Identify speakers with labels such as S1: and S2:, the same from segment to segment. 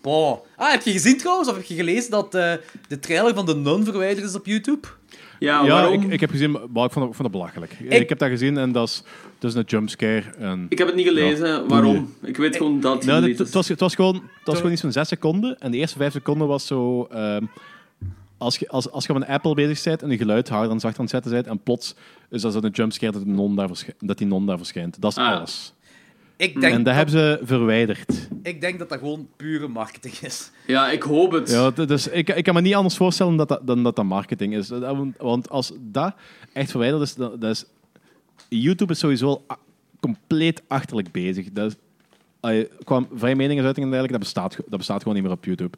S1: Boah. Ah, heb je gezien trouwens, of heb je gelezen dat eh, de trailer van de Nun verwijderd is op YouTube?
S2: Ja,
S3: ja,
S2: Nou, waarom?
S3: ik,
S2: Ik,
S3: ik heb gezien, maar ik vond dat, ik vond dat belachelijk. Ik, heb dat gezien en dat is, dat is een jumpscare. En...
S2: heb het niet gelezen. waarom? Ik weet gewoon dat het
S3: Nou,
S2: niet
S3: dit- het,
S2: is.
S3: was, het, was gewoon, het was gewoon iets van zes seconden. En de eerste vijf seconden was zo... ehm, als, je, als, als je met een Apple bezig bent en een geluid harder en zachter aan het zetten bent... en plots is dat zo'n jumpscare dat, die non daar verschi- dat die non daar verschijnt. Dat is
S2: Ah.
S3: alles.
S1: Ik denk,
S3: Mm. En dat
S1: dat,
S3: hebben ze verwijderd.
S1: ik denk dat dat gewoon pure marketing is.
S2: Ja, ik hoop het.
S3: Ja, d- dus ik, ik kan me niet anders voorstellen dat dat, dan dat dat marketing is. Dat- want- Want als dat echt verwijderd is, dan, dat is... YouTube is sowieso al a- compleet achterlijk bezig. Dat is, ai, qua vrije meningsuiting en dergelijke, dat bestaat, ge- dat bestaat gewoon niet meer op YouTube.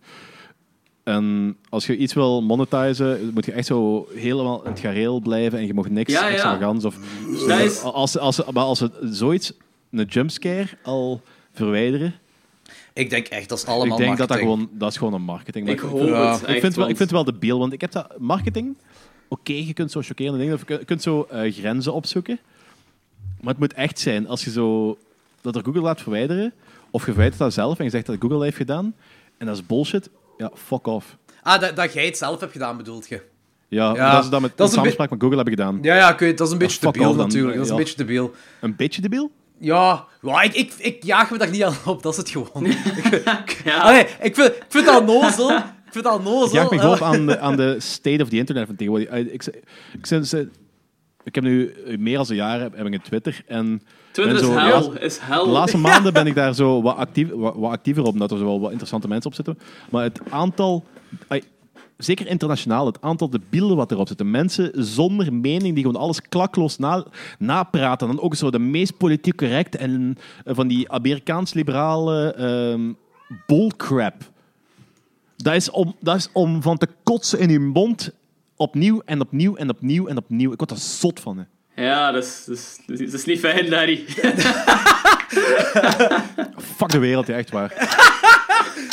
S3: En als je iets wil monetizen, moet je echt zo helemaal in het gareel blijven en je mag niks
S2: Ja, ja.
S3: extravagants. Of,
S2: Dat is-
S3: als, als, maar als ze zoiets, een jumpscare, al verwijderen,
S1: Ik denk echt, dat is allemaal
S3: ik denk dat dat
S1: marketing.
S3: gewoon, dat is gewoon een marketing.
S2: Ik hoop
S1: Ja.
S2: het.
S1: Ik
S2: Echt,
S3: Ik vind, wel, ik
S2: want-
S3: vind wel de beeld, want ik heb dat marketing. Oké, je kunt zo chockerende dingen, of je kunt- je kunt zo eh, grenzen opzoeken. Maar het moet echt zijn, als je zo dat er Google laat verwijderen, of je verwijdert dat zelf en je zegt dat Google heeft gedaan, en dat is bullshit, ja, fuck off.
S1: Ah, dat, dat jij het zelf hebt gedaan, bedoelt je?
S3: Ja,
S1: Ja,
S3: dat is dat met
S1: dat
S3: dat
S1: is een
S3: samenspraak met Google hebben gedaan.
S1: Ja, ja, ik weet, dat is een beetje
S3: fuck
S1: debiel
S3: all dan.
S1: natuurlijk. Dat is een
S3: Ja.
S1: beetje debiel.
S3: Een beetje debiel?
S1: Ja, ja ik, ik, ik jaag me daar niet aan op, dat is het gewoon.
S2: Ja.
S1: Allee, ik vind, ik vind dat nozel. Ik vind dat
S3: Ik
S1: nozel.
S3: jaag me gewoon op
S1: Eh,
S3: aan de, aan de state of the internet van tegenwoordig. Eh, Ik, ik, sinds, eh, ik heb nu eh, meer dan een jaar heb, heb ik een Twitter en...
S2: Twitter is
S3: ben zo-
S2: hel. Is hel.
S3: De laatste maanden ben ik daar zo wat, actief, wat, wat actiever op, omdat er zo wel wat interessante mensen op zitten. Maar het aantal, ai, zeker internationaal, het aantal debielen wat erop zitten. Mensen zonder mening die gewoon alles klakloos na, napraten. En dan ook zo de meest politiek correct en eh, van die Amerikaans-liberale ehm, bullcrap. Dat is, om, dat is om van te kotsen in je mond. Opnieuw en opnieuw en opnieuw en opnieuw. Ik word er zot van. Hè.
S2: Ja, dat is, dat, is, dat is niet fijn, Larry.
S3: Fuck de wereld, ja, echt waar.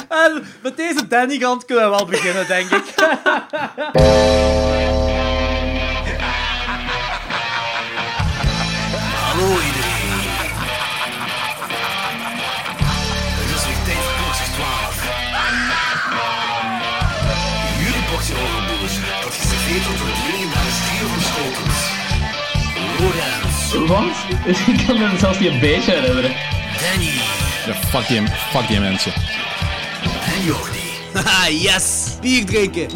S1: en met deze Danny-kant kunnen we wel beginnen, denk ik.
S4: Hallo iedereen. Het is weer tijd voor klokslag 12. Jullie boxen overboers, dat geserveerd wordt door de legendarische trio van Schotens. Lorenz,
S5: Wat? Ik kan me zelfs niet een beetje herinneren.
S4: Danny
S3: Ja, fuck die, fuck die mensen.
S4: en Jordi.
S1: Haha, yes! Bier drinken!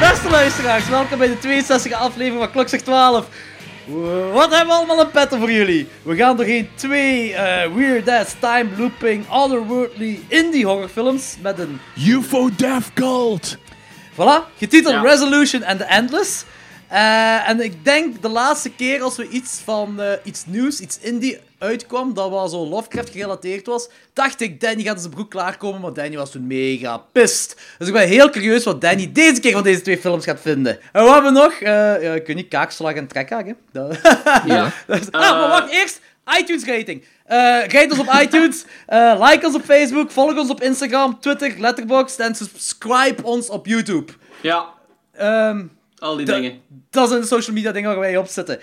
S1: Beste luisteraars, welkom bij de 62e aflevering van Klokzak 12. W- Wat hebben we allemaal in petten voor jullie? We gaan doorheen twee eh, weird ass time looping otherworldly indie horrorfilms met een,
S3: UFO Death Cult!
S1: voilà, getiteld
S2: Ja.
S1: Resolution and the Endless. Eh, en ik denk de laatste keer als we iets van eh, iets nieuws, iets indie uitkwam, dat wel zo Lovecraft gerelateerd was, dacht ik Danny gaat in zijn broek klaarkomen, maar Danny was toen mega pist. Dus ik ben heel curieus wat Danny deze keer van deze twee films gaat vinden. En wat hebben we nog? Eh ja, kun je kaakslag en trekhaak, hè? Dat-
S2: Ja.
S1: dat is- ah, maar wacht, eerst iTunes rating. Eh rate ons op iTunes, eh, like ons op Facebook, volg ons op Instagram, Twitter, Letterboxd en subscribe ons op YouTube.
S2: Ja,
S1: Ehm,
S2: al die
S1: da-
S2: dingen.
S1: dat zijn de social media dingen waar wij op zitten.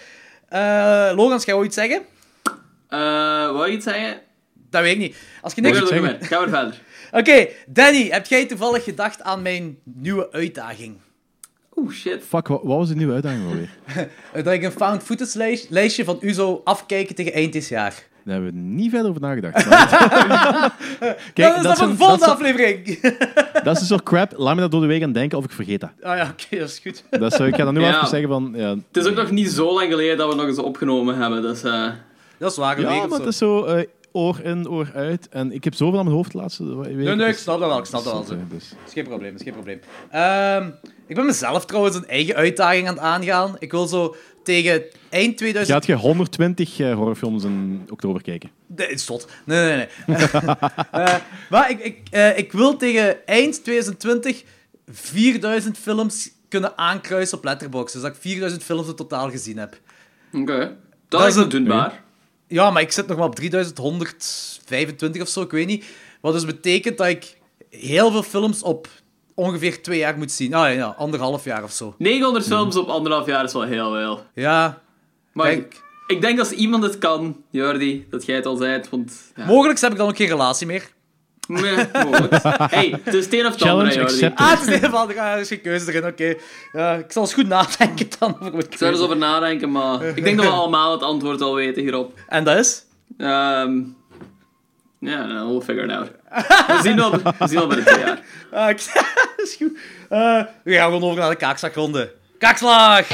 S1: Eh Logans, ga je ooit zeggen?
S2: Eh wou je iets zeggen?
S1: Dat weet ik niet. Als je
S2: Ik
S1: niks...
S2: wil
S1: Oké,
S2: het
S3: zeggen?
S2: meer. Ga maar verder.
S1: Danny, heb jij toevallig gedacht aan mijn nieuwe uitdaging?
S2: Oeh, shit.
S3: Fuck, wa- wat, was de nieuwe uitdaging alweer?
S1: Eh, Dat ik een found footage lijst- lijstje van u zou afkijken tegen eind dit jaar.
S3: Daar hebben we niet verder over nagedacht. Maar- Kijk,
S1: dat is dan voor de
S3: een-
S1: volgende
S3: dat is
S1: aflevering.
S3: een- dat is een soort crap. Laat me dat door de week aan denken of ik vergeet dat.
S1: ah ja, oké, dat is goed.
S3: dat is, zo- ik ga dan nu
S2: Ja.
S3: even zeggen van... Ja,
S2: Het is ook nog niet zo lang geleden dat we nog eens opgenomen hebben. Dus, eh,
S1: Dat is waar, een week
S3: ja
S1: of
S3: maar
S1: zo.
S3: het is zo eh, oor in, oor uit. En ik heb zoveel aan mijn hoofd de laatste week.
S1: Nee, nee,
S3: Het
S1: ik
S3: is-
S1: snap dat wel, ik snap dat wel.
S3: eh,
S1: zo.
S3: dus.
S1: is geen probleem, is geen probleem. Ehm, ik ben mezelf trouwens een eigen uitdaging aan het aangaan. Ik wil zo tegen eind 2000...
S3: Gaat je 120 eh, horrorfilms in oktober kijken?
S1: Nee, het is tot. Nee, nee, nee. Eh, maar ik, ik, eh, ik wil tegen eind 2020 4000 films kunnen aankruisen op Letterboxd. Dus dat ik 4000 films in totaal gezien heb.
S2: Oké. Dat,
S1: Dat
S2: is
S1: is-
S2: het doenbaar.
S1: Ja, maar ik zit nog maar op 3125 of zo, ik weet niet. Wat dus betekent dat ik heel veel films op ongeveer twee jaar moet zien. Ah ja, anderhalf jaar of zo.
S2: 900 films op anderhalf jaar is wel heel veel.
S1: Ja,
S2: Maar
S1: Kijk.
S2: ik, ik denk dat als iemand het kan, Jordi, dat jij het al zei, het, want... Ja.
S1: mogelijk heb ik dan ook geen relatie meer.
S2: Nee, mogelijk. hey, het is het een of het andere,
S3: Challenge
S2: Jordi.
S3: accepted.
S1: Ah, het is in ieder geval, ah, er is geen keuze erin, oké. Ja, ik zal eens goed nadenken dan over mijn
S2: Ik zou er
S1: keuze.
S2: eens over nadenken, maar ik denk dat we allemaal het antwoord al weten hierop.
S1: En dat is?
S2: Ehm ja, nou, we'll figure it out. We zien wel, we zien wel bij de twee jaar.
S1: Ah, ik- dat is goed. Eh, we gaan gewoon over naar de kaakslagronde. Kaakslag!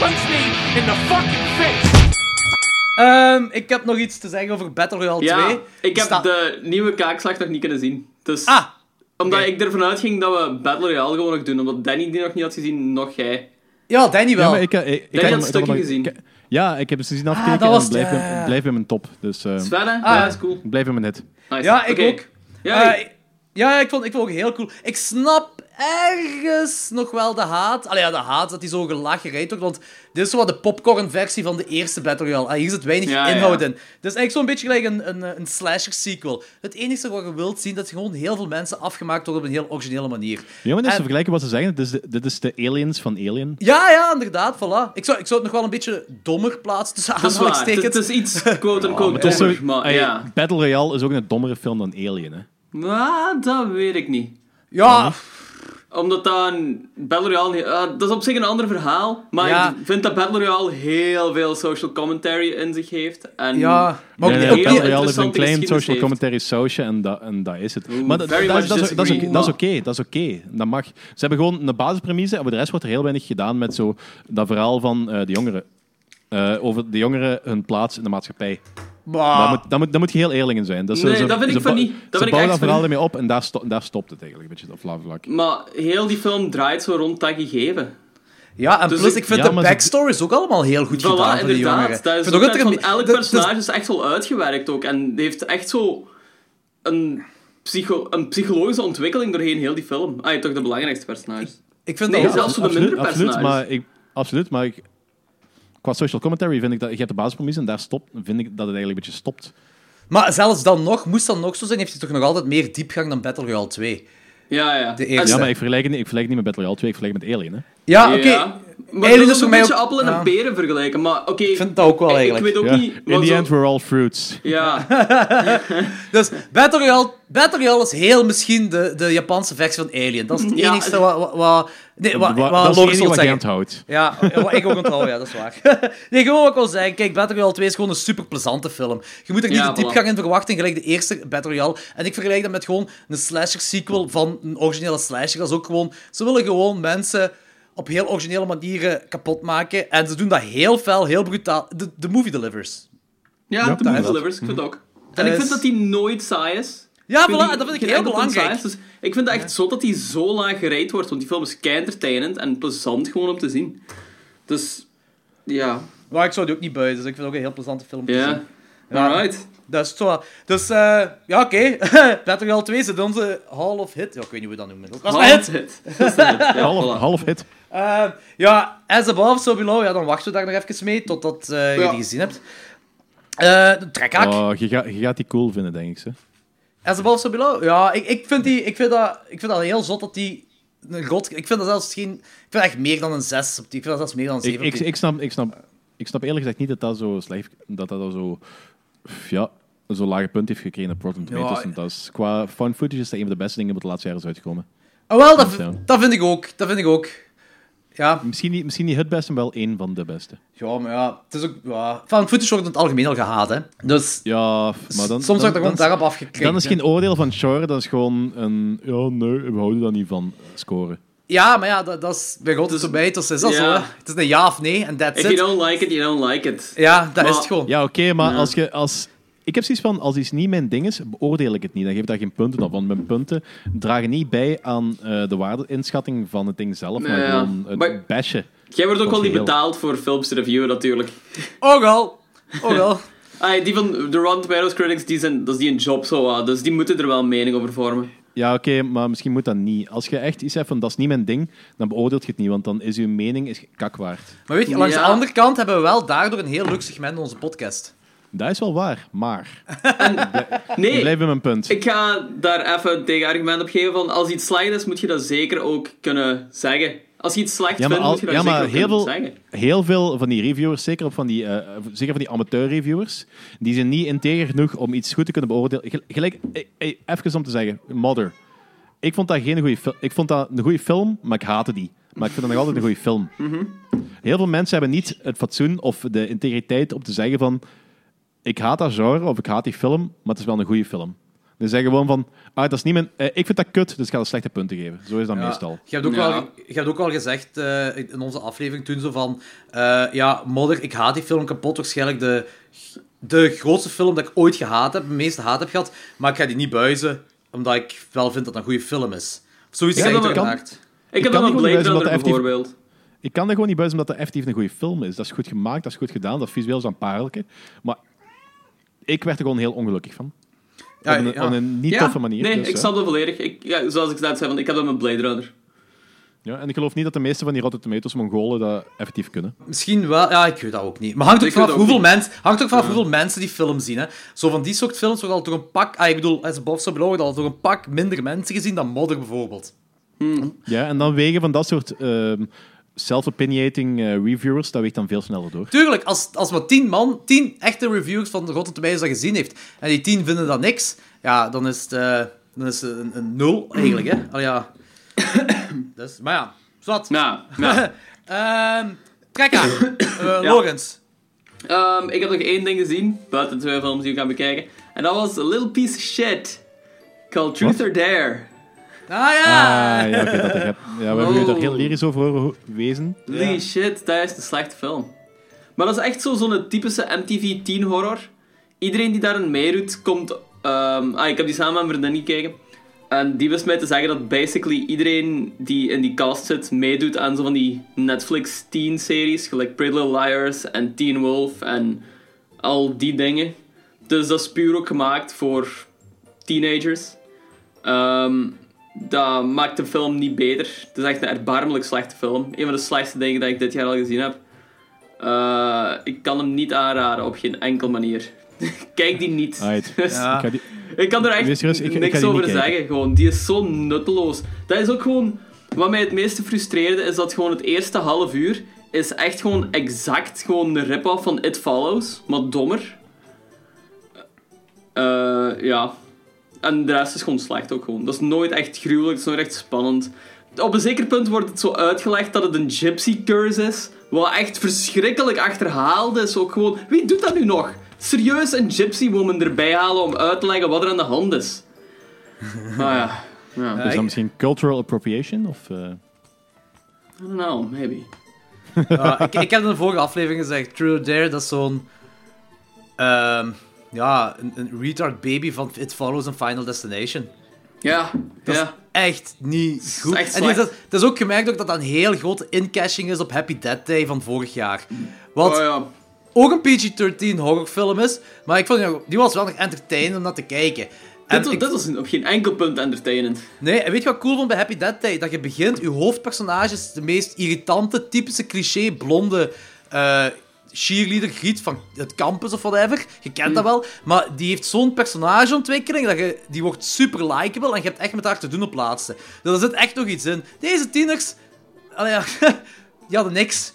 S6: Punch me in the fucking face.
S1: Ehm, ik heb nog iets te zeggen over Battle Royale 2.
S2: Ja, ik
S1: Die
S2: heb
S1: staat-
S2: de nieuwe kaakslag nog niet kunnen zien. Dus,
S1: Ah,
S2: omdat
S1: oké.
S2: ik ervan uitging dat we Battle Royale gewoon nog doen, omdat Danny die nog niet had gezien, nog jij.
S1: ja, Danny wel.
S3: Ja, maar ik, eh, ik, ik
S2: had
S3: heb
S2: het stukje
S3: nog-
S2: gezien.
S3: ik- ja, ik heb het gezien afgekeken
S1: Ah, dat
S3: en
S1: was
S3: het blijft
S1: de-
S3: in- het blijft in mijn top. Dus eh,
S2: Sven, hè?
S1: ja.
S2: ja, is cool.
S3: het blijft in mijn hit.
S2: Nice.
S1: Ah. Ja, ik
S2: Oké.
S1: ook.
S2: Ja,
S1: Eh, ja, ik vond, ik vond het ook heel cool. Ik snap ergens nog wel de haat. Allee, ja, de haat dat hij zo gelachen rijdt ook. Want dit is zo wat de popcorn-versie van de eerste Battle Royale. Ah, hier zit weinig
S2: Ja,
S1: inhoud
S2: ja.
S1: in. Het is eigenlijk zo'n beetje gelijk een, een, eh, een slasher-sequel. Het enige wat je wilt zien, dat gewoon heel veel mensen afgemaakt worden op een heel originele manier.
S3: Ja, maar dit is
S1: En-
S3: te vergelijken wat ze zeggen. Dit is, de, dit is de aliens van Alien.
S1: Ja, ja, inderdaad, voilà. Ik zou, ik zou het nog wel een beetje dommer plaatsen tussen
S2: dat is waar. Het,
S1: aanhalingstekens.
S2: het is iets
S1: Oh,
S2: quote-unquote
S3: Het is
S2: dommer,
S3: zo-
S2: maar
S3: eh,
S2: ja.
S3: Battle Royale is ook een dommere film dan Alien. Hè.
S2: Maar dat weet ik niet.
S1: Ja,
S2: Omdat dat een Battle Royale... niet- ah, dat is op zich een ander verhaal. Maar
S1: Ja.
S2: ik vind dat Battle Royale heel veel social commentary in zich heeft. En
S1: ja. Maar ook,
S3: Nee,
S1: die-
S3: nee,
S2: heel
S1: ook
S3: Battle
S1: die,
S3: Royale heeft een
S2: interessante
S3: klein
S2: geschiedenis
S3: social
S2: heeft.
S3: commentary sausje en dat, en dat is het. maar dat,
S2: very
S3: dat,
S2: much
S3: dat, is- dat is
S2: disagree.
S3: dat is oké, dat is oké. Dat mag. Ze hebben gewoon een basispremise en voor de rest wordt er heel weinig gedaan met zo dat verhaal van eh, de jongeren. Eh, over de jongeren hun plaats in de maatschappij. Daar,
S1: maar,
S3: moet, daar, moet, daar moet je heel eerlijk in zijn. Dat is
S2: Ah. Nee,
S3: zo-
S2: dat vind
S3: ze
S2: ik van
S3: bou-
S2: niet. Dat vind
S3: ze
S2: ik echt
S3: bouwen
S2: van
S3: dat verhaal
S2: niet.
S3: ermee op en daar, sto- daar stopt het eigenlijk een beetje op vlak vlak.
S2: Maar heel die film draait zo rond dat gegeven.
S1: ja, en
S2: Dus
S1: plus,
S2: ik-
S1: ik vind
S3: ja,
S1: de
S3: maar ze-
S1: backstories ook allemaal heel goed gedaan
S2: Voilà,
S1: van die jongeren.
S2: inderdaad. Dat
S1: Ik
S2: is
S1: vind
S2: ook
S1: ook
S2: echt
S1: er
S2: van
S1: een-
S2: elk
S1: dat- dat-
S2: personage is echt wel uitgewerkt ook. En die heeft echt zo een, psycho, een psychologische ontwikkeling doorheen heel die film. Ah, toch de belangrijkste personage.
S1: Ik vind
S2: Nee,
S1: dat
S2: zelfs voor de mindere
S3: absoluut,
S2: personages.
S3: maar ik, absoluut, maar ik, qua social commentary vind ik dat je hebt de basispremise en daar stopt, vind ik dat het eigenlijk een beetje stopt.
S1: Maar zelfs dan nog, moest dat nog zo zijn, heeft hij toch nog altijd meer diepgang dan Battle Royale 2.
S2: Ja, ja.
S1: De eerste.
S3: Ja,
S2: En-
S3: maar ik vergelijk het niet, ik vergelijk het niet met Battle Royale 2, ik vergelijk het met Alien. Hè.
S1: Ja, oké.
S2: Ja. Maar
S1: Alien
S2: dat
S1: is
S2: is
S1: voor
S2: een
S1: mij
S2: beetje
S1: ook-
S2: appelen en
S1: ja.
S2: peren vergelijken. Maar oké,
S1: Ik vind dat ook wel
S2: ik-
S1: eigenlijk.
S2: Ik weet ook
S3: Ja.
S2: niet...
S3: In
S2: wat
S3: the
S2: zo-
S3: end, we're all fruits.
S2: Ja,
S1: Dus Battle Royale, Battle Royale is heel misschien de, de Japanse versie van Alien. Dat is het
S2: Ja.
S1: enige wat, wat, wat, nee, wat, wat,
S3: Wa- dat is het
S1: logisch
S3: enige
S1: wil
S3: wat
S1: zeggen.
S3: Gent houdt.
S1: Ja, wat ik ook onthoud, ja, dat is waar. nee, gewoon wat ik wil zeggen. Kijk, Battle Royale 2 is gewoon een super plezante film. Je moet er niet
S2: Ja,
S1: de diepgang
S2: voilà.
S1: in verwachten, gelijk de eerste Battle Royale. En ik vergelijk dat met gewoon een slasher-sequel van een originele slasher. Dat is ook gewoon... Ze willen gewoon mensen op heel originele manieren kapot maken. En ze doen dat heel fel, heel brutaal. De, de movie delivers.
S2: ja de Moon
S3: inderdaad.
S2: Delivers, ik vind het ook. En
S1: Dat
S2: ik
S1: is-
S2: vind dat die nooit saai is.
S1: Ja, voilà,
S2: die-
S1: dat vind ik heel
S2: geen enkel punt
S1: belangrijk.
S2: saai is. Dus ik vind het echt zo dat die zo laag gereid wordt, want die film is kei-entertainend en plezant gewoon om te zien. Dus, ja.
S1: Maar ik zou die ook niet buiten, dus ik vind het ook een heel plezante film om te zien.
S2: Ja. Alright.
S1: Dat is het wel. Dus, eh, ja, oké. Battle Royale 2 zit in onze Hall of Hit. Ja, ik weet niet hoe we dat noemen. Dat was maar hit!
S2: Dat is de hit. Ja,
S3: Half,
S2: voilà.
S3: half hit.
S1: Eh, ja, as above, so below. Ja, dan wachten we daar nog even mee totdat eh, je
S2: Ja.
S1: die gezien hebt. Eh de trekhaak.
S3: Oh, je, gaat- je gaat die cool vinden, denk ik. Ze.
S1: As above, so below. Ja, ik, ik, vind die, ik, vind dat, ik vind dat heel zot dat die... Een god, ik vind dat zelfs geen... Ik vind echt meer dan een 6 op die. Ik vind dat zelfs meer dan een 7
S3: Ik, ik,
S1: op die.
S3: ik, snap, ik, snap, ik snap eerlijk gezegd niet dat dat zo slecht... Dat dat al zo... Ja, zo'n lage punt heeft gekregen op Rotten Tomatoes.
S1: Ja.
S3: Want dat is, qua found footage is dat een van de beste dingen wat de laatste jaren is uitgekomen.
S1: Ah, wel, dat, v-
S3: Zo.
S1: dat vind ik ook. Dat vind ik ook. Ja,
S3: Misschien niet, misschien niet het beste, maar wel één van de beste.
S1: ja maar ja, het is ook... Ja. Van footage wordt in het algemeen al gehaat, hè. Dus
S3: Ja, maar dan...
S1: soms
S3: dan,
S1: wordt er gewoon
S3: dan-
S1: daarop afgekregen.
S3: dan is geen oordeel van Shore, dat is gewoon een... Ja, nee, we houden daar niet van eh, scoren.
S1: Ja, maar ja, dat, dat is bij God is erbij. Dus is dat
S2: ja.
S1: zo, hè. Het is een ja of nee, en that's
S2: If you
S1: it.
S2: don't like it, you don't like it.
S1: Ja, dat is
S2: Maar-
S1: het gewoon.
S3: Ja, oké, maar
S2: Ja.
S3: als je... Als, ik heb zoiets van, als iets niet mijn ding is, beoordeel ik het niet. Dan geef ik daar geen punten op. Want mijn punten dragen niet bij aan eh, de waardeinschatting van het ding zelf, maar
S2: Nee, ja.
S3: gewoon het
S2: Maar-
S3: bashen.
S2: Jij wordt ook
S3: Dat
S2: wel
S3: is
S2: niet
S3: heel-
S2: betaald voor films te reviewen, natuurlijk.
S1: Ook al. Ook al.
S2: Ah, die van de Rotten Tomatoes critics, die zijn, dat is die een job zo, ah, dus die moeten er wel een mening over vormen.
S3: Ja, oké, maar misschien moet dat niet. Als je echt iets hebt van dat is niet mijn ding, dan beoordeelt je het niet, want dan is je mening is kak waard.
S1: Maar weet je, langs
S2: Ja.
S1: de andere kant hebben we wel daardoor een heel leuk segment in onze podcast.
S3: Dat is wel waar, maar ik
S2: Nee,
S3: blijf bij mijn punt.
S2: ik ga daar even een tegenargument op geven van als iets slecht is, moet je dat zeker ook kunnen zeggen. Als je iets slecht
S3: Ja, maar,
S2: vindt,
S3: al-
S2: moet je dat
S3: ja,
S2: zeker
S3: maar
S2: ook
S3: heel,
S2: kunnen
S3: veel,
S2: zeggen.
S3: heel veel van die reviewers, zeker, op van die, eh, zeker van die amateur-reviewers, die zijn niet integer genoeg om iets goed te kunnen beoordelen. Gel- Gelijk, eh, eh, even om te zeggen, Mother. Ik vond dat geen goede film. Ik vond dat een goede film, maar ik haatte die. Maar ik vind dat nog altijd een goede film. Heel veel mensen hebben niet het fatsoen of de integriteit om te zeggen van... Ik haat dat genre of ik haat die film, maar het is wel een goede film. Die zeggen gewoon van... Ah, dat is niet mijn, eh, ik vind dat kut, dus ik ga dat slechte punten geven. Zo is dat meestal.
S1: Je hebt ook,
S2: Ja.
S1: al, je hebt ook al gezegd eh, in onze aflevering toen zo van... eh, ja, modder, ik haat die film kapot. Waarschijnlijk de, de grootste film dat ik ooit gehaat heb, de meeste haat heb gehad. Maar ik ga die niet buizen, omdat ik wel vind dat dat een goede film is. Of zoiets
S2: Ja,
S1: zeg je
S2: dat
S1: toch
S2: kan.
S1: gemaakt?
S2: Ik heb dat
S3: kan
S2: met
S3: niet
S2: Blade
S3: bewijzen dat
S2: Runner
S3: de FTV
S2: bijvoorbeeld.
S3: Ik kan er gewoon niet buiten omdat dat effectief een goede film is. Dat is goed gemaakt, dat is goed gedaan, dat is visueel is aanpaarlijk. Maar ik werd er gewoon heel ongelukkig van.
S1: Ja,
S3: op, een,
S1: ja.
S3: op een niet
S2: Ja,
S3: toffe manier.
S2: Nee,
S3: dus,
S2: ik
S3: hè.
S2: snap dat volledig. Ik, ja, zoals ik net zei, van, ik heb dat met Blade Runner.
S3: ja, en ik geloof niet dat de meeste van die Rotten Tomatoes Mongolen dat effectief kunnen.
S1: Misschien wel, ja, ik weet dat ook niet. Maar hangt ook
S2: Ik weet
S1: vanaf
S2: dat ook
S1: hoeveel,
S2: niet.
S1: mens, hangt ook vanaf hoeveel mensen die film zien. Hè. Zo van die soort films wordt al door een pak, ah, ik bedoel, als Bob zo blauw, al door een pak minder mensen gezien dan Modder bijvoorbeeld.
S3: Ja, en dan wegen van dat soort ehm, self-opinionating eh, reviewers, dat weegt dan veel sneller door.
S1: Tuurlijk, als, als maar tien man, tien echte reviewers van de Rotten Tomatoes dat gezien heeft, en die tien vinden dat niks, ja, dan is het, eh, dan is het een, een nul eigenlijk, hè. Oh ja. dus, maar ja, zwart.
S2: Nou, ja.
S1: Ehm, trek aan. Eh, Logans.
S2: Ehm, ik heb nog één ding gezien, buiten twee films die we gaan bekijken. En dat was A Little Piece of Shit. Called Truth or Dare.
S1: Ah ja!
S3: Ah, ja, oké, dat ik heb. Ja, we hebben jullie daar
S2: Oh.
S3: heel lyrisch over horen ho- wezen.
S2: Holy shit, dat is een slechte film. Maar dat is echt zo- zo'n typische MTV teen horror. Iedereen die daarin meedoet, komt... ehm, ah, ik heb die samen met mijn vriendin gekeken. En die wist mij te zeggen dat basically iedereen die in die cast zit, meedoet aan zo van die Netflix teen series. Gelijk Pretty Little Liars en Teen Wolf en al die dingen. Dus dat is puur ook gemaakt voor teenagers. Ehm, dat maakt de film niet beter. Het is echt een erbarmelijk slechte film. Een van de slechtste dingen dat ik dit jaar al gezien heb. Eh, ik kan hem niet aanraden op geen enkel manier. Kijk die niet.
S3: Alright.
S2: Dus
S3: Ik ga die-
S2: Ik kan er
S3: Wees
S2: echt
S3: gerust, ik- ik ga
S2: niks
S3: die niet
S2: over
S3: kijken.
S2: zeggen. Gewoon. Die is zo nutteloos. Dat is ook gewoon... Wat mij het meeste frustreerde is dat gewoon het eerste half uur is echt gewoon exact gewoon een rip-off van It Follows, maar dommer. Eh, ja, en de rest is gewoon slecht ook gewoon. Dat is nooit echt gruwelijk, dat is nooit echt spannend. Op een zeker punt wordt het zo uitgelegd dat het een gypsy curse is. Wat echt verschrikkelijk achterhaald is. Ook gewoon, wie doet dat nu nog? Serieus een gypsy woman erbij halen om uit te leggen wat er aan de hand is. Ah ja, ja.
S3: Is dat misschien cultural appropriation? Of, eh,
S2: I don't know, maybe.
S1: Ja, Ah, ik, ik heb in de vorige aflevering gezegd, True or Dare, dat is zo'n... ehm, ja, een, een retard baby van It Follows en Final Destination.
S2: Ja,
S1: Dat
S2: ja.
S1: is echt niet goed.
S2: is echt
S1: en die-
S2: slecht.
S1: het is ook gemerkt ook dat dat een heel grote incashing is op Happy Death Day van vorig jaar. Wat
S2: Oh ja.
S1: ook een PG-13 horrorfilm is, maar ik vond die, die was wel nog entertainend om naar te kijken. En
S2: Dit, was-
S1: ik-
S2: dit was op geen enkel punt entertainend.
S1: Nee, en weet je wat ik cool vond bij Happy Death Day? Dat je begint, je hoofdpersonage is de meest irritante, typische cliché blonde eh cheerleader, griet van het campus of whatever. Je kent
S2: Mm.
S1: dat wel. Maar die heeft zo'n personageontwikkeling, dat je, die wordt super likable en je hebt echt met haar te doen op laatste. Dus daar zit echt nog iets in. Deze tieners, allee, ja, die hadden niks.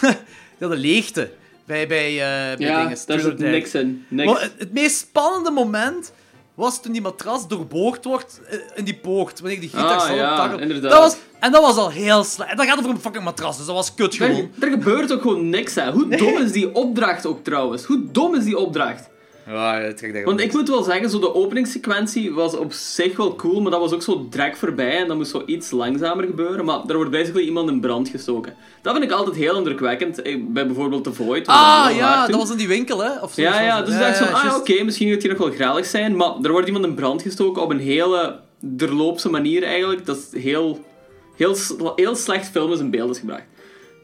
S1: die hadden leegte bij, bij, eh, bij
S2: Ja,
S1: dingen.
S2: daar
S1: True
S2: zit
S1: or Dare.
S2: niks in. Niks.
S1: Maar het, het meest spannende moment was toen die matras doorboord wordt eh, in die poort. Wanneer die gitaar
S2: Ah,
S1: zal
S2: ja,
S1: op het dak-
S2: inderdaad.
S1: dat was En dat was al heel slecht. Dat gaat over een fucking matras, dus dat was kut
S2: Er,
S1: gewoon.
S2: er gebeurt ook gewoon niks, hè. Hoe dom is die opdracht ook trouwens? Hoe dom is die opdracht?
S1: Ja, dat trek ik
S2: Want ik moet wel zeggen, zo de openingssequentie was op zich wel cool, maar dat was ook zo drek voorbij en dat moest zo iets langzamer gebeuren. Maar er wordt basically iemand in brand gestoken. Dat vind ik altijd heel indrukwekkend. Ik- Bij bijvoorbeeld The Void. waar we
S1: Ah,
S2: al
S1: ja,
S2: waren toen.
S1: dat was in die winkel, hè? Of zo,
S2: Ja, ja,
S1: zo.
S2: dus ik dacht zo, ah,
S1: Eh, juist.
S2: oké, misschien gaat hij nog wel graalig zijn, maar er wordt iemand in brand gestoken op een hele derloopse manier eigenlijk. Dat is heel, heel, sl- heel slecht film is in beeld is gebracht.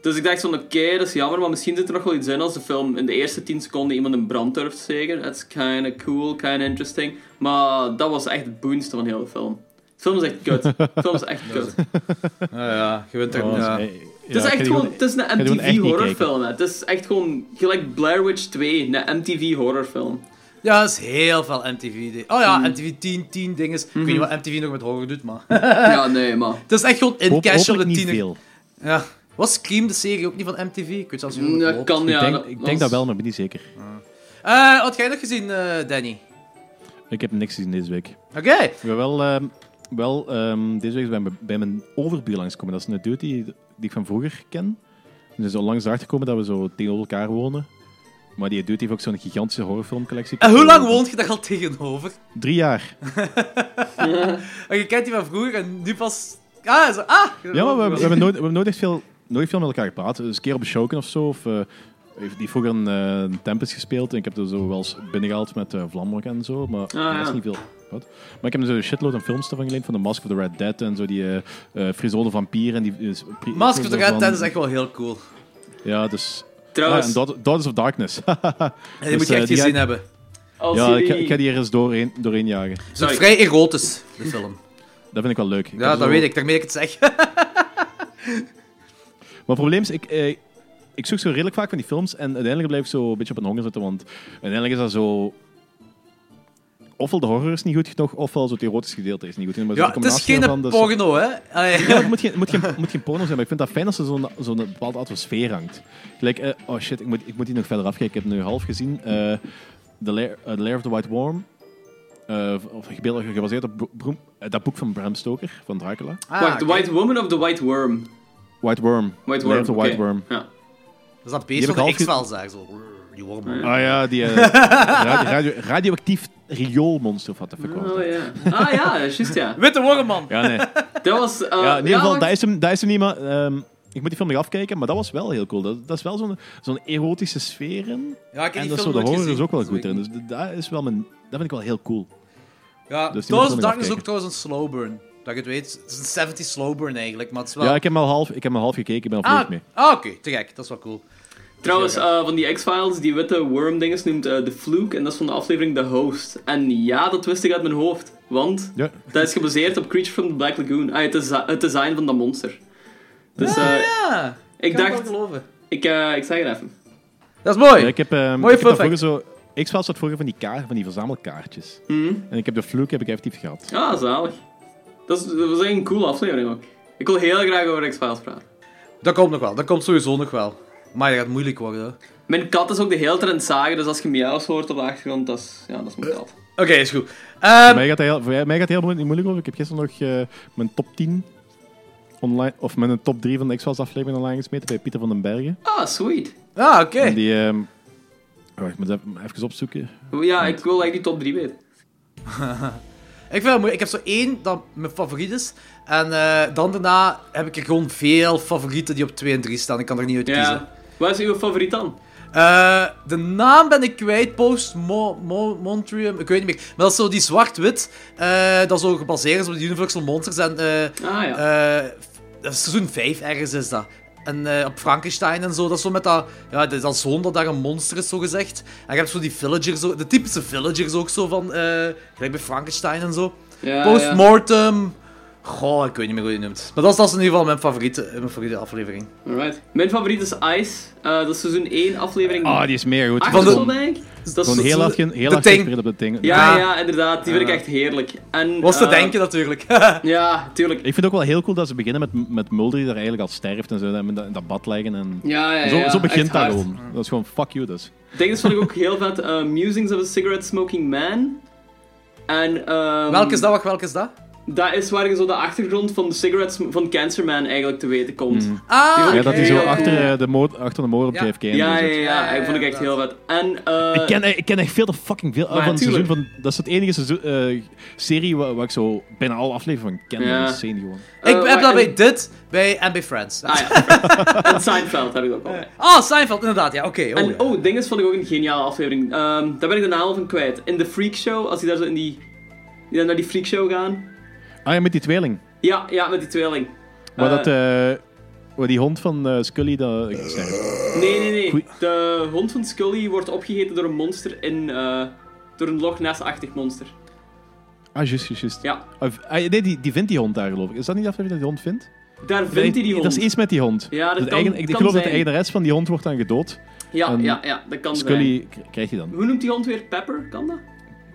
S2: Dus ik dacht van, oké, dat is jammer, maar misschien zit er nog wel iets in als de film in de eerste 10 seconden iemand in brand durft te steken. That's kinda cool, kinda interesting. Maar dat was echt het boeienste van heel de film. De film is echt kut. De film is echt kut.
S1: Ja, ja, je bent er...
S3: Oh,
S1: ja.
S3: dat is- ja,
S2: Het is
S3: ik
S2: echt
S3: heb die
S2: gewoon, het is een
S3: die gewoon echt
S2: MTV
S3: niet
S2: horrorfilm. hè. Het is echt gewoon gelijk Blair Witch 2, een MTV horrorfilm.
S1: ja, dat is heel veel MTV. die- Oh ja,
S2: Mm-hmm.
S1: MTV 10, 10 dinges. Ik weet niet wat MTV nog met horror doet, maar...
S2: Ja, nee, maar.
S1: Het is echt gewoon in
S3: Hoop-
S1: cash op
S3: hopelijk
S1: de
S3: niet
S1: 10.
S3: veel.
S1: Ja. Was Scream de serie ook niet van MTV? Ik weet zelfs niet hoe dat
S2: Dat
S1: loopt.
S2: kan, Mm, ja.
S3: ik denk,
S2: dat-
S3: ik denk dat wel, maar ben niet zeker.
S1: Eh, wat jij nog gezien, eh, Danny?
S3: Ik heb niks gezien deze week.
S1: Oké.
S3: Ik ben wel, ehm, wel ehm, deze week bij, mijn- bij mijn overbuur langskomen. Dat is een dude die, die ik van vroeger ken. Dus We zijn zo langs erachter gekomen dat we zo tegenover elkaar wonen. Maar die dude heeft ook zo'n gigantische horrorfilmcollectie.
S1: En hoe lang woont je daar al tegenover?
S3: Drie jaar.
S1: En je kent die van vroeger en nu pas... Ah, zo... Ah!
S3: Ja, maar we, we hebben nooit, we hebben nooit echt veel, nooit veel met elkaar gepraat. Dus een keer op Shoken of zo. Of, eh, heeft die vroeger een eh, Tempest gespeeld. En ik heb er zo wel eens binnengehaald met eh Vlamrock en zo. Maar
S1: Ah,
S3: dat
S2: ja.
S3: is niet veel. Wat? Maar ik heb er zo een shitload aan films van geleend. Van The Mask of the Red Dead. En zo die eh eh, Frisolde Vampier. En die, eh, pri-
S1: Mask of the Red
S3: van-
S1: Dead is echt wel heel cool.
S3: Ja, dus...
S2: Trouwens,
S3: Ja, en Daugh- Daughters of Darkness. ja,
S1: En die
S3: Dus,
S1: moet je
S3: eh,
S1: echt
S3: die
S1: gezien
S3: ga-
S1: hebben.
S2: als je
S3: ik, ga-
S2: die-
S3: ik ga die er eens doorheen, doorheen jagen.
S1: Het is ook
S2: Sorry.
S1: vrij erotisch, de film.
S3: Dat vind ik wel leuk. Ik heb
S1: Ja,
S3: zo-
S1: dat weet ik. Daarmee ik het zeg.
S3: Maar het probleem is, ik, eh, ik zoek zo redelijk vaak van die films en uiteindelijk blijf ik zo een beetje op een honger zitten, want uiteindelijk is dat zo... Ofwel de horror is niet goed genoeg, ofwel zo het erotisch gedeelte is niet goed genoeg. Maar
S1: Ja,
S3: zo'n
S1: het is
S3: combinatie
S1: geen
S3: daarvan, dat is-
S1: porno, hè. Allee.
S3: Ja, maar het moet geen, moet, geen, moet geen porno zijn, maar ik vind dat fijn als er zo'n zo'n bepaalde atmosfeer hangt. Gelijk, eh, oh shit, ik moet, ik moet die nog verder afkijken. Ik heb nu half gezien eh The, Lair, eh, The Lair of the White Worm. Eh, of gebeeld- gebaseerd op Bro- Bro- eh, dat boek van Bram Stoker, van Dracula.
S1: Ah,
S2: Wacht, The
S1: oké.
S2: White Woman of The White Worm?
S3: White Worm.
S2: White Worm.
S3: The Lair of the White
S2: oké.
S3: Worm.
S2: Ja.
S1: Dat is dat
S3: heb
S1: beest
S3: ik
S1: van de
S3: half ge-
S1: X-Files daar, zo. Die wormen.
S3: Ah ja, die eh, radio- radio- radioactief rioolmonster of wat de fuck was dat?
S2: Oh ja. Ah ja, juist ja.
S1: Witte wormman.
S3: Ja, nee.
S2: Dat was. eh,
S3: Ja, in ieder geval,
S2: wacht.
S3: dat is hem, dat is hem niet, maar... ehm, ik moet die film nog afkijken, maar dat was wel heel cool. Dat, dat is wel zo'n zo'n erotische sfeer in.
S1: Ja, ik heb
S3: En
S1: die
S3: dat is
S1: film
S3: zo, de
S1: nooit
S3: horror
S1: gezien.
S3: is ook wel
S1: dus
S3: goed
S1: ik-
S3: erin. Dus d- dat, is wel mijn, dat vind ik wel heel cool.
S1: Ja,
S3: Dus die
S1: Toast
S3: moet ik
S1: Darkness is ook
S3: afkijken.
S1: trouwens een slow burn. Dat je het weet. Het is een 70 slow burn eigenlijk, maar het is wel...
S3: Ja, ik heb hem al half, ik heb hem al half gekeken, ik ben al
S1: ah,
S3: vlug mee.
S1: ah, oké. Te gek. Dat is wel cool.
S2: Trouwens, eh, van die X-Files, die witte worm-dinges noemt eh, The Fluke. En dat is van de aflevering The Host. En ja, dat wist ik uit mijn hoofd. Want
S3: Ja.
S2: dat is gebaseerd op Creature from the Black Lagoon. Ah, het, desi- het design van dat monster. Dus eh,
S1: Ja,
S2: ik
S1: kan het
S2: dacht.
S1: wel geloven.
S2: Ik, eh, ik zeg het even.
S1: Dat is mooi.
S3: Ja, ik heb, ehm,
S1: Mooie
S3: ik heb dat
S1: fun
S3: vroeger zo... X-Files had vroeger van die, kaart, van die verzamelkaartjes.
S1: Mhm.
S3: En ik heb de Fluke heb ik effectief gehad.
S2: Ah, zalig. Dat, is, dat was echt een coole aflevering ook. Ik wil heel graag over X-Files praten.
S1: Dat komt nog wel. Dat komt sowieso nog wel. Maar dat gaat moeilijk worden. hè.
S2: Mijn kat is ook de hele tijd aan het zagen, dus als je miauws hoort op de achtergrond, dat is, ja, dat is
S1: Eh.
S2: mijn kat.
S1: Oké, is goed. Ehm,
S3: Mij gaat dat heel, voor mij gaat het heel moeilijk over. Ik heb gisteren nog eh, mijn top 10 online... Of mijn top 3 van de X-Files aflevering online gesmeten bij Pieter van den Bergen.
S2: Ah, sweet.
S1: ah, oké.
S3: En die... ehm, wacht, ik moet even, even opzoeken.
S2: Ja, ik wil eigenlijk die top 3 weten.
S1: Ik, vind het moeilijk. ik heb zo één dat mijn favoriet is. En eh, dan daarna heb ik er gewoon veel favorieten die op 2 en 3 staan. Ik kan er niet uit kiezen.
S2: Ja. Wat is uw favoriet dan?
S1: Eh, de naam ben ik kwijt, Post Mo Mo- Montrium, ik weet niet meer. Maar dat is zo die zwart-wit, eh, dat zo gebaseerd is op de Universal Monsters. En eh,
S2: Ah ja.
S1: eh, f- dat is seizoen 5 ergens is dat. En eh, op Frankenstein en zo, dat is zo met dat, ja, dat, dat zoon dat daar een monster is, zo gezegd. En je hebt zo die villagers, ook- de typische villagers ook zo van, eh, gelijk bij Frankenstein en zo.
S2: ja,
S3: Ah,
S1: Postmortem, goh, ik weet niet meer hoe je het noemt. Maar dat is, dat is in ieder geval mijn favoriete, eh, mijn favoriete aflevering.
S2: ja. Alright. Mijn favoriet is Ice. Eh, dat is seizoen 1, aflevering
S3: Ah, die is meer goed.
S2: 8
S1: van de-
S2: zo, denk ik. Dat is
S3: Gewoon heel Ah. hard, heel
S1: De
S3: hard
S1: Ting.
S3: geïnspireerd op dat ding.
S2: Ja,
S1: Ja.
S2: ja, inderdaad. Die vind ik
S1: Ja.
S2: echt heerlijk. En,
S1: Ah. Was te
S3: Ah.
S2: eh,
S1: denken natuurlijk.
S2: Ja, tuurlijk.
S3: Ik vind het ook wel heel cool dat ze beginnen met, met Mulder die daar eigenlijk al sterft en zo en in dat, in dat bad liggen. En...
S2: Ja, ja, ja,
S3: zo,
S2: ja,
S3: zo begint
S2: echt
S3: dat
S2: hard.
S3: gewoon. Dat is gewoon fuck you dus.
S2: Ik denk dat vond ik ook heel vet. eh, Musings of a Cigarette Smoking Man. En, ehm,
S1: Welke is dat, wacht, welke is dat?
S2: Dat is waar je zo de achtergrond van de cigarettes van Cancer Man eigenlijk te weten komt.
S3: Mm,
S1: Ah,
S2: Ja,
S3: Ja, dat hij zo
S2: Oké.
S3: achter, eh, de moord, achter de moord op
S1: Ja.
S3: JFK
S2: Ja,
S3: en
S2: ja,
S3: zo
S2: ja,
S3: zit.
S2: ja,
S1: ja,
S2: Ik vond ik echt heel vet. En, eh,
S3: Ik ken, ik ken echt veel te fucking veel eh,
S2: Maar
S3: van het seizoen.
S2: tuurlijk.
S3: Van, dat is het enige seizoen, eh, serie waar, waar ik zo bijna alle afleveringen van ken.
S2: Ja.
S3: Insane gewoon.
S2: eh,
S1: ik heb
S3: Oh,
S2: wa-
S1: dat bij
S2: en-
S1: dit, bij en bij Friends.
S2: Ah
S1: Ah,
S2: ja, en Seinfeld heb ik ook al. bij.
S1: Seinfeld, inderdaad, ja, oké.
S2: En,
S1: oh, ja.
S2: oh, Dinges vond ik ook een geniale aflevering. Ehm, daar ben ik de naam van kwijt. In de Freak Show, als die daar zo in die... Die dan naar die Freak Show gaan.
S3: Ah ja, met die tweeling.
S2: Ja, ja, met die tweeling.
S3: Waar
S2: Eh,
S3: dat... eh, Waar die hond van eh, Scully dat gesneden.
S2: Nee, nee, nee.
S3: eh, Goeie-
S2: De hond van Scully wordt opgegeten door een monster in... eh, door een Loch Ness-achtig monster.
S3: Ah, juist, juist, juist.
S2: Ja.
S3: Ah, v- ah, nee, die, die vindt die hond daar, geloof ik. Is dat niet de aflevering dat die hond vindt?
S2: Daar vindt hij die hond.
S3: Dat is iets met die hond.
S2: Ja, dat
S3: De
S2: kan-
S3: eigen- ik
S2: kan
S3: geloof dat de
S2: zijn.
S3: eigenares van die hond wordt dan gedood.
S2: Ja,
S3: een-
S2: ja, ja. Dat kan zijn.
S3: Scully k- krijgt hij dan.
S2: Hoe noemt die hond weer? Pepper? Kan dat?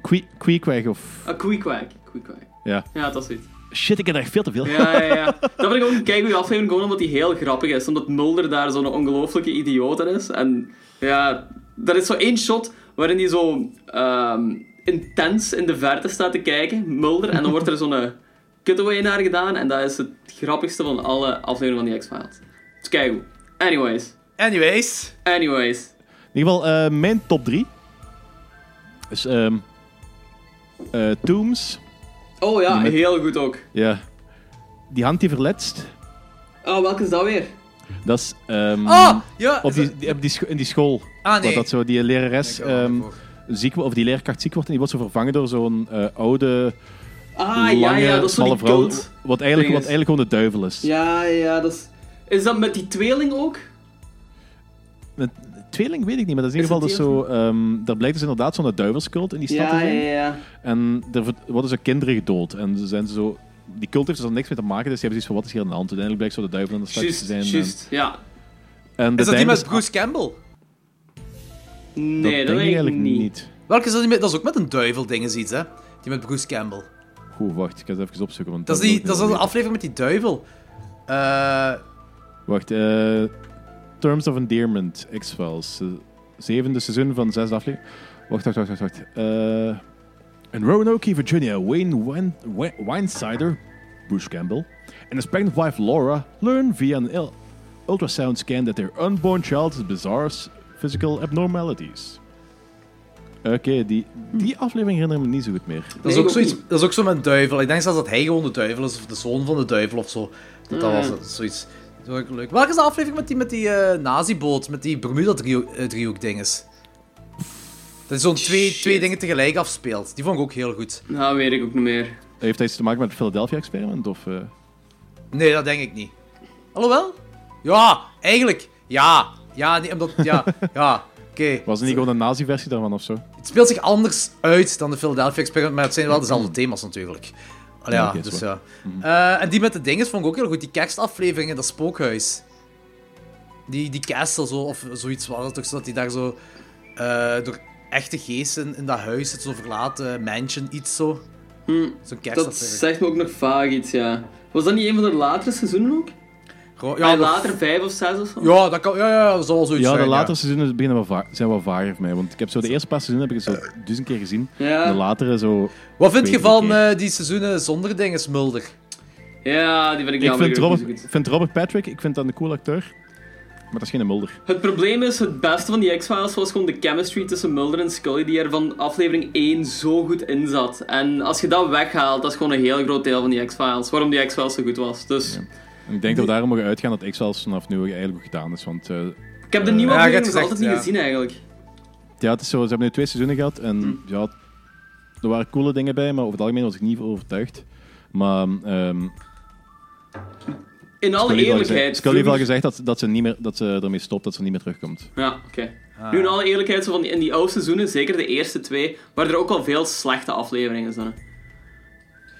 S3: Kwee- Kweekweg of...
S2: Ah, Queequeg. Queequeg.
S3: Ja.
S2: Ja, dat is het.
S3: Shit, ik heb er echt veel te veel.
S2: Ja, ja, ja. Dat vind ik ook een keigoeie aflevering, gewoon omdat die heel grappig is. Omdat Mulder daar zo'n ongelooflijke idioot in is. En ja, er is zo één shot waarin hij zo ehm, intens in de verte staat te kijken, Mulder. En dan wordt er zo'n eh, cutaway naar gedaan. En dat is het grappigste van alle afleveringen van die X-Files. Dus keigoed. Anyways.
S1: Anyways.
S3: Hmm.
S2: Anyways.
S3: In ieder geval, eh, mijn top 3 is ehm eh, Tombs.
S2: Oh ja,
S3: Met-
S2: heel goed ook.
S3: Ja. Die hand die verletst.
S2: Oh, welke is dat weer?
S3: Dat is... ehm,
S1: Oh, ja.
S3: Op
S1: is
S3: die,
S1: dat-
S3: die, op die scho- in die school.
S1: Ah, nee.
S3: Waar dat zo die lerares
S1: Ik hou er
S3: ehm,
S1: niet voor.
S3: ziek wo- of die leerkracht ziek wordt en die wordt zo vervangen door zo'n eh, oude,
S2: Ah,
S3: lange,
S2: ja, ja, dat is
S3: smalle
S2: zo'n
S3: vrouw.
S2: cult.
S3: Wat eigenlijk, wat
S2: dinges.
S3: eigenlijk gewoon de duivel is.
S2: Ja, ja, dat is... Is dat met die tweeling ook?
S3: Met- tweeling weet ik niet, maar dat is in
S2: Is
S3: ieder geval dus
S2: het
S3: zo. ehm daar blijkt dus inderdaad zo'n duivelscult in die stad te
S2: Ja, ja,
S3: zijn.
S2: ja.
S3: En er ver- worden zo kinderen gedood. En ze zijn zo, die cult heeft dus er niks mee te maken, dus die hebben zoiets van wat is hier aan de hand? Uiteindelijk blijkt zo de duivel in de stad te
S2: Juist,
S3: zijn.
S2: juist. Ja.
S3: En, en de
S1: Is dat die met
S3: duivel
S1: Bruce Campbell?
S2: Nee, dat,
S3: Ah, denk ik
S2: weet ik
S3: eigenlijk
S2: niet.
S3: niet.
S1: Welke is dat die met... Dat is ook met een duivel ding is iets, hè? Die met Bruce Campbell.
S3: Goed, wacht, ik ga het even opzoeken. Want
S1: Dat is, die,
S3: wil
S1: dat
S3: ik
S1: is een
S3: niet
S1: aflevering met die duivel. Eh...
S3: Wacht, eh, Terms of Endearment, X-Files. eh, zevende seizoen van zes aflevering. Wacht, wacht, wacht, wacht. wacht. Eh, in Roanoke, Virginia, Wayne Wen- We- Weinsider, Bruce Campbell, and his pregnant wife Laura learn via an il- ultrasound scan that their unborn child has bizarre s- physical abnormalities. Oké, die, die aflevering herinner ik me niet zo goed meer.
S1: Dat is,
S2: Nee,
S1: ook
S2: ik ook
S1: zoiets, dat is ook zo met een duivel. Ik denk zelfs dat hij gewoon de duivel is, of de zoon van de duivel of zo. Dat, dat was het, zoiets. Dat was ook leuk. Welke is de aflevering met die, met die eh nazi-boot, met die Bermuda-driehoek-dinges? Dat is zo'n twee, twee dingen tegelijk afspeelt. Die vond ik ook heel goed.
S2: Nou, weet ik ook niet meer.
S3: Heeft dat iets te maken met het Philadelphia-experiment? Of... eh?
S1: Nee, dat denk ik niet. Alhoewel? Ja, eigenlijk. Ja. Ja, nee, omdat... Ja, ja. Oké.
S3: Was het niet gewoon een nazi-versie daarvan of zo?
S1: Het speelt zich anders uit dan de Philadelphia Experiment, maar het zijn wel
S2: Mm.
S1: dezelfde thema's natuurlijk. Allee, ja,
S3: Mm, Oké,
S1: dus
S3: zwaar.
S1: ja. Eh, en die met de dinges vond ik ook heel goed. Die kerstaflevering in dat spookhuis. Die, die castle zo, of zoiets was het toch, zodat die daar zo eh, door echte geesten in dat huis zit, zo verlaten, mansion, iets zo. Zo'n
S2: Mm, Dat
S1: kerstaflevering.
S2: zegt me ook nog vaag iets, ja. Was dat niet een van de latere seizoenen ook?
S1: Gewoon-
S2: Ja,
S1: ja, dat-
S2: later vijf of zes of zo?
S1: ja, dat kan, ja, ja, dat zal wel zoiets
S3: Ja,
S1: zijn.
S3: de latere seizoenen beginnen wel va- zijn wel vager voor mij. Want ik heb zo de eerste paar seizoenen heb ik het zo duizend keer gezien.
S2: Ja.
S3: En de latere zo...
S1: Wat vind je
S3: Tweede
S1: van
S3: keer.
S1: eh, die seizoenen zonder dinges, Mulder?
S2: Ja, die vind ik
S3: Ik
S2: jammer. ook
S3: vind
S2: niet
S3: Robert,
S2: zo
S3: ik
S2: goed.
S3: vind Robert Patrick, ik vind dat een cool acteur. Maar dat is geen Mulder.
S2: Het probleem is, het beste van die X-Files was gewoon de chemistry tussen Mulder en Scully, die er van aflevering 1 zo goed in zat. En als je dat weghaalt, dat is gewoon een heel groot deel van die X-Files. Waarom die X-Files zo goed was. Dus,
S3: En ik denk dat we daarom mogen uitgaan dat X-Files vanaf nu eigenlijk ook gedaan is. Want eh,
S2: ik heb de nieuwe
S1: Ja, je
S2: aflevering
S1: hebt
S2: nog
S1: gezegd,
S2: altijd niet
S1: ja.
S2: gezien eigenlijk.
S3: ja, het is zo, ze hebben nu twee seizoenen gehad. En
S2: Mm.
S3: ja, er waren coole dingen bij, maar over het algemeen was ik niet overtuigd. Maar ehm
S2: In alle
S3: Scully heeft al gezegd-
S2: eerlijkheid.
S3: Scully heeft al
S2: vroeger-
S3: gezegd dat, dat, ze niet meer, dat ze ermee stopt, dat ze niet meer terugkomt.
S2: Ja, oké.
S1: Ah.
S2: Nu in alle eerlijkheid, zo van die- in die oude seizoenen, zeker de eerste twee, waren er ook al veel slechte afleveringen. Zo.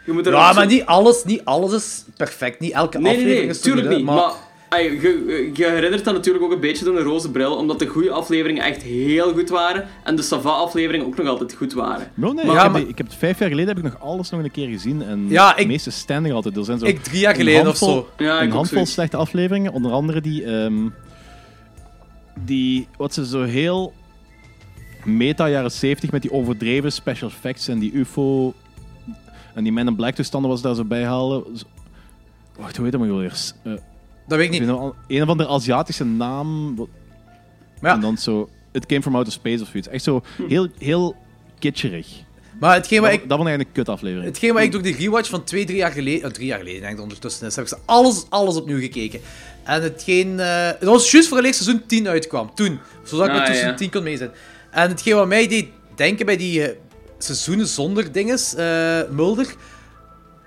S2: Je moet er ook
S1: Ja,
S2: zo-
S1: maar niet alles, niet alles is perfect. Niet elke
S2: Nee, nee,
S1: aflevering
S2: nee,
S1: is zo
S2: tuurlijk
S1: goed, hè,
S2: niet. Maar, ai, je, je herinnert dat natuurlijk ook een beetje door een roze bril, omdat de goede afleveringen echt heel goed waren en de Sava-afleveringen ook nog altijd goed waren.
S3: No, nee,
S1: Maar-
S3: ik,
S1: Ja,
S3: heb
S1: maar-
S3: die- ik heb het vijf jaar geleden heb ik nog alles nog een keer gezien. En
S1: Ja, ik-
S3: de meeste standing altijd. Er zijn zo
S1: Ik drie jaar geleden
S3: een
S1: of
S3: handvol,
S1: zo.
S2: Ja, ik
S3: een
S2: ook
S3: handvol
S2: zoiets.
S3: slechte afleveringen. Onder andere die, ehm, die wat ze zo heel meta jaren 70 met die overdreven special effects en die UFO en die Man in Black toestanden was daar zo bij halen. Zo- Wacht, hoe heet dat maar weer? S- eh,
S1: Dat weet ik
S3: ik
S1: niet.
S3: weet nog al- een of andere Aziatische naam. wat-
S1: Maar ja. Hm.
S3: En dan zo. It came from outer space of zoiets. Echt zo heel, heel kitscherig.
S1: Maar hetgeen wat
S3: Dat,
S1: ik,
S3: dat vond ik eigenlijk een kutaflevering.
S1: hetgeen wat ik door die rewatch van twee, drie jaar geleden... eh, drie jaar geleden, denk ik, ondertussen is, heb ik ze alles, alles opnieuw gekeken. En hetgeen... eh dat was juist voor alleen seizoen 10 uitkwam, toen. Zodat ik
S2: Ah,
S1: met
S2: ja.
S1: seizoen 10 kon meezitten. En hetgeen wat mij deed denken bij die eh, seizoenen zonder dinges, eh, Mulder...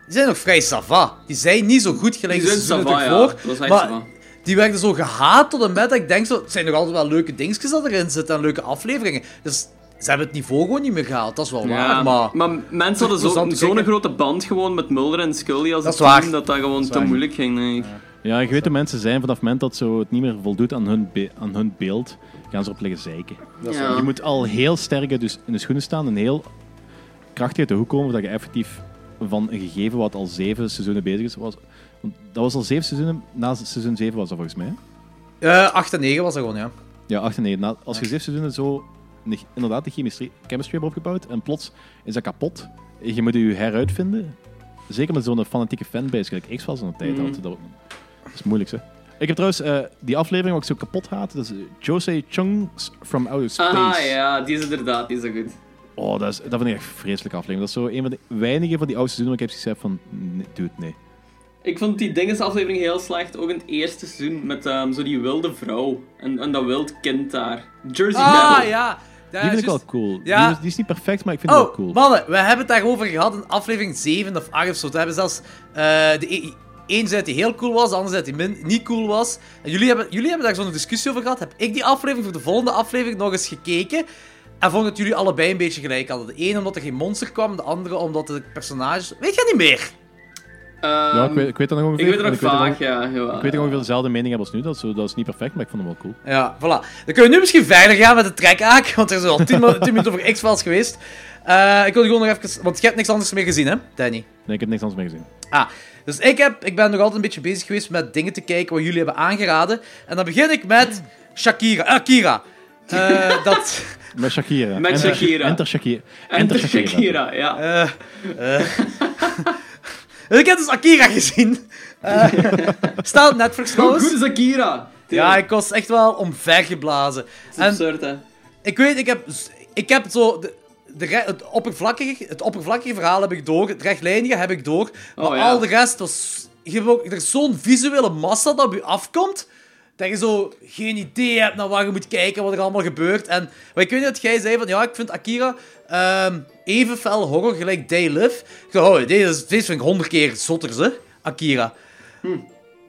S1: Die zijn nog vrij sava. Die zijn niet zo goed gelijk
S2: Die zijn
S1: de seizoenen
S2: sava, ja.
S1: ervoor.
S2: Dat was echt
S1: maar
S2: sava.
S1: Die werden zo gehaat tot en met. dat Ik denk zo, het zijn nog altijd wel leuke dingetjes dat erin zitten en leuke afleveringen. Dus ze hebben het niveau gewoon niet meer gehaald, dat is wel waar.
S2: Ja,
S1: maar
S2: mensen hadden zo-
S1: Interessant
S2: zo'n
S1: te kijken.
S2: grote band gewoon met Mulder en Scully als
S1: Dat
S2: het
S1: is waar.
S2: team, dat dat gewoon te
S1: waar.
S2: moeilijk ging. denk ik.
S3: Ja, je weet de mensen zijn vanaf het moment dat zo het niet meer voldoet aan hun, be- aan hun beeld, gaan ze erop liggen zeiken.
S1: Ah.
S2: Ja.
S3: Je moet al heel sterk uit dus in de schoenen staan en heel krachtig uit de hoek komen dat je effectief van een gegeven wat al zeven seizoenen bezig is. Was, want dat was al zeven seizoenen, na seizoen zeven was dat volgens mij. hè?
S1: eh 8 en 9 was dat gewoon, ja.
S3: Ja, acht en negen. Na- Als je zeven seizoenen zo ne- inderdaad de chemistry, chemistry hebt opgebouwd en plots is dat kapot. Je moet je heruitvinden. Zeker met zo'n fanatieke fanbase, gelijk X-Files aan de
S2: Mhm.
S3: tijd had. Dat, dat is moeilijk, hè. Ik heb trouwens eh, die aflevering ook zo kapot haat. Dat is eh, Jose Chung's From Outer Space.
S2: Ah ja, die is inderdaad, die is wel goed.
S3: Oh, dat, is, dat vind ik echt een vreselijke aflevering. Dat is zo een van de weinige van die oude seizoenen waar ik heb gezegd van... Nee, dude, nee.
S2: Ik vond die Dinges-aflevering heel slecht, ook in het eerste seizoen, met ehm, zo die wilde vrouw en, en dat wild kind daar. Jersey
S1: Ah,
S2: Devil.
S1: ja.
S2: Eh,
S1: Ja,
S3: die vind
S1: juist.
S3: ik wel cool.
S1: Ja.
S3: Die, is, die is niet perfect, maar ik vind die
S1: Oh,
S3: wel cool.
S1: mannen, we hebben het daarover gehad in aflevering 7 of 8 of zo. We hebben zelfs eh, de e- een zei die heel cool was, de ander zei die min, niet cool was. En jullie hebben, jullie hebben daar zo'n discussie over gehad. Heb ik die aflevering voor de volgende aflevering nog eens gekeken. En vond dat jullie allebei een beetje gelijk hadden. De een omdat er geen monster kwam, de andere omdat de personages... Weet je niet meer?
S2: Ehm,
S3: ja, ik weet, ik weet dat nog
S2: ik
S3: ongeveer.
S2: weet er
S3: en
S2: ook
S3: weet
S2: vaak,
S3: nog-
S2: ja. jawel.
S3: Ik weet nog ongeveer dezelfde mening hebben als nu. Dat is, zo- dat is niet perfect, maar ik vond hem wel cool.
S1: Ja, voilà. Dan kunnen we nu misschien verder gaan met de trekhaak, want er is al 10 minuten over X-Files geweest. Eh, ik wil gewoon nog even... Want je hebt niks anders meer gezien, hè, Danny?
S3: Nee, ik heb niks anders mee gezien.
S1: Ah, dus ik, heb, ik ben nog altijd een beetje bezig geweest met dingen te kijken wat jullie hebben aangeraden. En dan begin ik met Shakira. eh, Kira. Eh, dat...
S3: Met Shakira.
S2: Met
S3: Enter-
S2: Shakira.
S3: Enter Shakira.
S2: En de Shakira, ja.
S1: eh, eh. ik heb dus Akira gezien. Eh, staat op Netflix
S2: Hoe goed
S1: trouwens.
S2: is Akira?
S1: Ja, ik was echt wel omvergeblazen.
S2: Dat is
S1: En
S2: absurd, hè.
S1: Ik weet, ik heb, ik heb zo. De, de, re- het, oppervlakkige, het oppervlakkige verhaal heb ik door, het rechtlijnige heb ik door. Maar
S2: Oh, ja.
S1: al de rest was. Je hebt ook, er is zo'n visuele massa dat op je afkomt. Dat je zo geen idee hebt naar waar je moet kijken, wat er allemaal gebeurt. En maar ik weet niet wat jij zei van ja, ik vind Akira ehm, even fel horror gelijk Day Live. Ik dacht, oh, deze, is- deze vind ik honderd keer zotter, hè, Akira.
S2: Hm.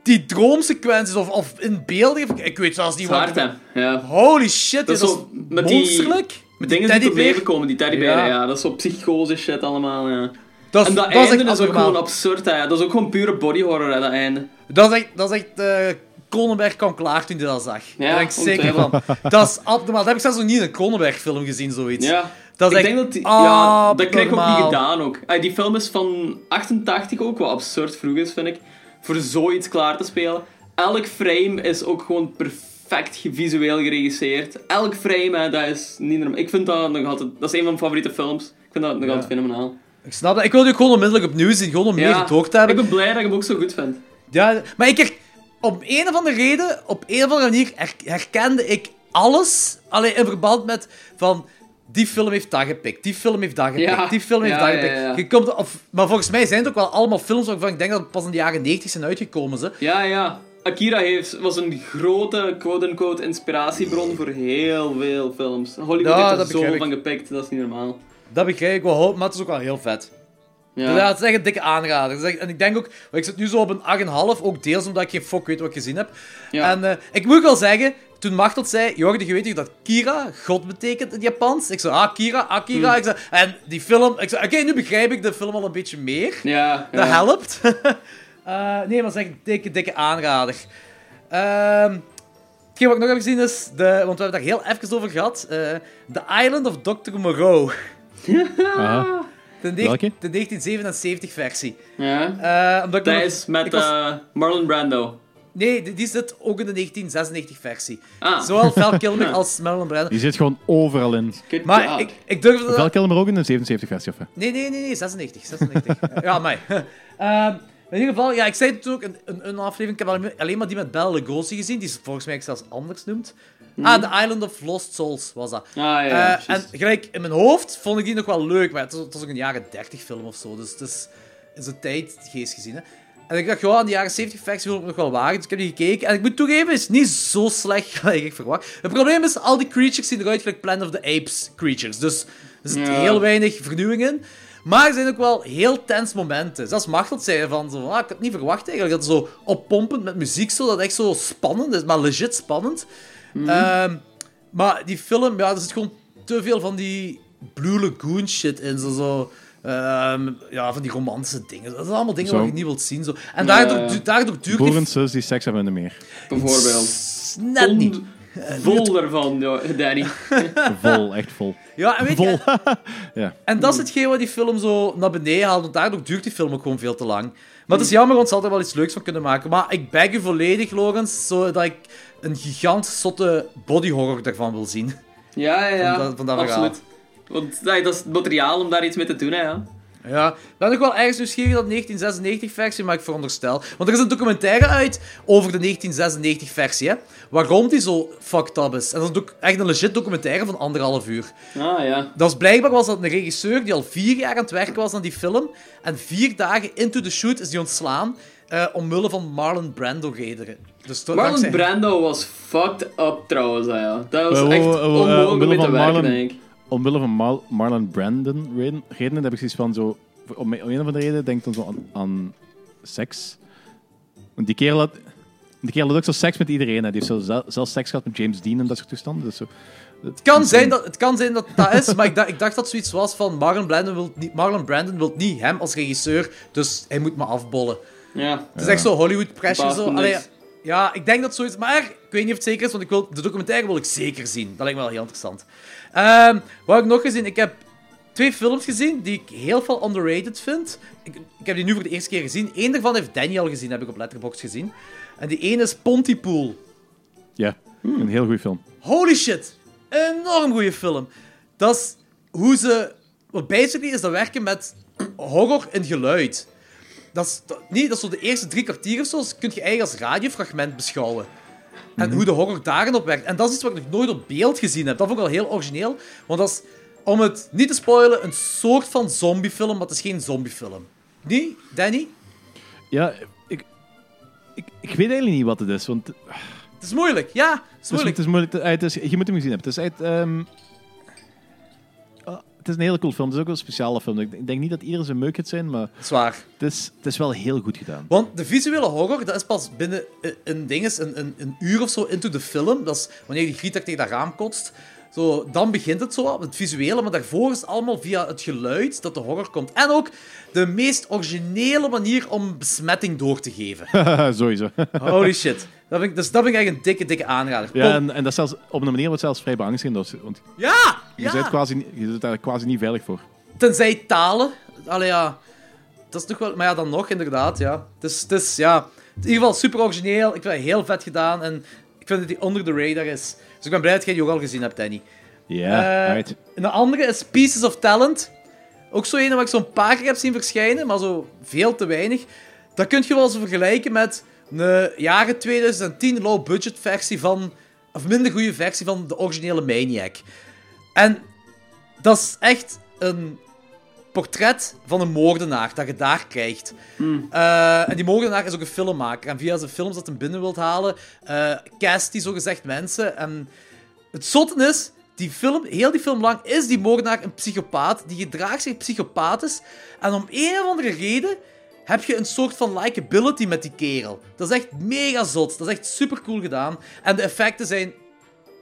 S1: Die droomsequenties of, of in beelden, ik- ik weet zelfs niet
S2: Het is hard,
S1: wat.
S2: hè. Ja.
S1: Holy shit, dat
S2: Dat
S1: is
S2: is zo met die-
S1: monsterlijk. met die
S2: Dingen die tot leven
S1: teddybeer.
S2: komen, die teddyberen,
S1: Ja.
S2: ja. Dat is zo psychose shit allemaal, ja.
S1: Dat
S2: En
S1: is,
S2: dat
S1: dat is echt
S2: einde is ook
S1: abnormaal.
S2: gewoon absurd, hè. Dat is ook gewoon pure body horror, hè, dat einde.
S1: Dat is echt... Dat is echt eh, Cronenberg kwam klaar toen hij dat zag.
S2: Ja,
S1: Daar ben ik zeker van. Dat is abnormaal. Dat heb ik zelfs nog niet in een Cronenberg-film gezien, zoiets.
S2: Ja.
S1: Dat is
S2: ik
S1: echt
S2: denk dat die, ja, dat krijg ik ook niet
S1: abnormaal.
S2: gedaan ook. Ah, die film is van 88 ook, wat absurd vroeg is, vind ik. Voor zoiets klaar te spelen. Elk frame is ook gewoon perfect ge- visueel geregisseerd. Elk frame, hè, dat is niet normaal. Ik vind dat nog altijd... Dat is een van mijn favoriete films. Ik vind dat nog altijd fenomenaal.
S1: Ik snap dat. Ik wil die ook gewoon onmiddellijk opnieuw zien. Gewoon om meer door te hebben.
S2: Ik ben blij dat je hem ook zo goed vindt.
S1: Ja, maar ik her- op een of andere reden, op een of andere manier her- herkende ik alles. Alleen in verband met van die film heeft dat gepikt, die film heeft dat gepikt,
S2: Ja,
S1: die film heeft
S2: ja,
S1: dat
S2: ja,
S1: gepikt.
S2: ja.
S1: Je komt, of, maar volgens mij zijn het ook wel allemaal films waarvan ik denk dat het pas in de jaren 90 zijn uitgekomen. Ze.
S2: Ja, ja. Akira heeft, was een grote, quote-unquote, inspiratiebron voor heel veel films. Hollywood
S1: Ja,
S2: heeft
S1: dat
S2: er
S1: begrijp
S2: zo
S1: ik.
S2: van gepikt, dat is niet normaal.
S1: Dat begrijp ik wel, maar het is ook wel heel vet.
S2: Ja.
S1: Inderdaad, het is echt een dikke aanrader. Het is echt- En ik denk ook, want ik zit nu zo op een 8,5, ook deels omdat ik geen fuck weet wat ik gezien heb.
S2: Ja.
S1: En eh, ik moet ook wel zeggen, toen Machtel zei, Jordi, je weet toch dat Kira God betekent in het Japans? Ik zei, ah, Kira,
S2: Hmm.
S1: Akira. Ik zei, en die film, ik zei, oké, nu begrijp ik de film al een beetje meer.
S2: Ja,
S1: Dat
S2: ja.
S1: helpt. Eh, nee, maar zeg, dikke, dikke aanrader. Ehm, hetgeen wat ik nog heb gezien is, de, want we hebben daar heel even over gehad, eh, The Island of Dr. Moreau.
S3: Aha.
S1: De,
S3: Welke?
S1: de 1977 versie.
S2: Ja.
S1: Eh, omdat ik
S2: Dat
S1: nog-
S2: is met
S1: ik was-
S2: eh, Marlon Brando.
S1: Nee, die, die zit ook in de 1996-versie.
S2: Ah.
S1: Zowel Val Kilmer
S2: Ja.
S1: als Marilyn Brando.
S3: Die zit gewoon overal in.
S2: Good job.
S1: Maar ik, ik durf dat...
S3: Val Kilmer ook in een 77-versie, of hè?
S1: Nee, nee, nee, nee, 96. 96. ja, mij. Ehm, in ieder geval, ja, ik zei het ook, een, een, een aflevering, ik heb alleen- alleen maar die met Bella Lugosi gezien, die is volgens mij ook zelfs anders noemt. Ah, The Island of Lost Souls was dat.
S2: Ah, ja, ja,
S1: Eh, en
S2: juist.
S1: gelijk, in mijn hoofd vond ik die nog wel leuk, maar het was, het was ook een jaren 30 film of zo, dus het is in zijn tijdgeest gezien, hè. En ik dacht, ja, in de jaren 70 versie wil ik nog wel wagen, dus ik heb die gekeken. En ik moet toegeven, het is niet zo slecht gelijk ik verwacht. Het probleem is, al die creatures zien eruit gelijk Planet of the Apes creatures, dus er zit
S2: Ja.
S1: heel weinig vernieuwing in. Maar er zijn ook wel heel tense momenten. Zelfs Machteld zei ervan, zo van, ah, ik had het niet verwacht eigenlijk. Dat zo oppompend met muziek, zo, dat het echt zo spannend is. Maar legit spannend. Ehm, maar die film, ja, er zit gewoon te veel van die Blue Lagoon shit in. Zo, zo, ehm, ja, van die romantische dingen. Dat zijn allemaal dingen
S3: Zo.
S1: waar je niet wilt zien. Zo. En
S2: Ja,
S1: daardoor,
S2: ja.
S1: du- daardoor duurt die
S3: Boerenzus die seks hebben in de meer.
S2: bijvoorbeeld.
S1: net niet.
S2: Vol- Vol ervan, ja, Danny.
S3: Vol, echt vol.
S1: Ja, en weet je,
S3: Vol.
S1: En dat is hetgeen wat die film zo naar beneden haalt, want daardoor duurt die film ook gewoon veel te lang. Maar
S2: Mm.
S1: het is jammer, want ze hadden er wel iets leuks van kunnen maken. Maar ik bag u volledig, Logans, zodat ik een gigantisch zotte bodyhorror daarvan wil zien.
S2: Ja, ja, ja.
S1: Van dat- van dat
S2: absoluut. Want nee, dat is het materiaal om daar iets mee te doen, hè. ja.
S1: Ja, ik ben ook wel ergens nieuwsgierig dat 1996-versie, maar ik veronderstel. Want er is een documentaire uit over de 1996-versie, hè. Waarom die zo fucked up is. En dat is ook echt een legit documentaire van anderhalf uur.
S2: Ah, ja.
S1: Dat was blijkbaar was dat een regisseur die al vier jaar aan het werken was aan die film. En vier dagen into the shoot is die ontslaan eh, omwille van Marlon Brando-redenen. Dus dat-
S2: Marlon
S1: dankzij-
S2: Brando was fucked up, trouwens, hè, ja. Dat was
S3: Eh,
S2: echt
S3: oh, oh, eh,
S2: onmogelijk
S3: omwille
S2: mee te
S3: van
S2: werken,
S3: Marlon-
S2: denk ik.
S3: Omwille van Mar- Marlon Brandon reden, redenen heb ik zoiets van zo... Om om een of andere reden denk ik dan zo aan, aan seks. Want die kerel had... Die kerel had ook zo seks met iedereen. Hè. Die heeft zo zel- zelfs seks gehad met James Dean en dat soort toestanden. Dus zo,
S1: Het, kan zijn dat, het kan zijn dat dat is, maar ik, dacht- ik dacht dat zoiets was van Marlon Brando wil niet, Marlon Brandon wil niet hem als regisseur, dus hij moet me afbollen.
S2: Ja.
S1: Het is echt zo Hollywood pressure.
S2: Baas
S1: Zo.
S2: van
S1: Allee,
S2: niks.
S1: ja, ik denk dat zoiets. Maar ik weet niet of het zeker is, want ik wil, de documentaire wil ik zeker zien. Dat lijkt me wel heel interessant. Ehm, wat heb ik nog gezien? Ik heb twee films gezien die ik heel veel underrated vind. Ik, ik heb die nu voor de eerste keer gezien. Eén daarvan heeft Daniel gezien, heb ik op Letterboxd gezien. En die ene is Pontypool.
S3: ja, een heel goede film.
S1: Holy shit! Enorm goede film. Dat is hoe ze. Wat basically is dat werken met horror en geluid. Dat is, dat, niet, dat is zo de eerste drie kwartier of zo. Dat kun je eigenlijk als radiofragment beschouwen. En hoe de horror daarin op werkt. En dat is iets wat ik nog nooit op beeld gezien heb. Dat vond ik wel heel origineel. Want dat is, om het niet te spoilen, een soort van zombiefilm, maar het is geen zombiefilm. Niet, Danny?
S3: Ja, ik, ik, ik weet eigenlijk niet wat het is. Want
S1: Het is moeilijk, ja. Het is
S3: Het is,
S1: moeilijk.
S3: het is moeilijk. te- eh, het is, je moet hem gezien hebben. Het is, echt, ehm, ah, het is een hele cool film. Het is ook wel een speciale film. Ik denk- ik denk niet dat iedereen zijn meuk het zijn, maar
S1: Het is waar.
S3: het is, het is wel heel goed gedaan.
S1: Want de visuele horror, dat is pas binnen een, een, dinges, een, een, een uur of zo into de film. Dat is wanneer die gieter tegen dat raam kotst. Zo, dan begint het zo, wat, het visuele. Maar daarvoor is het allemaal via het geluid dat de horror komt. En ook de meest originele manier om besmetting door te geven.
S3: Sowieso.
S1: Holy shit. Dat vind ik, dus dat vind ik echt een dikke, dikke aanrader.
S3: ja,
S1: Pom-
S3: en, en dat is zelfs op een manier wat zelfs vrij beangstigend is. Want
S1: ja!
S3: je,
S1: ja!
S3: Bent quasi, niet- je zit daar quasi niet veilig voor.
S1: Tenzij talen. Allee, ja. Dat is toch wel... Maar ja, dan nog, inderdaad, ja. Het is, het is, ja... In ieder geval super origineel. Ik vind het heel vet gedaan. En ik vind dat die onder de radar is. Dus ik ben blij dat jij die ook al gezien hebt, Danny.
S3: Ja,
S1: Eh,
S3: right.
S1: En de andere is Pieces of Talent. Ook zo een waar ik zo'n paar keer heb zien verschijnen, maar zo veel te weinig. Dat kun je wel eens vergelijken met een jaren 2010 low-budget versie van... Of minder goede versie van de originele Maniac. En dat is echt een portret van een moordenaar dat je daar krijgt. Eh, en die moordenaar is ook een filmmaker. En via zijn films dat hem binnen wilt halen, eh cast die zogezegd mensen. En het zotte is, die film, heel die film lang is die moordenaar een psychopaat. Die gedraagt zich psychopathisch. En om een of andere reden heb je een soort van likability met die kerel. Dat is echt mega zot. Dat is echt super cool gedaan. En de effecten zijn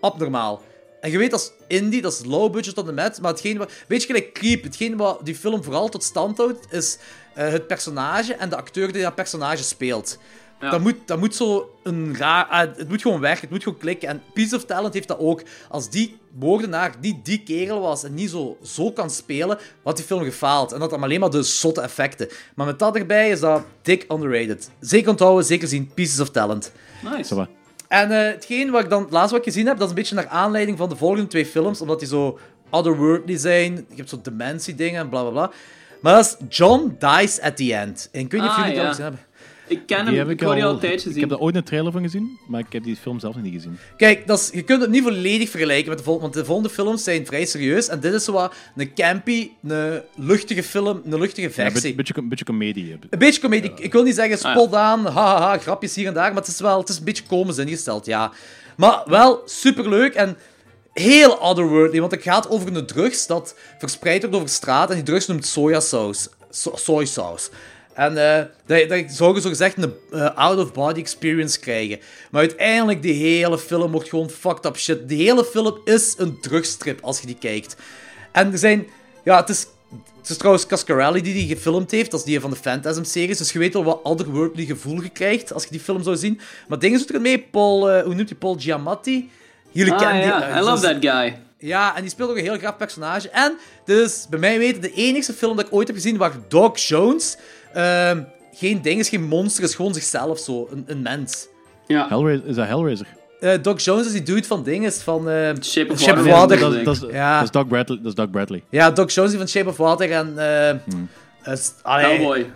S1: abnormaal. En je weet, dat is indie, dat is low budget tot de met, maar hetgeen wat... Weet je, gelijk Creep, hetgeen wat die film vooral tot stand houdt, is eh, het personage en de acteur die dat personage speelt.
S2: Ja.
S1: Dat, moet, dat moet zo een raar... ah, het moet gewoon weg, het moet gewoon klikken. En Piece of Talent heeft dat ook. Als die moordenaar niet die kerel was en niet zo, zo kan spelen, had die film gefaald. En dat dan alleen maar de zotte effecten. Maar met dat erbij is dat dik underrated. Zeker onthouden, zeker zien, Pieces of Talent.
S3: Zo
S2: Nice.
S3: wat.
S1: En eh, hetgeen wat ik dan het laatste wat ik gezien heb, dat is een beetje naar aanleiding van de volgende twee films, omdat die zo otherworldly zijn. Je hebt zo dementie-dingen en bla bla bla. Maar dat is John Dies at the End. En ik weet niet of
S2: Ah,
S1: jullie dat
S2: ja.
S1: al gezien hebben.
S2: Ik ken
S3: Die
S2: hem,
S3: heb
S2: ik
S3: ik,
S2: hoor die al
S3: al,
S2: een tijdje
S3: ik heb
S2: zien.
S3: daar ooit een trailer van gezien, maar ik heb die film zelf nog niet gezien.
S1: Kijk, dat is, je kunt het niet volledig vergelijken met de volgende, want de volgende films zijn vrij serieus. En dit is zo wat een campy, een luchtige film, een luchtige
S3: Ja,
S1: versie.
S3: een beetje, com- beetje comedie. hè.
S1: Een beetje comedie. Ik wil niet zeggen
S2: ja.
S1: spontaan, hahaha, grapjes hier en daar. Maar het is wel het is een beetje komisch ingesteld, ja. Maar wel superleuk. En heel otherworldly, want het gaat over een drugs dat verspreid wordt over straat en die drugs noemt sojasaus. So sojasaus. En eh dat, dat zou zo gezegd een eh, out-of-body experience krijgen. Maar uiteindelijk, die hele film wordt gewoon fucked up shit. Die hele film is een drugstrip als je die kijkt. En er zijn... Ja, het is, het is trouwens Cascarelli die die gefilmd heeft. Dat is die van de Phantasm-series. Dus je weet wel wat otherworldly gevoel je krijgt als je die film zou zien. Maar dingen zit er mee. Paul... eh, hoe noemt hij? Paul Giamatti. Jullie
S2: Ah,
S1: kennen die.
S2: ja,
S1: eh,
S2: I
S1: dus-
S2: love that guy.
S1: ja, en die speelt ook een heel graaf personage. En dit is bij mij weten de enige film dat ik ooit heb gezien waar Doc Jones ehm, geen ding is, geen monster is, gewoon zichzelf zo, een, een mens.
S2: Ja.
S3: Hellraiser, is dat Hellraiser?
S1: Eh, Doc Jones is die dude van dinges, van eh,
S2: Shape of
S1: Shape
S2: Water.
S1: of Water.
S3: Dat, is- dat, is,
S1: Ja.
S3: dat, is Doug Bradley, dat is Doug Bradley.
S1: Ja, Doc Jones die van Shape of Water en... eh, eh, s- allee,
S2: Hmm. Hellboy.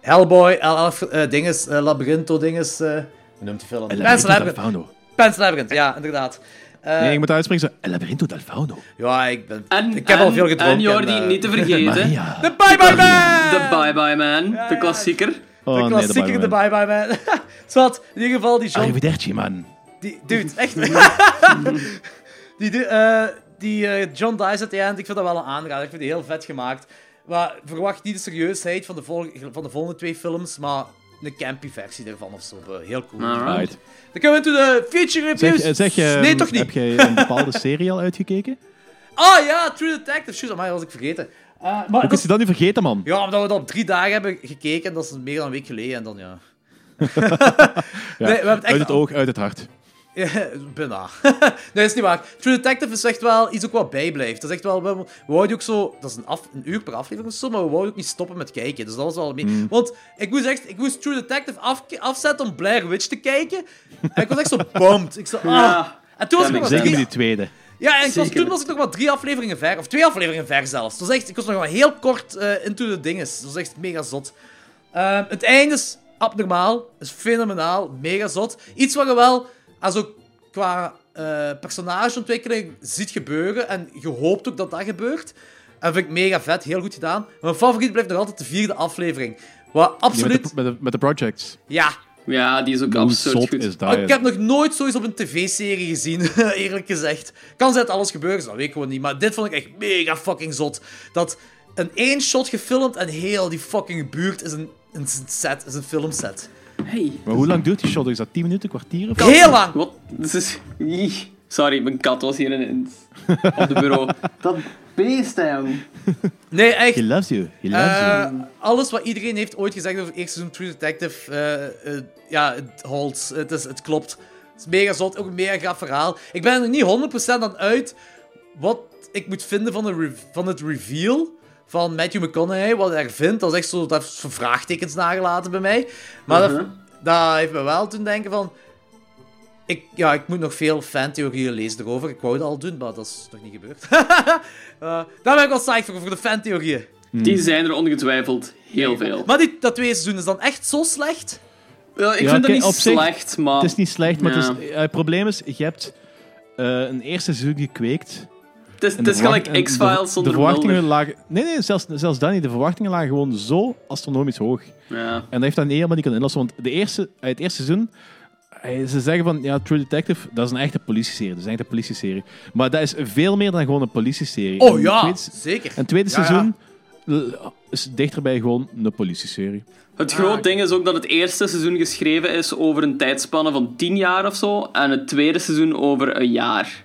S1: Hellboy, El- Elf- eh, dinges, eh, Labyrinto, dinges... eh, hoe noemt die film? Pan's
S3: Labyrintho del
S1: Labyrinth.
S3: Fauno.
S1: Pan's Labyrinth, ja, inderdaad. Eh,
S3: Nee, ik moet uitspreken. zo, El laberinto del fauno.
S1: Ja, ik ben...
S2: En,
S1: ik heb al
S2: en-
S1: veel gedronken.
S2: En Jordi,
S1: eh,
S2: niet te vergeten.
S3: Maria.
S1: De Bye Bye Man!
S2: De Bye Bye Man, de klassieker.
S3: Oh,
S1: De klassieker
S3: nee,
S1: de
S3: de
S1: Bye Ah, Bye Man. Zwat, in ieder geval die John...
S3: Arrivederci, man.
S1: Die, dude, echt. die du- eh, die eh, John Dice at the end, ik vind dat wel een aanrader. Ik vind die heel vet gemaakt. Maar verwacht niet de serieusheid van de, vol- van de volgende twee films, maar een campy versie daarvan of zo. Eh, Heel cool.
S2: Alright.
S3: Right.
S1: Dan kunnen we to de feature
S3: Zeg,
S1: reviews.
S3: eh, zeg je,
S1: nee, toch niet.
S3: heb je een bepaalde serie al uitgekeken?
S1: Ah ja, True Detective. Shoes, amai, dat was ik vergeten. Eh, maar
S3: Hoe
S1: dat
S3: is je dat nu vergeten, man?
S1: Ja, omdat we dat op drie dagen hebben gekeken. en Dat is meer dan een week geleden. En dan ja.
S3: Ja,
S1: nee, we hebben het echt-
S3: Uit het oog, uit het hart.
S1: Ja, bijna. nee, is niet waar. True Detective is echt wel iets ook wat bijblijft. Dat is echt wel... We, we wouden ook zo... Dat is een, af, een uur per aflevering of zo, maar we wouden ook niet stoppen met kijken. Dus dat was wel mee.
S3: Hmm.
S1: Want ik moest echt... Ik moest True Detective af, afzetten om Blair Witch te kijken. En ik was echt zo bummed. Ik zo... Ah.
S2: Ja.
S1: En toen was ik
S2: Ja,
S1: nog maar
S3: Zeker met
S1: drie...
S3: die tweede.
S1: Ja, en ik was,
S2: Zeker.
S1: toen was ik nog maar drie afleveringen ver. Of twee afleveringen ver zelfs. Dat was echt... Ik was nog maar heel kort eh, into the dinges. Dat was echt mega zot. Ehm, het einde is abnormaal, is fenomenaal, mega zot. Iets wat je wel, als ook qua eh, personageontwikkeling, ziet gebeuren. En je hoopt ook dat dat gebeurt. En vind ik mega vet, heel goed gedaan. Mijn favoriet blijft nog altijd de vierde aflevering. Wat
S3: Die Met
S1: absoluut...
S3: de, met, de, met de projects.
S1: Ja,
S2: Ja, die is ook
S3: Hoe
S2: absurd
S3: zot
S2: goed.
S3: is dat?
S1: ik
S3: hè?
S1: heb nog nooit zoiets op een tv-serie gezien, eerlijk gezegd. Kan zijn dat alles gebeuren, is, dat weet ik gewoon niet. Maar dit vond ik echt mega fucking zot. Dat een één shot gefilmd en heel die fucking buurt is een, een set, is een filmset.
S2: Hey,
S3: Maar hoe lang duurt die shot? Is dat 10 minuten, kwartier of
S1: Heel lang!
S2: wat? Dit is... Ie. Sorry, mijn kat was hier in, in- op de bureau. dat beest, hè, jong.
S1: Nee, echt.
S3: He loves you. He loves you.
S1: Eh, alles wat iedereen heeft ooit gezegd over het eerste seizoen True Detective, eh, eh, ja, het holds. Het, is, het klopt. Het is mega zot, ook een mega gaaf verhaal. Ik ben er niet 100% aan uit wat ik moet vinden van, de re- van het reveal van Matthew McConaughey. Wat hij er vindt, dat is echt zo, dat heeft zo vraagtekens nagelaten bij mij. Maar dat-
S2: Mhm.
S1: dat, heeft me wel toen denken van... Ik, ja, ik moet nog veel fantheorieën lezen erover. Ik wou het al doen, maar dat is nog niet gebeurd. Eh, daar ben ik wel psyched voor, voor de fantheorieën.
S3: Hmm.
S2: Die zijn er ongetwijfeld heel veel.
S1: Maar die, dat tweede seizoen is dan echt zo slecht.
S2: Ja, ik
S3: Ja,
S2: vind
S3: oké,
S2: dat
S3: op
S2: niet
S3: zich,
S2: slecht, maar...
S3: Het is niet slecht, maar
S2: Ja.
S3: het, is, eh, het probleem is, je hebt eh, een eerste seizoen gekweekt.
S2: het is,
S3: En
S2: het is
S3: de verwacht-
S2: gelijk
S3: en de-
S2: X-Files zonder
S3: de verwachtingen lagen, Nee, nee, zelfs, zelfs dat niet. De verwachtingen lagen gewoon zo astronomisch hoog.
S2: Mulder. Ja.
S3: En dat heeft dan helemaal niet kunnen inlossen. Want de eerste, eh, het eerste seizoen, eh, ze zeggen van ja, True Detective, dat is een echte politieserie. Dat is een echte politieserie. Maar dat is veel meer dan gewoon een politieserie. En
S1: Oh
S3: het
S1: ja,
S3: tweede-
S1: zeker.
S3: en het tweede
S1: Ja, ja.
S3: seizoen l- is dichterbij gewoon een politieserie.
S2: Het
S3: Ah,
S2: groot ding is ook dat het eerste seizoen geschreven is over een tijdspanne van 10 jaar of zo. En het tweede seizoen over een jaar.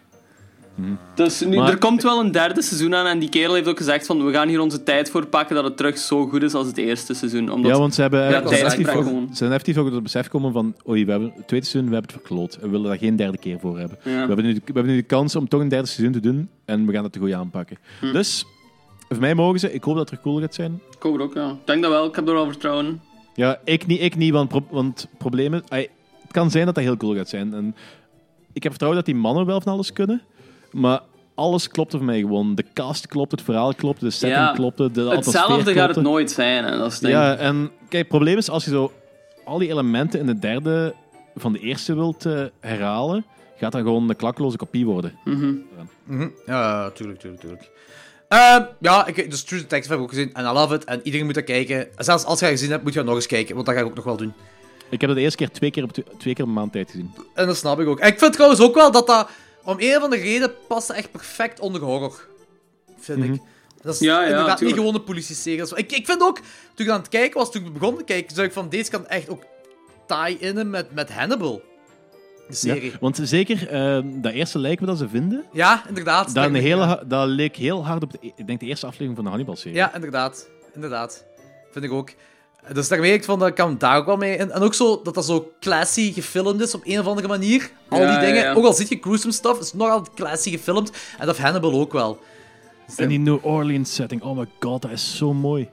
S2: Dus nu,
S3: Hmm. Maar-
S2: er komt wel een derde seizoen aan. En die kerel heeft ook gezegd van we gaan hier onze tijd voor pakken dat het terug zo goed is als het eerste seizoen. Omdat,
S3: Ja, want ze
S2: dat
S3: hebben ze zijn
S2: is
S3: effectief
S2: eigenlijk
S3: ook-
S2: gewoon.
S3: ze zijn effectief ook tot het besef komen van oei, we hebben het tweede seizoen, we hebben het verkloot. En we willen daar geen derde keer voor hebben.
S2: Ja.
S3: We, hebben nu, de- we hebben nu de kans om toch een derde seizoen te doen en we gaan het goed aanpakken.
S2: Hm.
S3: Dus, voor mij mogen ze. Ik hoop dat het er cool gaat zijn.
S2: Ik hoop het ook, ja. Ik denk dat wel. Ik heb er wel vertrouwen.
S3: Ja, ik niet, ik niet, want, pro- want problemen... ai, het kan zijn dat dat heel cool gaat zijn. En ik heb vertrouwen dat die mannen wel van alles kunnen, maar... Alles klopte voor mij gewoon. De cast klopt, het verhaal klopt, de setting
S2: Ja.
S3: klopte, de atmosfeer
S2: Hetzelfde gaat het
S3: klopte.
S2: nooit zijn. Hè. Dat is het ding.
S3: Ja, en kijk, het probleem is als je zo al die elementen in de derde van de eerste wilt eh, herhalen, gaat dat gewoon een klakkeloze kopie worden.
S1: Mhm. Ja, tuurlijk, tuurlijk, tuurlijk. Ehm, ja, ik, dus True Detective heb ik ook gezien. En I love it. En iedereen moet dat kijken. En Zelfs als je dat gezien hebt, moet je dat nog eens kijken. Want dat ga ik ook nog wel doen.
S3: Ik heb dat de eerste keer twee keer op twee keer op een maand tijd gezien.
S1: En dat snap ik ook. En ik vind trouwens ook wel dat dat... om een van de reden past dat echt perfect onder horror. Vind ik. Dat is
S2: Ja, ja,
S1: inderdaad niet
S2: tuurlijk.
S1: gewoon een politie-serie. Dat is- Ik, ik vind ook, toen ik aan het kijken was, toen ik begon te kijken, zag ik van deze kant echt ook tie-innen met, met Hannibal. De serie.
S3: Ja,
S1: Ja,
S3: want zeker, eh, dat eerste lijkt me dat ze vinden.
S1: inderdaad.
S3: Dat, een
S1: denk ik,
S3: hele,
S1: ja.
S3: ha- dat leek heel hard op de, e- ik denk de eerste aflevering van de Hannibal-serie.
S1: Ja, inderdaad. Inderdaad. Vind ik ook. Dus daar weet ik van, dat kan daar ook wel mee. En, en ook zo dat dat zo classy gefilmd is op een of andere manier. Al
S2: Ja,
S1: die
S2: ja,
S1: dingen,
S2: ja.
S1: ook al zit je gruesome stuff, is nog altijd classy gefilmd. En dat heeft Hannibal ook wel. Dus
S3: En die New Orleans setting, oh my god, dat is zo mooi.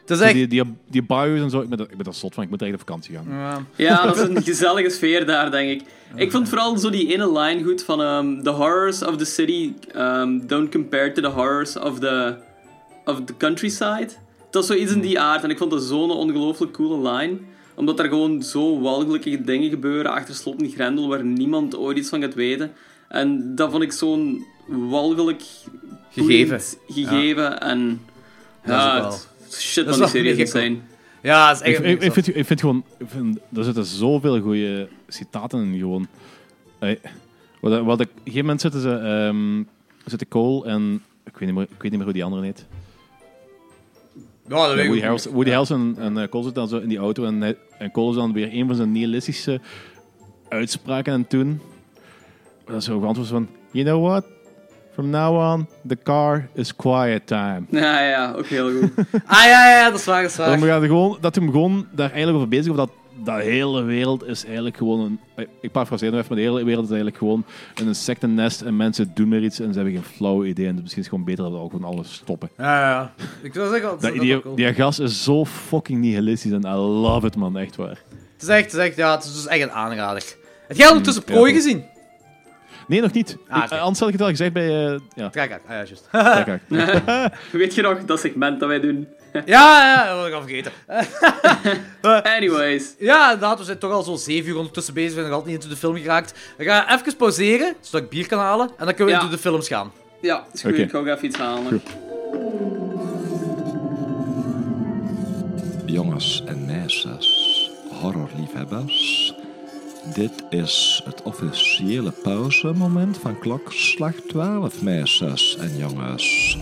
S1: Het is
S3: Zo
S1: echt...
S3: Die, die, die bio's en zo, ik ben, er- ik ben daar zot van, ik moet echt op vakantie gaan.
S1: Ja.
S2: Ja, dat is een gezellige sfeer daar, denk ik. Ik vond vooral zo die ene line goed van... ehm, the horrors of the city ehm, don't compare to the horrors of the, of the countryside. Dat is zoiets in die aard. En ik vond dat zo'n ongelooflijk coole line. Omdat er gewoon zo walgelijke dingen gebeuren achter slot en grendel... waar niemand ooit iets van gaat weten. En dat vond ik zo'n walgelijk... boeiend Gegeven en...
S1: is ook
S2: Ja,
S1: wel-
S2: het-
S1: dat is
S2: shit van die
S1: wel
S2: serie moet
S1: mega
S2: zijn.
S1: Ja, dat is
S3: Ik,
S1: echt...
S3: ik, ik vind, ik vind gewoon, ik vind, er zitten zoveel goede citaten in. Gewoon. Ey, Wat, wat ik, op een gegeven moment zitten ze, ehm zitten Cole en ik weet, niet meer, ik weet niet meer hoe die andere heet.
S1: Ja, dat weet ik
S3: Woody
S1: ook
S3: Harrelson, Woody Harrelson en, en eh, Cole zitten dan zo in die auto en, hij- en Cole is dan weer een van zijn nihilistische uitspraken aan het doen. Dat is zo geantwoord van, you know what? From now on, the car is quiet time.
S2: Ja, ja, ook heel goed.
S1: niet. Ah, ja, ja, ja, dat is waar, dat is waar.
S3: Dat, we gaan gewoon, dat hij hem gewoon daar eigenlijk over bezig is. Dat, dat hele wereld is eigenlijk gewoon een... eh, Ik parafraseer hem even, maar de hele wereld is eigenlijk gewoon een insectennest. En mensen doen er iets en ze hebben geen flauw idee. En dus misschien is het gewoon beter dat we al gewoon alles stoppen.
S1: Ja, ja. Ik wil zeggen, dat,
S3: Dat,
S1: is- dat is
S3: Nou, die,
S1: wel cool.
S3: die gast is zo fucking nihilistisch en I love it, man. Echt waar.
S1: Het is echt, het is echt, ja, het is dus echt een aanrader. Heb jij ondertussen
S3: Mm, ja,
S1: prooi
S3: goed.
S1: gezien?
S3: Nee, nog niet.
S1: Ah,
S3: Ik-
S1: oké.
S3: Anders had ik het al gezegd bij... eh, ja,
S1: Trek uit, ah, ja, juist.
S3: kijk uit.
S2: Weet je nog dat segment dat wij doen?
S1: ja, ja, dat had ik al vergeten.
S2: Anyways.
S1: Ja, inderdaad, we zijn toch al zo'n 7 uur ondertussen bezig. We zijn nog altijd niet into de film geraakt. We gaan even pauzeren, zodat ik bier kan halen. En dan kunnen we
S2: Ja.
S1: into de films gaan.
S2: Ja, is goed.
S3: Oké.
S2: Ik ga ook even iets halen.
S7: Jongens en meisjes, horrorliefhebbers. Dit is het officiële pauzemoment van klokslag 12, meisjes en jongens.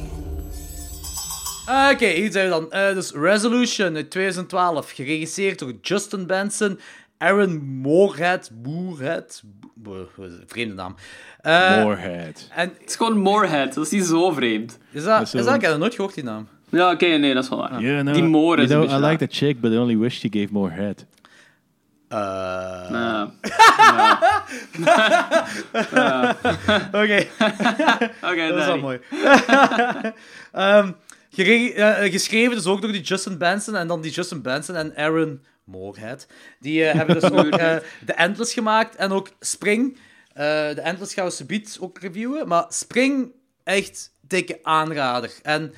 S1: Ah, Oké, hier zijn we dan. Eh, dus Resolution uit 2012, geregisseerd door Justin Benson, Aaron Moorhead, Moorhead, Bo- wat is het? vreemde naam. Eh,
S3: Moorhead.
S1: en
S2: Het is gewoon Moorhead, dat is niet zo vreemd.
S1: is dat,
S3: is
S1: is
S3: zo-
S1: dat, ik heb dat nooit gehoord, die naam.
S2: Ja, oké, nee, dat is wel waar.
S3: You know,
S2: Die moren
S3: you
S2: is een
S3: know,
S2: beetje
S3: I like that chick, but I only wish she gave more head.
S1: Eh,
S2: raar. Ja.
S1: Oké,
S2: Oké,
S1: dat is wel mooi. Ehm, gere- eh, eh, geschreven dus ook door die Justin Benson en dan die Justin Benson en Aaron Moorhead. Die eh, hebben dus ook eh, The Endless gemaakt en ook Spring. Eh The Endless gaan we subiet ook reviewen, maar Spring echt dikke aanrader. En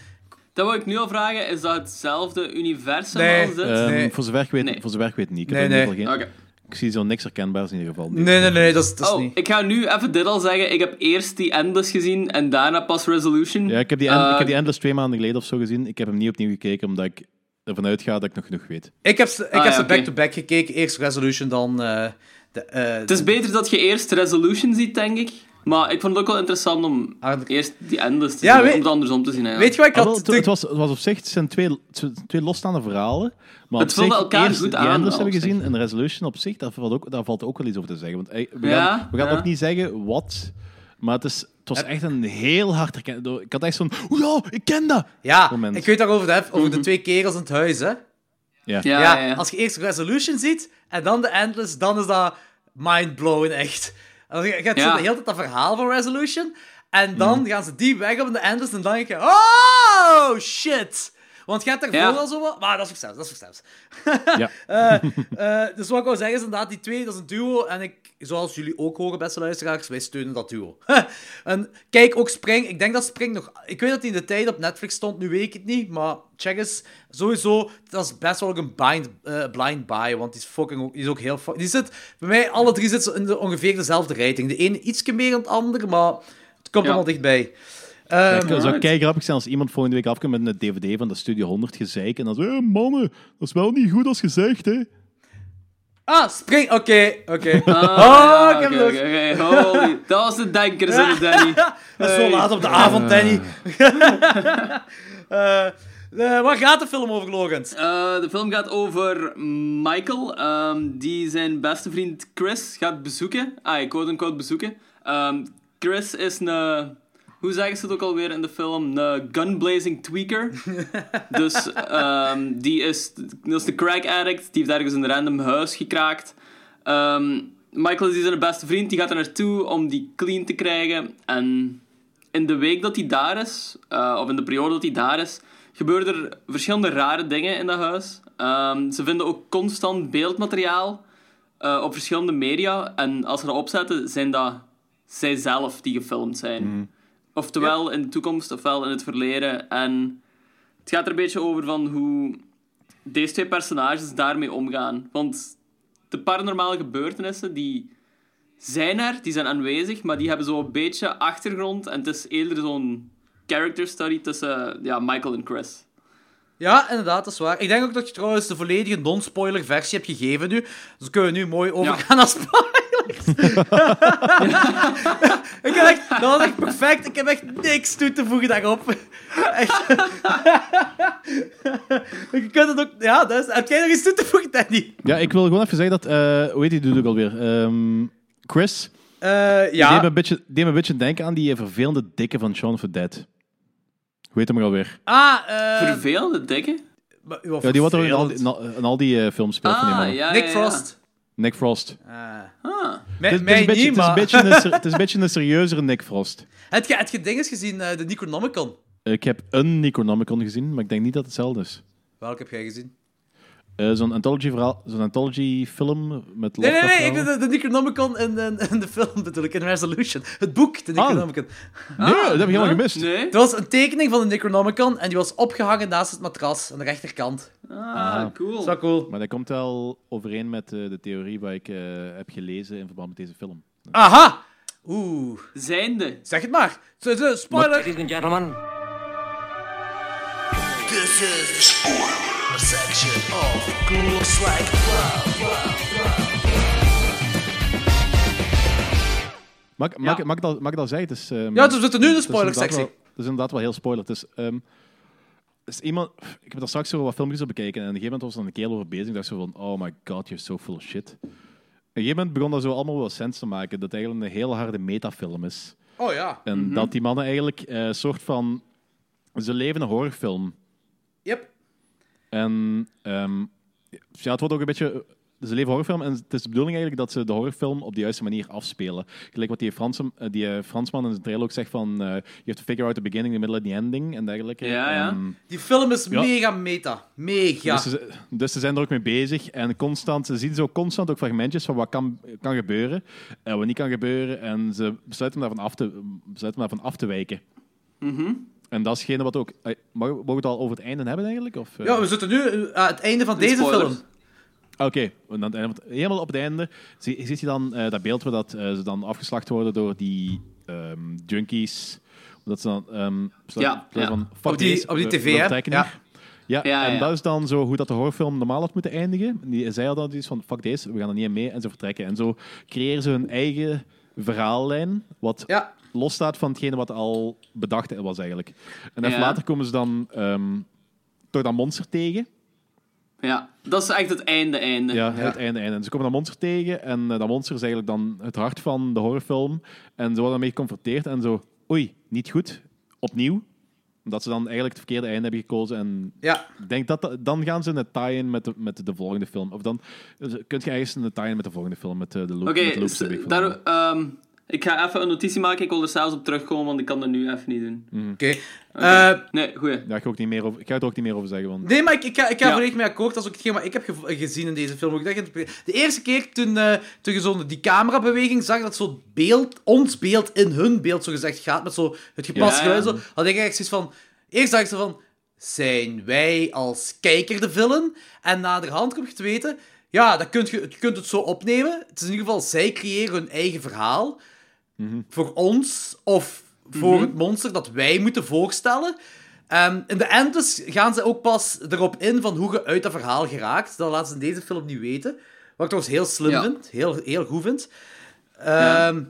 S2: Dat wil ik nu al vragen, is dat hetzelfde universum
S1: Nee. eh,
S2: als dit?
S3: Ehm,
S1: Nee.
S3: Voor zover ik weet,
S2: Nee.
S3: voor zover ik weet niet. Ik, heb
S1: Nee,
S3: in ieder
S1: nee.
S3: geval geen,
S2: Oké.
S3: ik zie zo niks herkenbaars in ieder geval.
S1: nee, nee, nee, dat is, dat is
S2: Oh,
S1: niet.
S2: ik ga nu even dit al zeggen. Ik heb eerst die Endless gezien en daarna pas Resolution.
S3: Ja, ik heb, die End-
S2: Eh,
S1: Ehm.
S3: ik heb die Endless twee maanden geleden of zo gezien. Ik heb hem niet opnieuw gekeken, omdat ik ervan uitga dat ik nog genoeg weet.
S1: Ik heb ze ik
S2: Ah,
S1: heb
S2: ja,
S1: ze
S2: oké.
S1: back-to-back gekeken. Eerst Resolution, dan... eh, de, eh,
S2: Het is beter dat je eerst Resolution ziet, denk ik. Maar ik vond het ook wel interessant om
S1: Ah, dat-
S2: eerst die Endless te
S1: Ja,
S2: zien,
S1: weet-
S2: om het andersom te zien. eigenlijk.
S1: Weet je wat ik
S3: Ah,
S1: had...
S3: wel, het,
S1: toen-
S3: het was, het was op zich, het zijn twee, het zijn twee losstaande verhalen. Maar
S2: Het
S3: op
S2: vulde
S3: zich,
S2: elkaar
S3: eerst
S2: goed
S3: die
S2: aan,
S3: Endless
S2: wel,
S3: hebben
S2: op zich.
S3: gezien en Resolution op zich, daar valt ook, daar valt ook wel iets over te zeggen. Want eh, we
S2: Ja,
S3: gaan, we gaan
S2: ja.
S3: ook niet zeggen wat, maar het, is, het was echt een heel hard herkennen. Ik had echt zo'n, "Oeh, ja, ik ken dat!
S1: Ja,
S3: moment.
S1: ik weet daarover dat, over
S2: Mhm.
S1: de twee kerels in het huis, hè.
S3: Ja.
S2: Ja,
S1: ja,
S2: ja, ja.
S1: als je eerst Resolution ziet en dan de Endless, dan is dat mindblowing echt. En dan gaat
S2: Ja. Mhm.
S1: zo de hele tijd dat verhaal van Resolution en dan gaan ze die weg op de Endless en dan denk je, oh shit! Want je hebt daarvoor
S2: Ja.
S1: al zo wat... Maar dat is voor zelfs, dat is voor zelfs.
S3: Ja.
S1: Eh, eh, dus wat ik wou zeggen is inderdaad, die twee, dat is een duo. En ik, zoals jullie ook horen, beste luisteraars, wij steunen dat duo. en kijk ook Spring. Ik denk dat Spring nog... Ik weet dat die in de tijd op Netflix stond, nu weet ik het niet. Maar check eens. Sowieso, dat is best wel ook een blind, eh, blind buy. Want die is, fucking, ook- die is ook heel... fu- Die zit... Bij mij, alle drie zitten ze in de, ongeveer dezelfde rating. De ene ietsje meer dan de andere, maar het komt
S2: Ja.
S1: allemaal dichtbij.
S3: Ja,
S1: Ehm,
S3: Het zou
S2: Alright.
S3: kei grappig zijn als iemand volgende week afkomt met een dvd van de Studio 100 gezeik en dan zo, "Eh, mannen, dat is wel niet goed als gezegd, hè.
S1: Ah, spring. Oké, oké.
S2: Ah,
S1: Oh,
S2: ja,
S1: ik heb
S2: oké,
S1: nog.
S2: oké, oké. Holy, dat was de denkers in de Danny.
S1: Het is zo laat op de avond, Danny. Eh, eh, waar gaat de film over, Logans?
S2: Eh, de film gaat over Michael, ehm, die zijn beste vriend Chris gaat bezoeken. Ah, quote unquote bezoeken. Ehm, Chris is een. Hoe zeggen ze het ook alweer in de film? Een gunblazing tweaker. dus ehm, die is, dat is de crack addict. Die heeft ergens een random huis gekraakt. Ehm, Michael is die zijn beste vriend. Die gaat er naartoe om die clean te krijgen. En in de week dat hij daar is, eh, of in de periode dat hij daar is, gebeuren er verschillende rare dingen in dat huis. Ehm, ze vinden ook constant beeldmateriaal eh, op verschillende media. En als ze dat opzetten, zijn dat zijzelf die gefilmd zijn. Oftewel in de toekomst, ofwel in het verleden. En het gaat er een beetje over van hoe deze twee personages daarmee omgaan. Want de paranormale gebeurtenissen die zijn er, die zijn aanwezig, maar die hebben zo'n beetje achtergrond. En het is eerder zo'n character study tussen ja, Michael en Chris.
S1: Ja, inderdaad, dat is waar. Ik denk ook dat je trouwens de volledige non-spoiler versie hebt gegeven nu. Dus kunnen we nu mooi overgaan naar spoilers. ik heb echt, dat was echt perfect. Ik heb echt niks toe te voegen daarop. Echt. je kunt het ook... Ja, dat is, heb jij nog iets toe te voegen, Danny?
S3: Ja, ik wil gewoon even zeggen dat... eh, hoe heet die dude ook alweer? Ehm, Chris.
S1: Eh,
S3: Die deed,
S1: ja.
S3: me een beetje, deed me een beetje denken aan die eh, vervelende dikke van Shaun of the Dead. Hoe heet hem ook alweer?
S1: Ah, eh...
S2: Vervelende dikke?
S1: maar-
S3: Ja, die wat er in al die,
S1: vervelend.
S3: in al- in al die eh, films speelt. van die
S2: Ah,
S3: mannen.
S2: ja,
S1: Nick
S2: ja, ja.
S1: Frost.
S3: Nick Frost.
S1: Ah.
S2: Ah.
S1: Mij,
S3: Het is-
S1: mij
S3: het, is een
S1: niet,
S3: beetje, het, is een
S1: maar...
S3: beetje een, ser- het is een beetje een serieuzere Nick Frost.
S1: Heb je, heb je dinges gezien, eh, de Necronomicon?
S3: Ik heb een Necronomicon gezien, maar ik denk niet dat het hetzelfde is.
S1: Welke heb jij gezien?
S3: Eh, zo'n anthology verhaal, zo'n anthology film met
S1: Nee, nee, nee, ik
S3: Lovecraft-verhalen.
S1: bedoel de, de Necronomicon in, in, in de film natuurlijk, in Resolution. Het boek, de
S3: Ah.
S1: Necronomicon.
S3: Nee,
S1: Ah,
S3: dat heb ik helemaal
S2: Huh?
S3: gemist.
S2: Nee?
S1: Er was een tekening van de Necronomicon en die was opgehangen naast het matras aan de rechterkant.
S2: Ah, cool.
S1: Dat is wel cool.
S3: Maar dat komt wel overeen met eh, de theorie waar ik eh, heb gelezen in verband met deze film.
S1: Aha! Oeh,
S2: Zijnde.
S1: zeg het maar. Zo, zo, Spoiler!
S8: Ladies and gentlemen,
S4: This is the spoiler section of Looks Like Wow.
S3: Mag, ik- mag, ik- mag, ik dat- mag ik dat zeggen? Het is, ehm,
S1: Ja, dus we zitten nu in de
S3: het is inderdaad
S1: spoilersectie.
S3: wel- Het is inderdaad wel heel spoiler. Het is, ehm, is iemand, ik heb daar straks zo wat filmpjes op bekeken en op een gegeven moment was er een kerel over bezig. Ik dacht zo van, oh my god, you're so full of shit. Op een gegeven moment begon dat zo allemaal wel sens te maken, dat het eigenlijk een heel harde metafilm is.
S1: Oh ja.
S3: En dat die mannen eigenlijk eh, een soort van... Ze leven een horrorfilm.
S1: Yep.
S3: En ehm, ja, het wordt ook een beetje... Ze leven horrorfilm en het is de bedoeling eigenlijk dat ze de horrorfilm op de juiste manier afspelen. Gelijk wat die, Franse, eh, die eh, Fransman in zijn trailer ook zegt van... eh, you have to figure out the beginning, the middle and the ending en dergelijke.
S2: Ja, ja.
S3: En
S1: Die film is
S3: Ja.
S1: mega meta. Mega.
S3: Dus, ze, dus ze zijn er ook mee bezig. En constant, ze zien zo constant ook fragmentjes van wat kan, kan gebeuren en wat niet kan gebeuren. En ze besluiten om daarvan af te, besluiten om daarvan af te wijken. En dat is hetgene wat ook... eh, mag- Mogen we het al over het einde hebben eigenlijk? Of, eh?
S1: ja, we zitten nu aan het einde van
S2: Dit
S1: deze
S2: is spoilers.
S1: film.
S3: Oké, want aan het einde- want helemaal op het einde zie- ziet je dan eh, dat beeld waar dat, eh, ze dan afgeslacht worden door die ehm, junkies. Omdat ze dan ehm, besluiten-
S2: Ja,
S3: besluiten
S2: ja.
S3: van, fuck
S1: Op die-
S3: deze,
S1: op die
S3: we-
S1: TV,
S3: we
S1: hè?
S3: vertrekken
S1: Ja.
S3: hier. Ja,
S2: Ja,
S3: en
S2: ja.
S3: dat is dan zo hoe dat de horrorfilm normaal had moeten eindigen. Die zei al dat iets van, fuck deze, we gaan er niet in mee en ze vertrekken. En zo creëren ze hun eigen verhaallijn, wat
S1: Ja.
S3: losstaat van hetgene wat al bedacht was eigenlijk. En even
S2: Ja.
S3: later komen ze dan ehm, toch dat monster tegen.
S2: Ja, dat is echt het einde, einde.
S3: Ja, het einde, einde. En ze komen dat monster tegen en eh, dat monster is eigenlijk dan het hart van de horrorfilm. En ze worden daarmee geconfronteerd en zo, oei, niet goed, opnieuw. Omdat ze dan eigenlijk het verkeerde einde hebben gekozen. En
S1: Ja.
S3: ik denk dat dat- dan gaan ze een tie-in met de, met de volgende film. Of dan eh, kun je ergens een tie-in met de volgende film, met eh, de loop.
S2: Oké,
S3: met de loop
S2: s- daar, ehm, ik ga even een notitie maken. Ik wil er zelfs op terugkomen, want ik kan dat nu even niet doen.
S3: Hm.
S1: Oké. Eh,
S2: Nee, goeie.
S3: ja, ik, ga ook niet meer over, ik ga het er ook niet meer over zeggen, want
S1: Nee, maar ik, ik ga, ik ga
S2: Ja.
S1: volledig mee akkoord. Dat is ook hetgeen wat ik heb gevo- eh, gezien in deze film. Ook dat je- De eerste keer toen, eh, toen je zo die camerabeweging zag, dat zo'n beeld, ons beeld in hun beeld zo gezegd gaat, met zo het gepaste
S2: Ja.
S1: geluid, zo, had ik echt zoiets van... Eerst dacht ik zo van, zijn wij als kijker de villain? En naderhand kom je te weten, ja, dat kunt je, je kunt het zo opnemen. Het is in ieder geval, zij creëren hun eigen verhaal voor ons of voor het monster dat wij moeten voorstellen. Ehm, in de end dus gaan ze ook pas erop in van hoe je uit dat verhaal geraakt. Dat laten ze in deze film niet weten. Wat ik trouwens heel slim
S2: Ja.
S1: vind. Heel, heel goed vind. Ehm,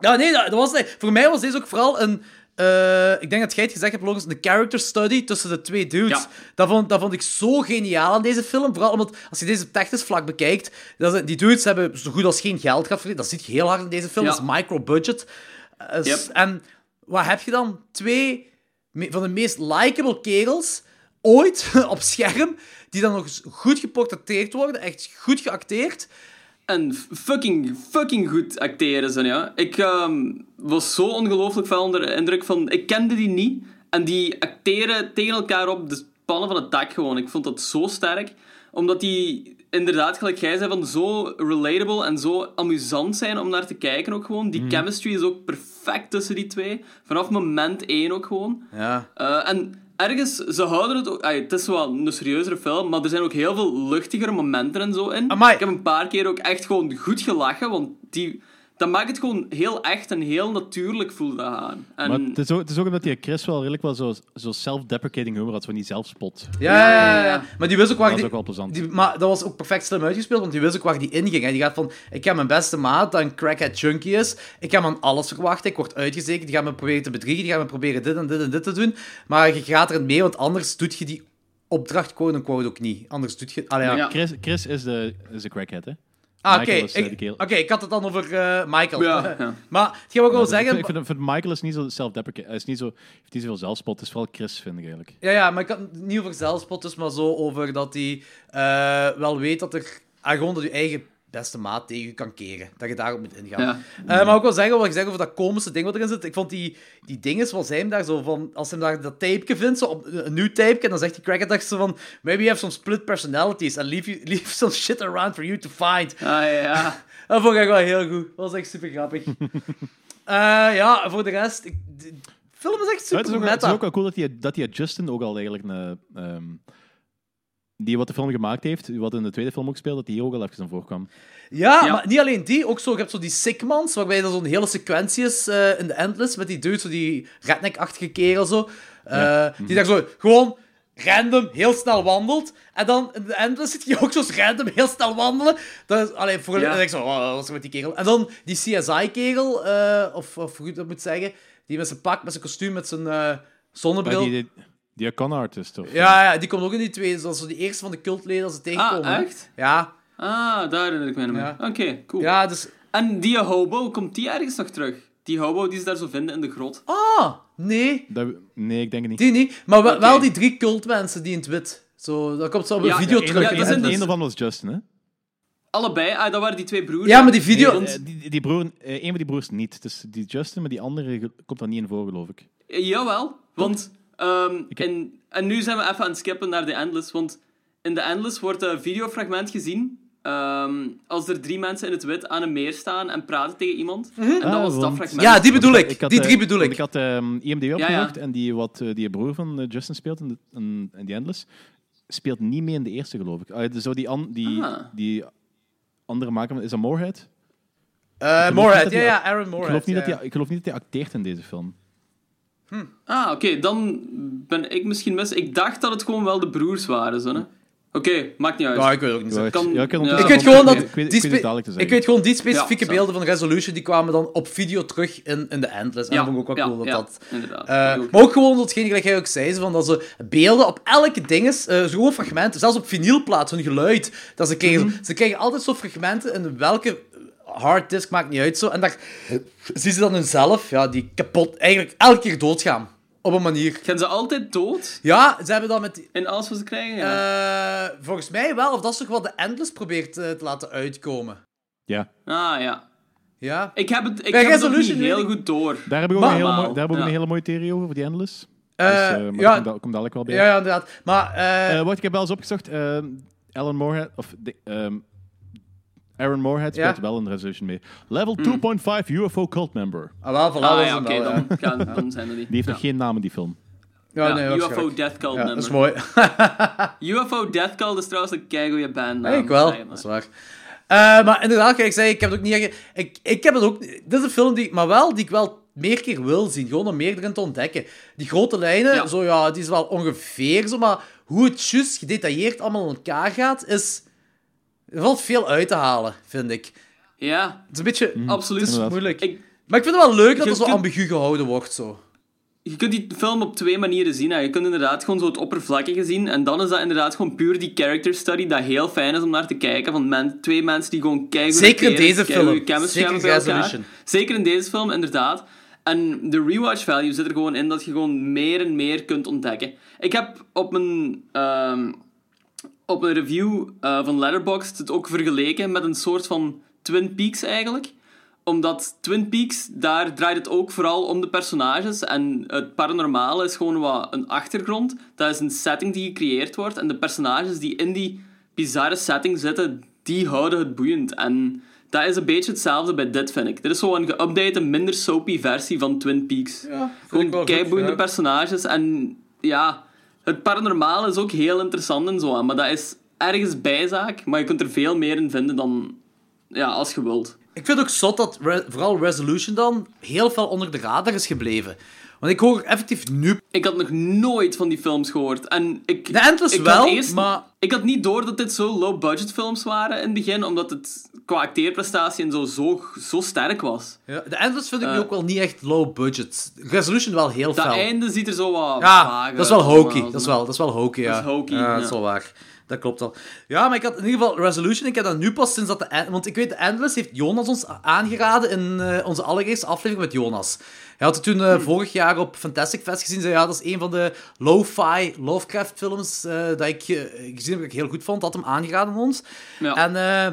S1: ja, nee, dat, dat was, nee, voor mij was deze ook vooral een... eh, ik denk dat jij het gezegd hebt, Lorenz, een character study tussen de twee dudes.
S2: Ja.
S1: Dat, vond, dat vond ik zo geniaal aan deze film. Vooral omdat, als je deze op technisch vlak bekijkt, dat, ze- die dudes hebben zo goed als geen geld gehad. voor dit. Dat zit je heel hard in deze film.
S2: Ja.
S1: Dat is micro-budget. Eh, s-
S2: Yep.
S1: En wat heb je dan? Twee me- van de meest likable kerels ooit op scherm, die dan nog eens goed geportretteerd worden, echt goed geacteerd.
S2: En f- fucking, fucking goed acteren ze, ja. Ik ehm, was zo ongelooflijk veel onder de indruk van... Ik kende die niet. En die acteren tegen elkaar op de pannen van het dak gewoon. Ik vond dat zo sterk. Omdat die inderdaad, gelijk jij zei, van zo relatable en zo amusant zijn om naar te kijken ook gewoon. Die chemistry is ook perfect tussen die twee. Vanaf moment één ook gewoon.
S1: Ja.
S2: Eh, en ergens, ze houden het ook... ai, het is wel een serieuzere film, maar er zijn ook heel veel luchtigere momenten en zo in.
S1: Amai.
S2: Ik heb een paar keer ook echt gewoon goed gelachen, want die... Dat maakt het gewoon heel echt en heel natuurlijk voel dat aan. En
S3: Maar het is, ook, het is ook omdat die Chris wel redelijk wel zo, zo self-deprecating humor had, van die zelfspot.
S1: Ja, ja, ja,
S2: ja,
S1: ja.
S2: ja.
S1: Maar die wist ook waar
S3: Dat
S1: die,
S3: is ook wel plezant.
S1: die- maar dat was ook perfect slim uitgespeeld, want die wist ook waar die inging. Hè. Die gaat van, ik heb mijn beste maat, dat een crackhead junkie is. Ik heb aan alles verwachten, ik word uitgezekerd. Die gaan me proberen te bedriegen, die gaan me proberen dit en dit en dit te doen. Maar je gaat erin mee, want anders doet je die opdracht quote-unquote ook niet. Anders doet je... Allee, ja.
S2: Ja.
S3: Chris, Chris is, de, is de crackhead, hè?
S1: Ah, oké.
S3: Michael is, eh, de
S1: Ik,
S3: kerel.
S1: oké, ik had het dan over eh, Michael.
S2: Ja, ja.
S1: Maar hetgeen wat ik wil
S3: Ik vind-
S1: zeggen...
S3: Ik vind, ik vind Michael is niet zo self-deprecating. Hij is niet zo, heeft niet zoveel zelfspot. Het is vooral Chris, vind ik eigenlijk.
S1: Ja, ja, maar ik had het niet over zelfspot, dus maar zo over dat hij eh, wel weet dat er... Ah, gewoon dat je eigen beste maat tegen je kan keren. Dat je daarop moet ingaan.
S2: Ja.
S1: Eh, maar ook wel zeggen, wat ik zeg over dat komische ding wat erin zit. Ik vond die, die ding is zoals hij hem daar zo van... Als hij hem daar dat tapeje vindt, zo op, een nieuw tapeje, en dan zegt die crackhead dat ze van... Maybe you have some split personalities and leave, you, leave some shit around for you to find.
S2: Ah, ja.
S1: Dat vond ik echt wel heel goed. Dat was echt super grappig. Eh, ja, voor de rest... Ik, de film is echt
S3: Ja,
S1: super
S3: het, is ook,
S1: meta.
S3: het is ook wel cool dat die, dat die Justin ook al eigenlijk... Een, ehm, die wat de film gemaakt heeft, wat in de tweede film ook speelde, dat die hier ook al even aan voorkwam.
S1: Ja,
S2: Ja.
S1: maar niet alleen die. Ook zo, je hebt zo die Sickmans, waarbij er zo'n hele sequentie is eh, in de Endless, met die dude, zo die redneck-achtige kerel zo. eh, Die daar zo gewoon random heel snel wandelt. En dan in de Endless zit je ook zo random heel snel wandelen. Dat is, allee, voor,
S2: Ja.
S1: dan denk ik zo, oh, wat is er met die kerel? En dan die CSI-kerel, eh, of, of hoe je dat moet zeggen, die met zijn pak, met zijn kostuum, met zijn eh,
S3: Maar
S1: zonnebril.
S3: Ah, die, die, die con-artist, toch?
S1: Ja, ja, die komt ook in die twee. Dat is zo die eerste van de cultleden als ze tegenkomen.
S2: Ah, echt?
S1: Ja,
S2: Ah, daar herinner ik me aan.
S1: Ja.
S2: Oké, cool.
S1: ja, dus...
S2: En die hobo, komt die ergens nog terug? Die hobo die ze daar zo vinden in de grot.
S1: Ah, nee.
S3: Dat- nee, ik denk het niet.
S1: Die niet, maar wel,
S2: Oké.
S1: wel die drie cultmensen die in het wit. Zo, dat komt zo op een
S2: Ja,
S1: video
S2: ja,
S1: terug.
S2: ja,
S1: in
S2: dat
S1: het
S2: zijn
S1: wit.
S3: Eén
S2: dus-
S3: daarvan was Justin, hè?
S2: Allebei, ah, dat waren die twee broers.
S1: Ja, maar die video-
S2: Want-
S3: Eh, die, die broer, eh, een van die broers niet. Dus die Justin, maar die andere ge- komt daar niet in voor, geloof ik.
S2: Eh, Jawel, want... ehm,
S3: heb-
S2: in, en nu zijn we even aan het skippen naar de Endless, want in de Endless wordt een videofragment gezien ehm, als er drie mensen in het wit aan een meer staan en praten tegen iemand. En dat
S3: Ah,
S2: was dat
S3: want-
S2: fragment.
S1: Mhm. ja, die bedoel ik.
S3: had,
S1: die
S3: eh,
S1: drie bedoel
S3: want
S1: ik.
S3: Ik had ehm, IMDb opgezocht
S2: ja.
S3: en die, wat, eh, die broer van eh, Justin speelt in, de, in, in The Endless speelt niet mee in de eerste, geloof ik. Ah, zo die, an- die,
S2: Ah.
S3: die andere maker, van- is dat Moorhead?
S1: Eh
S3: niet
S1: Moorhead,
S3: dat
S1: ja,
S3: die-
S1: ja, Aaron
S3: Ik
S1: Moorhead.
S3: geloof, niet
S1: ja,
S3: dat
S1: ja.
S3: die, ik geloof niet dat hij acteert in deze film.
S2: Ah, oké, dan ben ik misschien mis. Ik dacht dat het gewoon wel de broers waren, zo, hè. Oké, maakt niet uit.
S1: Ja, ik weet het ook niet. zeggen.
S3: ik,
S2: kan-
S3: ik, kan
S2: ja.
S3: ondertussen
S1: Ik weet
S3: wel-
S1: gewoon dat...
S3: Ik weet, ik
S1: die
S3: weet het
S1: spe-
S3: dadelijk te
S1: ik
S3: zeggen.
S1: weet gewoon die specifieke
S2: Ja, zo.
S1: beelden van Resolution, die kwamen dan op video terug in, in de Endless. En
S2: Ja,
S1: dat vond ik ook wel
S2: ja,
S1: cool dat
S2: ja,
S1: dat...
S2: inderdaad.
S1: Eh,
S2: Ik ook.
S1: maar ook gewoon datgene, gelijk jij ook zei, zo van dat ze beelden op elke dinges, eh zo gewoon fragmenten, zelfs op vinylplaat, hun geluid. Dat ze, krijgen,
S2: Mhm.
S1: ze krijgen altijd zo fragmenten in welke harddisk, maakt niet uit zo. En daar zien ze dan hunzelf, ja, die kapot, eigenlijk elke keer doodgaan. Op een manier.
S2: Gaan ze altijd dood
S1: Ja, ze hebben dan met.
S2: in alles wat ze krijgen?
S1: eh,
S2: Ja.
S1: volgens mij wel, of dat is toch wat de Endless probeert eh, te laten uitkomen.
S3: Ja,
S1: Eh,
S2: ah, ja.
S1: Ja.
S2: Ik heb het, ik
S1: Bij
S2: heb het ook niet
S1: Resolution weet
S2: heel
S1: ik-
S2: goed door. Ah,
S3: daar heb ik ook,
S1: Maar-
S3: een, hele, mooi- daar heb ik ook
S2: Ja.
S3: een hele mooie theorie over, voor The Endless.
S1: Eh,
S3: dus, eh, maar
S1: ja,
S3: dat komt dadelijk wel bij.
S1: ja, ja, inderdaad. Maar. eh,
S3: Eh, wacht, ik heb wel eens opgezocht. ehm, Alan Moorhead, of de- ehm, Aaron Moorhead
S1: Ja.
S3: speelt wel in Resolution mee. Level
S2: Hmm.
S3: 2.5 UFO cult member.
S1: ah, wel, voilà, dat
S2: Ah,
S1: is
S2: ja,
S1: hem
S2: oké,
S1: wel, ja.
S2: dan, gaan, dan zijn dat die.
S3: Die heeft
S2: ja.
S3: nog geen naam in die film.
S1: Ja,
S2: Ja,
S1: nee,
S2: UFO
S1: waarschijnlijk.
S2: Death Call
S1: Ja, dat is
S2: number.
S1: mooi.
S2: UFO Death Call is trouwens een keigoeie band.
S1: Ja, ik wel, dat is waar. Eh, maar inderdaad, kijk, ik zei, ik heb het ook niet... echt- Ik, ik heb het ook... Dit is een film die ik... Maar wel, die ik wel meer keer wil zien. Gewoon om meer erin te ontdekken. Die grote lijnen,
S2: Ja.
S1: zo ja, die is wel ongeveer zo, maar hoe het juist gedetailleerd allemaal in elkaar gaat, is... Er valt veel uit te halen, vind ik. Het
S2: Ja,
S1: is een beetje
S2: absoluut.
S3: inderdaad.
S1: moeilijk.
S2: Ik,
S1: Maar ik vind het wel leuk dat
S2: Mhm. Je
S1: het zo
S2: kunt-
S1: ambigu gehouden wordt. Zo.
S2: je kunt die film op twee manieren zien. Hè. Je kunt inderdaad gewoon zo het oppervlakkige zien. En dan is dat inderdaad gewoon puur die character study dat heel fijn is om naar te kijken. Van men, twee mensen die gewoon kijken.
S1: Zeker in deze film. Zeker in Resolution.
S2: Zeker in deze film, inderdaad. En de rewatch value zit er gewoon in dat je gewoon meer en meer kunt ontdekken. Ik heb op mijn, ehm, op mijn review eh, van Letterboxd het ook vergeleken met een soort van Twin Peaks eigenlijk. Omdat Twin Peaks, daar draait het ook vooral om de personages. En het paranormale is gewoon wat een achtergrond. Dat is een setting die gecreëerd wordt. En de personages die in die bizarre setting zitten, die houden het boeiend. En dat is een beetje hetzelfde bij dit, vind ik. Dit is zo'n geüpdate, minder soapy versie van Twin Peaks.
S1: ik wel
S2: Gewoon
S1: goed,
S2: keiboeiende
S1: ja.
S2: personages. En ja, het paranormale is ook heel interessant en zo. hè, Maar dat is ergens bijzaak. Maar je kunt er veel meer in vinden dan ja, als je wilt.
S1: Ik vind ook zot dat Re- vooral Resolution dan heel veel onder de radar is gebleven. Want ik hoor effectief nu...
S2: Ik had nog nooit van die films gehoord. En ik,
S1: De Endless
S2: ik
S1: wel,
S2: had eerst-
S1: maar...
S2: Ik had niet door dat dit zo low-budget films waren in het begin. Omdat het qua acteerprestatie en zo, zo, zo sterk was.
S1: Ja, de Endless vind ik nu
S2: Eh.
S1: ook wel niet echt low budget. Resolution wel heel
S2: Dat
S1: fel.
S2: einde ziet er zo wat
S1: Ja,
S2: vaag
S1: dat is
S2: uit
S1: wel hokey.
S2: allemaal.
S1: Dat is wel, dat is wel hokey, ja.
S2: Dat is hokey,
S1: ja.
S2: ja.
S1: Dat is wel waar. Dat klopt al. Ja, maar ik had in ieder geval Resolution. Ik heb dat nu pas sinds dat de... en- Want ik weet, de Endless heeft Jonas ons a- aangeraden in eh, onze allereerste aflevering met Jonas. Hij had het toen
S2: Hmm.
S1: eh, vorig jaar op Fantastic Fest gezien. Zei, ja, dat is een van de lo-fi Lovecraft films eh, dat ik eh, gezien heb dat ik heel goed vond. Had hem aangeraden aan ons.
S2: Ja.
S1: En eh,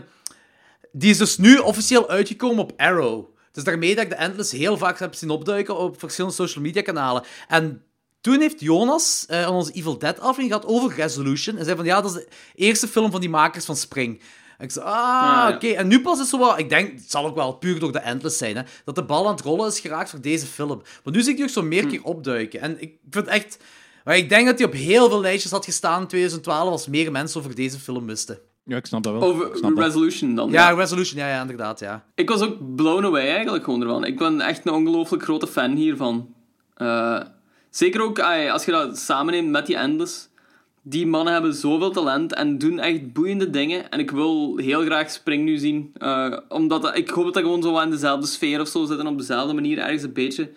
S1: die is dus nu officieel uitgekomen op Arrow. Dus daarmee dat ik de Endless heel vaak heb zien opduiken op verschillende social media kanalen. En toen heeft Jonas eh, aan onze Evil Dead aflevering gehad over Resolution. En zei van ja, dat is de eerste film van die makers van Spring. En ik zei, ah,
S2: ja.
S1: oké. En nu pas is zo wat, ik denk, het zal ook wel puur door de Endless zijn, hè, dat de bal aan het rollen is geraakt voor deze film. Maar nu zie ik die ook zo meer keer opduiken. En ik vind echt, maar ik denk dat die op heel veel lijstjes had gestaan in 2012 als meer mensen over deze film wisten.
S3: Ja, ik snap dat wel. Ik snap
S2: Over
S3: dat.
S2: Resolution dan.
S1: Ja, Resolution, ja, ja inderdaad, ja.
S2: Ik was ook blown away eigenlijk gewoon ervan. Ik ben echt een ongelooflijk grote fan hiervan. Eh, zeker ook ai, als je dat samenneemt met die Endless. Die mannen hebben zoveel talent en doen echt boeiende dingen. En ik wil heel graag Spring nu zien. Eh, omdat dat- ik hoop dat dat gewoon zo wat in dezelfde sfeer of zo zit. En op dezelfde manier ergens een beetje.
S3: Het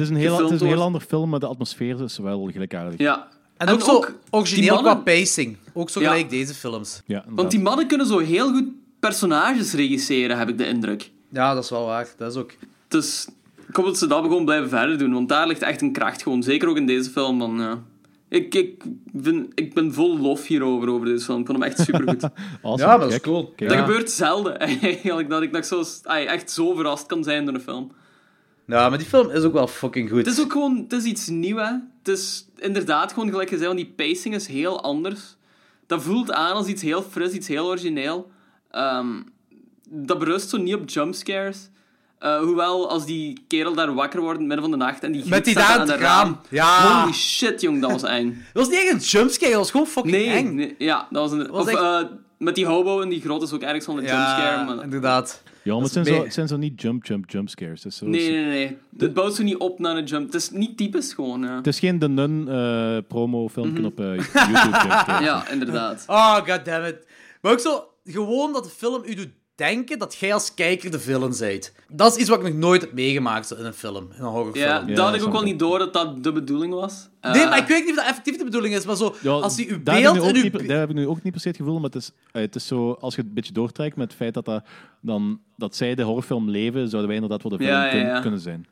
S3: is een heel, het is
S2: gefilmd
S3: een heel
S2: wordt.
S3: ander film, maar de atmosfeer is wel gelijkaardig. Ja,
S2: Ja.
S1: En, ook zo origineel
S2: die mannen-
S1: qua pacing. Ook zo
S2: Ja.
S1: gelijk deze films.
S3: inderdaad.
S2: Want die mannen kunnen zo heel goed personages regisseren, heb ik de indruk.
S1: Ja, dat is wel waar. Dat is ook...
S2: Dus ik hoop dat ze dat gewoon blijven verder doen, want daar ligt echt een kracht gewoon. Zeker ook in deze film. Man, ja. ik, ik, vind, ik ben vol lof hierover, over deze film. Ik vond hem echt supergoed.
S3: Awesome,
S1: Ja, dat is
S3: kijk.
S1: cool.
S3: Kijk.
S2: Dat
S1: Ja.
S2: gebeurt zelden eigenlijk, dat ik nog zo, ai, echt zo verrast kan zijn door een film.
S1: Ja, maar die film is ook wel fucking goed.
S2: Het is ook gewoon, het is iets nieuws, hè. Het is inderdaad gewoon gelijk gezegd, want die pacing is heel anders. Dat voelt aan als iets heel fris, iets heel origineel. Ehm, dat berust zo niet op jumpscares. Eh, hoewel, als die kerel daar wakker wordt in het midden van de nacht en die
S1: Met die
S2: staat
S1: daar
S2: aan
S1: aan
S2: de
S1: het raam. Ja.
S2: Holy shit, jong, dat was eng.
S1: Dat was niet echt een jumpscare, dat was gewoon fucking
S2: Nee,
S1: eng.
S2: nee, ja, dat was een...
S1: was
S2: of,
S1: echt-
S2: eh, met die hobo en die grot is ook ergens van een jumpscare.
S1: Ja,
S2: Maar...
S1: inderdaad.
S3: Ja, maar het
S1: Dat
S3: zijn,
S1: is
S3: zo,
S1: mee-
S3: het zijn zo niet jump, jump, jump scares. Het is, zo,
S2: Nee, nee, nee. Het bouwt zo niet op naar een jump. Het is niet typisch, gewoon. Ja,
S3: Het is geen The Nun eh, promo-filmpje
S2: Mhm.
S3: op eh, YouTube. jump scares.
S2: ja inderdaad.
S1: Oh, goddammit. Maar ook zo, gewoon dat de film u doet denken dat jij als kijker de villain bent. Dat is iets wat ik nog nooit heb meegemaakt zo in een film, in een horrorfilm.
S2: Ja,
S3: Ja,
S2: dat had ik ook
S3: snap
S2: wel
S3: ik.
S2: niet door dat dat de bedoeling was. Eh,
S1: Nee, maar ik weet niet of dat effectief de bedoeling is, maar zo,
S3: Ja,
S1: als die uw
S3: daar heb ik
S1: beeld
S3: nu ook
S1: en uw...
S3: niet per- daar heb ik nu ook niet per se het gevoel, maar het is, eh, het is zo, als je het een beetje doortrekt met het feit dat, dat, dan, dat zij de horrorfilm leven, zouden wij inderdaad wel de
S2: Ja,
S3: film
S2: ja,
S3: kun-
S2: ja.
S3: kunnen zijn.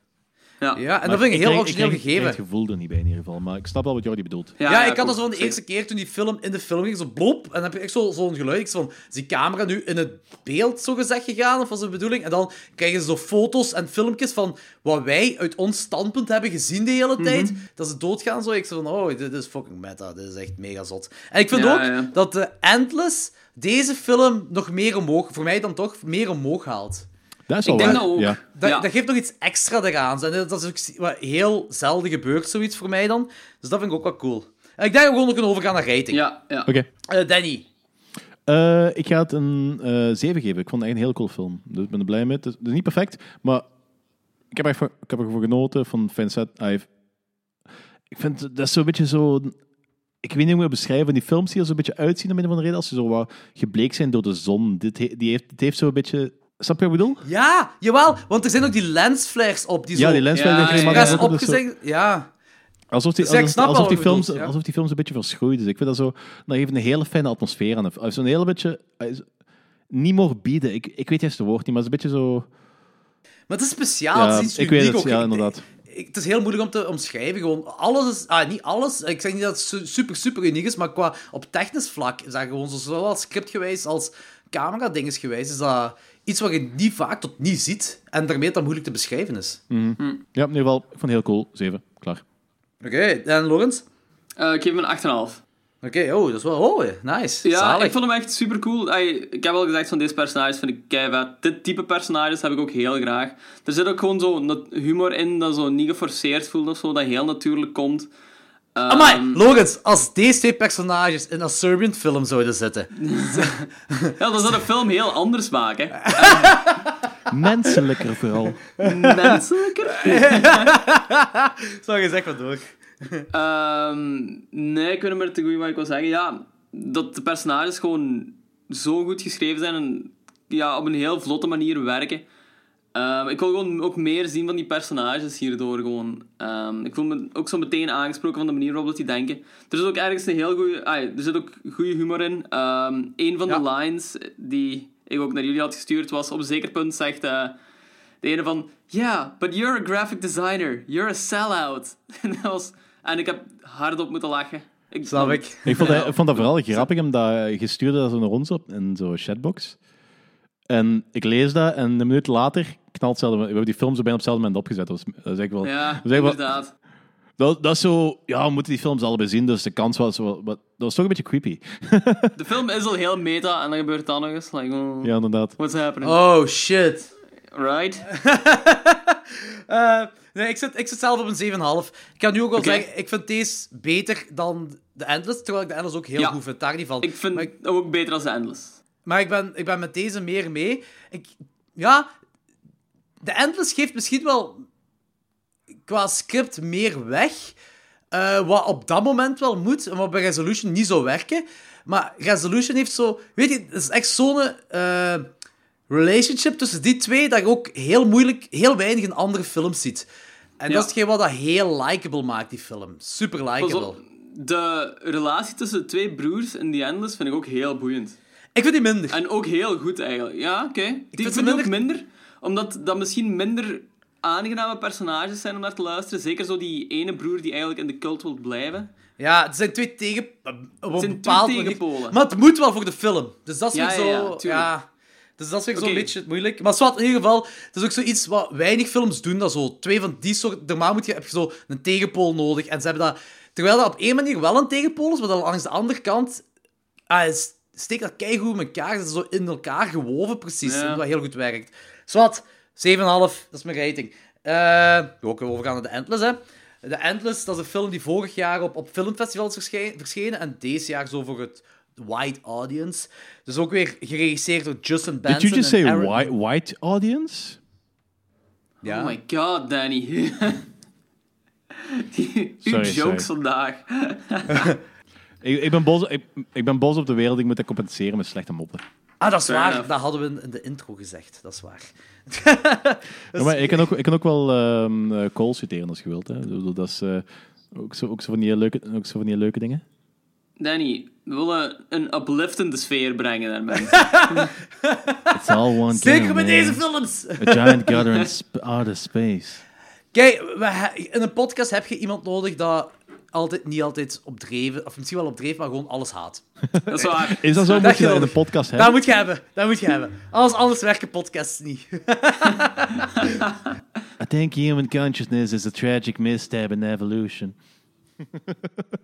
S2: ja.
S1: Ja, en dat
S3: Maar
S1: vind ik een heel
S3: krijg-
S1: origineel
S3: krijg- Ik
S1: gegeven.
S3: krijg het gevoel er niet bij in ieder geval, maar ik snap wel wat Jordi bedoelt.
S1: Ja, ik had
S2: klopt.
S1: dat zo van de eerste keer toen die film in de film ging, zo blop. En dan heb je echt zo- zo'n geluid. Ik zo van, is die camera nu in het beeld zo gezegd gegaan? Of was de bedoeling? En dan krijgen ze zo foto's en filmpjes van wat wij uit ons standpunt hebben gezien de hele tijd. Dat ze doodgaan zo. Ik zo van, oh, dit is fucking meta. Dit is echt mega zot. En ik vind
S2: Ja,
S1: ook
S2: ja.
S1: dat de Endless deze film nog meer omhoog, voor mij dan toch, meer omhoog haalt.
S3: Dat is
S2: Ik
S3: wel
S2: denk
S3: waar,
S2: dat ook.
S3: Ja.
S1: Dat,
S2: Ja.
S1: dat geeft nog iets extra eraan. En dat is ook zi- wat heel zelden gebeurt, zoiets voor mij dan. Dus dat vind ik ook wel cool. En ik denk dat we gewoon nog kunnen overgaan naar rating.
S2: Ja, ja.
S3: Oké.
S1: Eh, Danny.
S3: Eh, ik ga het een eh 7 geven. Ik vond het echt een heel cool film. Dus ik ben er blij mee. Het is, het is niet perfect, maar ik heb, er echt voor- Ah, ik heb ervoor genoten van Vincent. I've... Ik vind dat is zo'n beetje zo. ik weet niet hoe we beschrijven, die films die er zo'n beetje uitzien om een of andere reden, als ze zo wat gebleekt zijn door de zon. Dit he- die heeft, het heeft zo'n beetje... Snap je wat ik bedoel?
S1: Ja, jawel, want er zijn ook die lensflares op. Die
S3: Ja,
S1: zo
S3: die lens
S2: ja, ja, ja.
S1: expres opgezegd. Ja.
S3: Alsof die,
S1: Dus ja, ik
S3: alsof,
S1: snap wel
S3: alsof
S1: wat
S3: die
S1: je
S3: films,
S1: bedoelt, ja.
S3: alsof die films een beetje verschroeid is. Ik vind dat zo... Dat geeft een hele fijne atmosfeer aan. Hij heeft Zo'n hele beetje... hij is- Niet morbide. Ik, ik weet juist het woord niet, maar het is een beetje zo...
S1: Maar het is speciaal.
S3: Ja,
S1: het is iets
S3: ik weet
S1: uniek
S3: het.
S1: ook.
S3: Ja,
S1: Ik-
S3: inderdaad.
S1: ik- het is heel moeilijk om te omschrijven. Gewoon alles is... Ah, niet alles. Ik zeg niet dat het su- super, super uniek is, maar qua op technisch vlak is dat gewoon zo- zowel scriptgewijs als cameradinges gewijs, is dat iets wat je niet vaak tot niet ziet en daarmee dat moeilijk te beschrijven is.
S3: Ja, in ieder geval, ik vond het heel cool. Zeven. Klaar.
S1: Hm. Oké, en Lorenz?
S2: Eh, ik geef hem een 8,5.
S1: Oké, oh, dat is wel... Oh, eh, nice.
S2: Ja,
S1: Zalig.
S2: ik vond hem echt super cool. ik heb al gezegd van deze personages vind ik keivet. Dit type personages heb ik ook heel graag. Er zit ook gewoon zo nat- humor in dat zo niet geforceerd voelt of zo, dat heel natuurlijk komt. Ehm,
S1: Amai, Lorenz, als deze twee personages in een Serbian film zouden zitten...
S2: ja, dat zou de film heel anders maken.
S3: Menselijker vooral.
S2: Menselijker.
S1: Zou je zeggen, wat door.
S2: Ehm, nee, ik weet niet meer te goed wat ik wil zeggen. Ja, dat de personages gewoon zo goed geschreven zijn en ja, op een heel vlotte manier werken. Ehm, ik wil gewoon ook meer zien van die personages hierdoor gewoon. Ehm, ik voel me ook zo meteen aangesproken van de manier waarop dat die denken. Er is ook ergens een heel goede... ah ja, er zit ook goede humor in. Ehm een van de lines die ik ook naar jullie had gestuurd was... Op een zeker punt zegt... eh, de ene van, yeah, but you're a graphic designer. You're a sellout. En, dat was, en ik heb hardop moeten lachen. Ik,
S1: Snap ik.
S3: Ik vond, dat, ik vond dat vooral grappig, omdat je stuurde dat zo naar ons op in zo'n chatbox. En ik lees dat en een minuut later knalt hetzelfde. We hebben die film zo bijna op hetzelfde moment opgezet. Dat is, dat is echt wel...
S2: Ja,
S3: dat, is echt wel-
S2: inderdaad.
S3: dat, dat is zo... Ja, we moeten die films allebei zien, dus de kans was... wel- wat- dat was toch een beetje creepy.
S2: De film is al heel meta en dan gebeurt dat nog eens. Like, oh,
S3: Ja, inderdaad.
S2: What's happening?
S1: Oh, shit.
S2: Right?
S1: Eh, nee, ik zit, ik zit zelf op een 7,5. Ik kan nu ook wel
S2: Oké.
S1: zeggen, ik vind deze beter dan de Endless, terwijl ik de Endless ook heel
S2: Ja.
S1: goed vind. Daar niet van.
S2: Ik vind
S1: Maar,
S2: het
S1: ik,
S2: ook beter als The Endless.
S1: maar ik, ben, ik ben met deze meer mee. Ik, ja, de Endless geeft misschien wel qua script meer weg, eh, wat op dat moment wel moet, en wat bij Resolution niet zou werken. Maar Resolution heeft zo... Weet je, het is echt zo'n... eh, relationship tussen die twee dat je ook heel moeilijk, heel weinig in andere films ziet. En
S2: Ja.
S1: dat is hetgeen wat dat heel likable maakt, die film. Super
S2: Pas
S1: likable.
S2: op, de relatie tussen de twee broers in The Endless vind ik ook heel boeiend.
S1: Ik vind die minder.
S2: En ook heel goed eigenlijk. Ja, oké. Die
S1: vind
S2: vind,
S1: ze
S2: ik ook minder, omdat dat misschien minder aangename personages zijn om naar te luisteren. Zeker zo die ene broer die eigenlijk in de cult wil blijven.
S1: Ja, het zijn twee tegen... eh, Op een
S2: zijn
S1: bepaald
S2: twee
S1: moment.
S2: tegenpolen.
S1: Maar het moet wel voor de film. Dus dat is
S2: Ja,
S1: weer
S2: ja, ja,
S1: zo...
S2: tuurlijk.
S1: Ja, dus dat is weer zo'n
S2: Oké.
S1: beetje het moeilijk. Maar zwart, in ieder geval, het is ook zoiets wat weinig films doen. Dat zo twee van die soort... Normaal moet je, heb je zo een tegenpool nodig. En ze hebben dat... Terwijl dat op één manier wel een tegenpool is, maar dan langs de andere kant... Ah, het steekt dat keigoed in elkaar. Ze zijn zo in elkaar gewoven, precies.
S2: Ja.
S1: En Wat heel goed werkt. Zwart, 7,5. Dat is mijn rating. Eh, ook overgaan naar de Endless, hè. De Endless, dat is een film die vorig jaar op, op filmfestivals verscheen, verschenen en deze jaar zo voor het wide audience. Dus ook weer geregisseerd door Justin Benson.
S3: Did you just
S1: en
S3: say
S1: Aaron-
S3: white, white audience?
S1: Ja.
S2: Oh my god, Danny. Die- Uw
S3: Sorry,
S2: jokes vandaag.
S3: Ik, ik, ben boos, ik, ik ben boos op de wereld, ik moet dat compenseren met slechte moppen.
S1: Ah, dat is
S2: Fair
S1: waar.
S2: enough.
S1: Dat hadden we in de intro gezegd. Dat is waar.
S3: Ja, maar ik, kan ook, ik kan ook wel ehm eh, Cole citeren als je wilt. Hè. Ik bedoel, Dat is eh, ook, zo, ook, zo van die leuke, ook zo van die leuke dingen.
S2: Danny, we willen een upliftende sfeer brengen naar mensen.
S3: It's all one
S1: Zeker met deze films!
S3: A giant gather in outer space.
S1: Kijk, we he- in een podcast heb je iemand nodig dat altijd, niet altijd op dreven, of misschien wel op dreef, maar gewoon alles haat.
S2: Dat is waar.
S3: Is dat zo? Moet je dat in
S1: geloof
S3: een
S1: ik.
S3: podcast
S1: Dat
S3: hebben?
S1: moet je hebben. Dat moet je hebben. Anders, anders werken podcasts niet.
S3: I think human consciousness is a tragic misstep in evolution.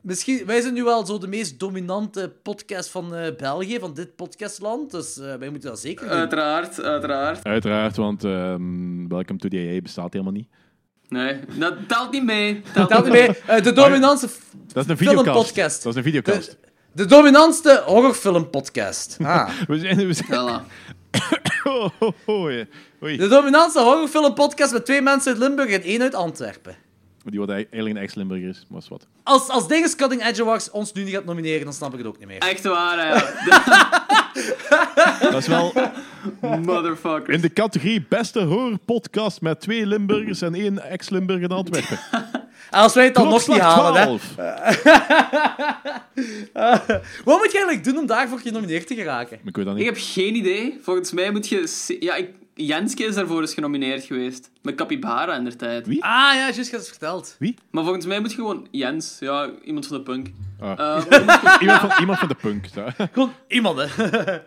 S1: Misschien, wij zijn nu wel zo de meest dominante podcast van eh, België, van dit podcastland. Dus eh, wij moeten dat zeker doen.
S2: Uiteraard, uiteraard.
S3: Uiteraard, want ehm, Welcome to the AA bestaat helemaal niet.
S2: Nee, dat telt niet mee. Telt
S1: Telt niet mee. Eh, de dominantste f-
S3: Dat is een videocast.
S1: filmpodcast.
S3: Dat is een videocast.
S1: De, de dominantste horrorfilmpodcast. Ah.
S3: We zijn... We zijn...
S2: Voilà.
S3: Oh, oh, oh, ja. Oei.
S1: De dominantste horrorfilmpodcast met twee mensen uit Limburg en één uit Antwerpen.
S3: Die wat eigenlijk een ex-Limburger is, maar is wat.
S1: Als, als Dinges Cutting Edge Awards ons nu niet gaat nomineren, dan snap ik het ook niet meer.
S2: Echt waar, hè.
S3: Dat is wel
S2: Motherfucker.
S3: in de categorie beste hoorpodcast met twee Limburgers en één ex-Limburger in Antwerpen.
S1: En als wij het dan nog
S3: Klokslag
S1: niet halen, hè.
S3: 12.
S1: Wat moet je eigenlijk doen om daarvoor genomineerd te geraken?
S3: Maar Ik weet dat
S2: Ik
S3: niet.
S2: heb geen idee. Volgens mij moet je... se- Ja, ik... Jenske is daarvoor eens genomineerd geweest. Met Capybara in der tijd.
S3: Wie?
S1: Ah ja, juist, je had het verteld.
S2: Maar volgens mij moet je gewoon... Jens. Ja, iemand van de punk.
S3: Ah.
S2: Eh, maar, je moet,
S3: Iemand, van, iemand van de punk. zo.
S1: Gewoon iemand, hè.
S2: eh,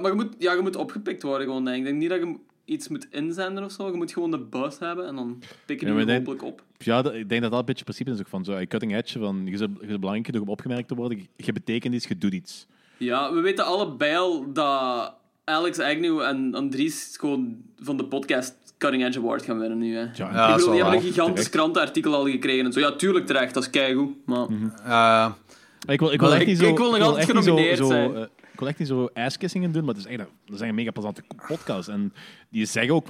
S2: maar je moet... Ja, je moet opgepikt worden gewoon, denk ik. Ik denk niet dat je m- iets moet inzenden of zo. Je moet gewoon de bus hebben en dan pikken
S3: Ja,
S2: je
S3: maar
S2: je
S3: dan-
S2: hopelijk op.
S3: Ja, dat- ik denk dat dat een beetje het principe is ook van zo. eh, Cutting edge, van, je, bent, je bent belangrijk genoeg om opgemerkt te worden. Je- Je betekent iets, je doet iets.
S2: Ja, we weten allebei al dat Alex Agnew en Andries gewoon van de podcast Cutting Edge Award gaan winnen nu. Hè.
S3: Ja, en-
S2: ik
S1: dat is
S2: bedoel,
S1: wel
S2: die hebben
S1: waar.
S2: een gigantisch
S3: Terecht.
S2: krantenartikel al gekregen en zo. Ja, tuurlijk terecht, dat is keigoed. Maar
S3: Mhm.
S1: Eh,
S3: Maar Ah, ik wil, ik wil echt
S2: ik-
S3: niet zo...
S2: ik wil nog
S3: echt
S2: altijd
S3: niet zo-
S2: genomineerd
S3: zo,
S2: zijn.
S3: eh, ik wil echt niet zo ijskissingen doen, maar het is echt, een- dat zijn mega plezante podcast. En die zeggen ook...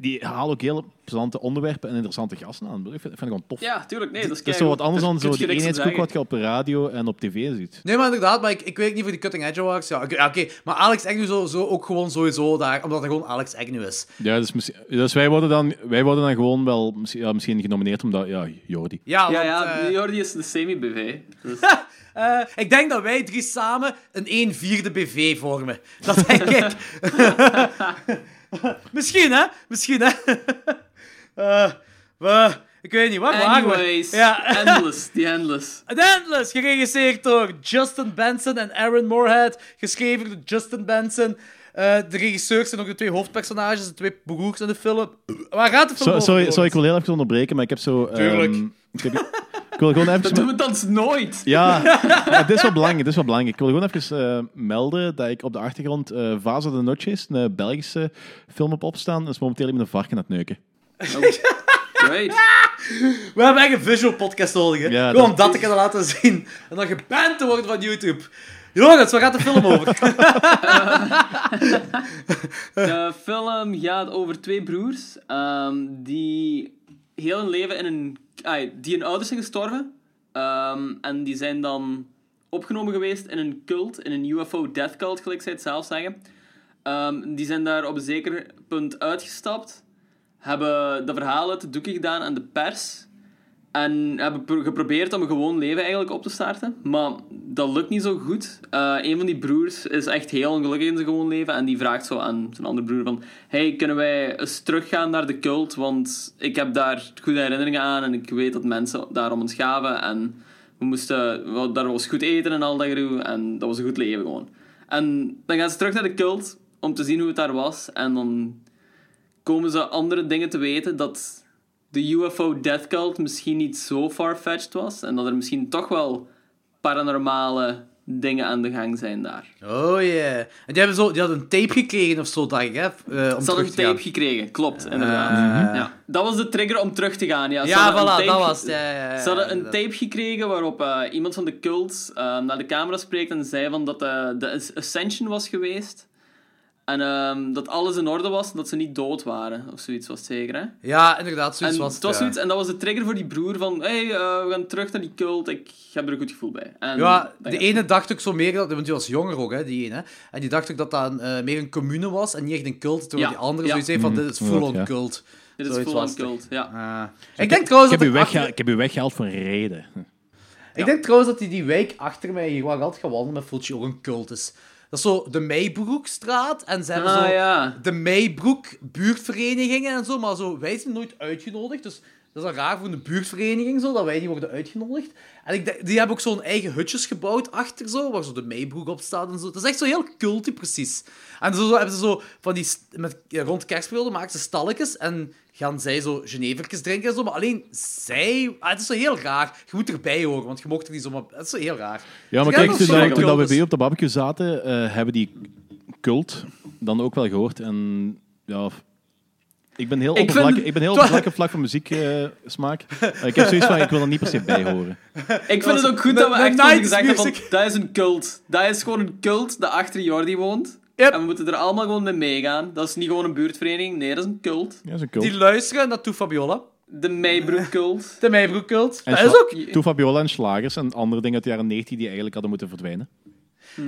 S3: Die halen ook hele plezante onderwerpen en interessante gasten aan. Ik vind, ik vind het gewoon tof.
S2: ja, tuurlijk, nee, dat is
S3: dat is
S2: keigoed.
S3: zo wat anders
S2: Daar
S3: dan
S2: kun
S3: zo
S2: je
S3: die
S2: niks aan
S3: eenheidskoek
S2: zeggen.
S3: wat je op de radio en op tv ziet.
S1: Nee, maar inderdaad, maar ik, ik weet niet voor die Cutting Edge Awards. Ja, oké, ja, oké, maar Alex Agnew zo, zo ook gewoon sowieso daar, omdat hij gewoon Alex Agnew is.
S3: Ja, dus, misschien- dus wij, worden dan, wij worden dan gewoon wel misschien, ja, misschien genomineerd omdat... Ja, Jordi.
S1: Ja,
S2: Ja,
S1: want,
S2: ja,
S1: eh,
S2: Jordi is de semi-BV. Dus-
S1: eh, ik denk dat wij drie samen een 1 vierde BV vormen. Dat denk ik. Misschien, hè? Misschien, hè? Eh, we, ik weet niet, wat waren we?
S2: Anyways,
S1: Ja.
S2: Endless, die Endless.
S1: The Endless, geregisseerd door Justin Benson en Aaron Moorhead. Geschreven door Justin Benson. Eh, de regisseurs zijn ook de twee hoofdpersonages, de twee broers in de film. Waar gaat de film
S3: So-
S1: over?
S3: sorry, sorry, ik
S1: Joris?
S3: wil heel even onderbreken, maar ik heb zo... ehm,
S1: Tuurlijk.
S3: ik, heb- ik wil gewoon even...
S2: Dat doen we thans nooit.
S3: Ja, maar dit is wel belangrijk. Dit is wel belangrijk. Ik wil gewoon even eh, melden dat ik op de achtergrond eh Vaza de Notches, een Belgische film op opstaan. Dat is momenteel iemand een varken aan het neuken.
S2: Great.
S1: We hebben echt een visual podcast nodig, hè?
S3: Ja,
S1: Gewoon
S3: dat-
S1: om dat te kunnen laten zien. En dan geband te worden van YouTube. Jongens, waar gaat de film over?
S2: De film gaat over twee broers ehm, die heel hun leven in een... ai, die hun ouders zijn gestorven. ehm, en die zijn dan opgenomen geweest in een cult, in een UFO death cult, gelijk zij het zelf zeggen. Ehm, die zijn daar op een zeker punt uitgestapt. Hebben de verhalen te doeken gedaan aan de pers. En hebben pro- geprobeerd om een gewoon leven eigenlijk op te starten. Maar dat lukt niet zo goed. Eh, een van die broers is echt heel ongelukkig in zijn gewoon leven. En die vraagt zo aan zijn andere broer van... Hey, kunnen wij eens teruggaan naar de cult? Want ik heb daar goede herinneringen aan. En ik weet dat mensen daarom ons gaven. En we moesten... we- Daar was goed eten en al dat gedoe. En dat was een goed leven gewoon. En dan gaan ze terug naar de cult. Om te zien hoe het daar was. En dan komen ze andere dingen te weten dat de UFO Death Cult misschien niet zo far-fetched was. En dat er misschien toch wel paranormale dingen aan de gang zijn daar.
S1: Oh yeah. En die, hebben zo, die hadden een tape gekregen of zo, dacht ik, hè? eh, om
S2: Ze hadden
S1: terug
S2: een
S1: te
S2: tape
S1: gaan. Eh, mhm.
S2: gekregen, klopt, inderdaad. ja. Dat was de trigger om terug te gaan. Ja, ze
S1: Ja,
S2: hadden een
S1: voilà,
S2: tape
S1: dat
S2: ge-
S1: was het. Ja, ja, ja,
S2: Ze hadden een
S1: inderdaad.
S2: tape gekregen waarop eh, iemand van de cult eh, naar de camera spreekt en zei van dat eh, de Ascension was geweest. En ehm, dat alles in orde was en dat ze niet dood waren, of zoiets was het zeker, hè?
S1: Ja, inderdaad, zoiets
S2: En
S1: was het.
S2: het
S1: ja.
S2: was zoiets, en dat was de trigger voor die broer van, hey, eh, we gaan terug naar die cult, ik heb er een goed gevoel bij. En
S1: Ja,
S2: dan
S1: de
S2: gaat-
S1: ene dacht ook zo meer, dat, want die was jonger ook, hè, die ene. hè. En die dacht ook dat dat een, eh, meer een commune was en niet echt een cult. Terwijl
S2: Ja,
S1: die andere
S2: ja.
S1: zoiets zei van, dit is full-on
S3: Mhm, ja.
S1: cult.
S2: Dit is
S1: zoiets
S2: full on
S1: was het.
S2: cult, ja.
S1: Ah. ik denk trouwens
S3: Ik heb,
S1: dat
S3: u
S1: ik
S3: weggeha-
S1: achter-
S3: ik heb u weggehaald voor een reden.
S1: Ik denk trouwens dat die, die wijk achter mij hier waar ik altijd gewandeld met Fultje ook een cult is. Dat is zo de Meibroekstraat en ze hebben
S2: Ah,
S1: zo
S2: ja.
S1: de Meibroek buurtverenigingen en zo, maar zo, wij zijn nooit uitgenodigd. Dus dat is dan raar voor een buurtvereniging zo, dat wij niet worden uitgenodigd. En ik denk, die hebben ook zo'n eigen hutjes gebouwd achter zo, waar zo de Meibroek op staat en zo. Dat is echt zo heel culty precies. En zo, zo hebben ze zo van die, st- met, ja, rond kerstperiode maken ze stalletjes en gaan zij zo Genevertjes drinken en zo, maar alleen zij... Ah, het is zo heel raar. Je moet erbij horen, want je mocht er niet zomaar... Het is zo heel raar.
S3: Ja,
S1: Ze
S3: maar
S1: gaan
S3: kijk,
S1: ook
S3: toen,
S1: zo
S3: dat-
S1: van
S3: toen dat we
S1: cultus.
S3: bij u op de barbecue zaten, eh, hebben die cult dan ook wel gehoord. En ja... Ik ben heel
S2: vind-
S3: oppervlakkig ik ben heel
S1: Twa-
S3: oppervlakkig vlak van muzieksmaak. smaak. Eh, ik heb zoiets van, ik wil er niet per se bij horen.
S2: Ik vind het ook goed
S1: de-
S2: dat we
S1: de
S2: echt hebben
S1: 90s
S2: gezegd hebben van,
S1: music.
S2: dat is een cult. Dat is gewoon een cult dat achter Jordi woont.
S1: Yep.
S2: En we moeten er allemaal gewoon mee meegaan. Dat is niet gewoon een buurtvereniging, nee, dat is een cult.
S3: Ja, dat is een cult.
S1: Die luisteren, en dat doet Fabiola.
S2: de Meibroek-cult.
S1: De Meibroekkult.
S3: En
S1: Dat is
S3: Sla-
S1: ook...
S3: Toen Fabiola en slagers en andere dingen uit de jaren 90 die eigenlijk hadden moeten verdwijnen.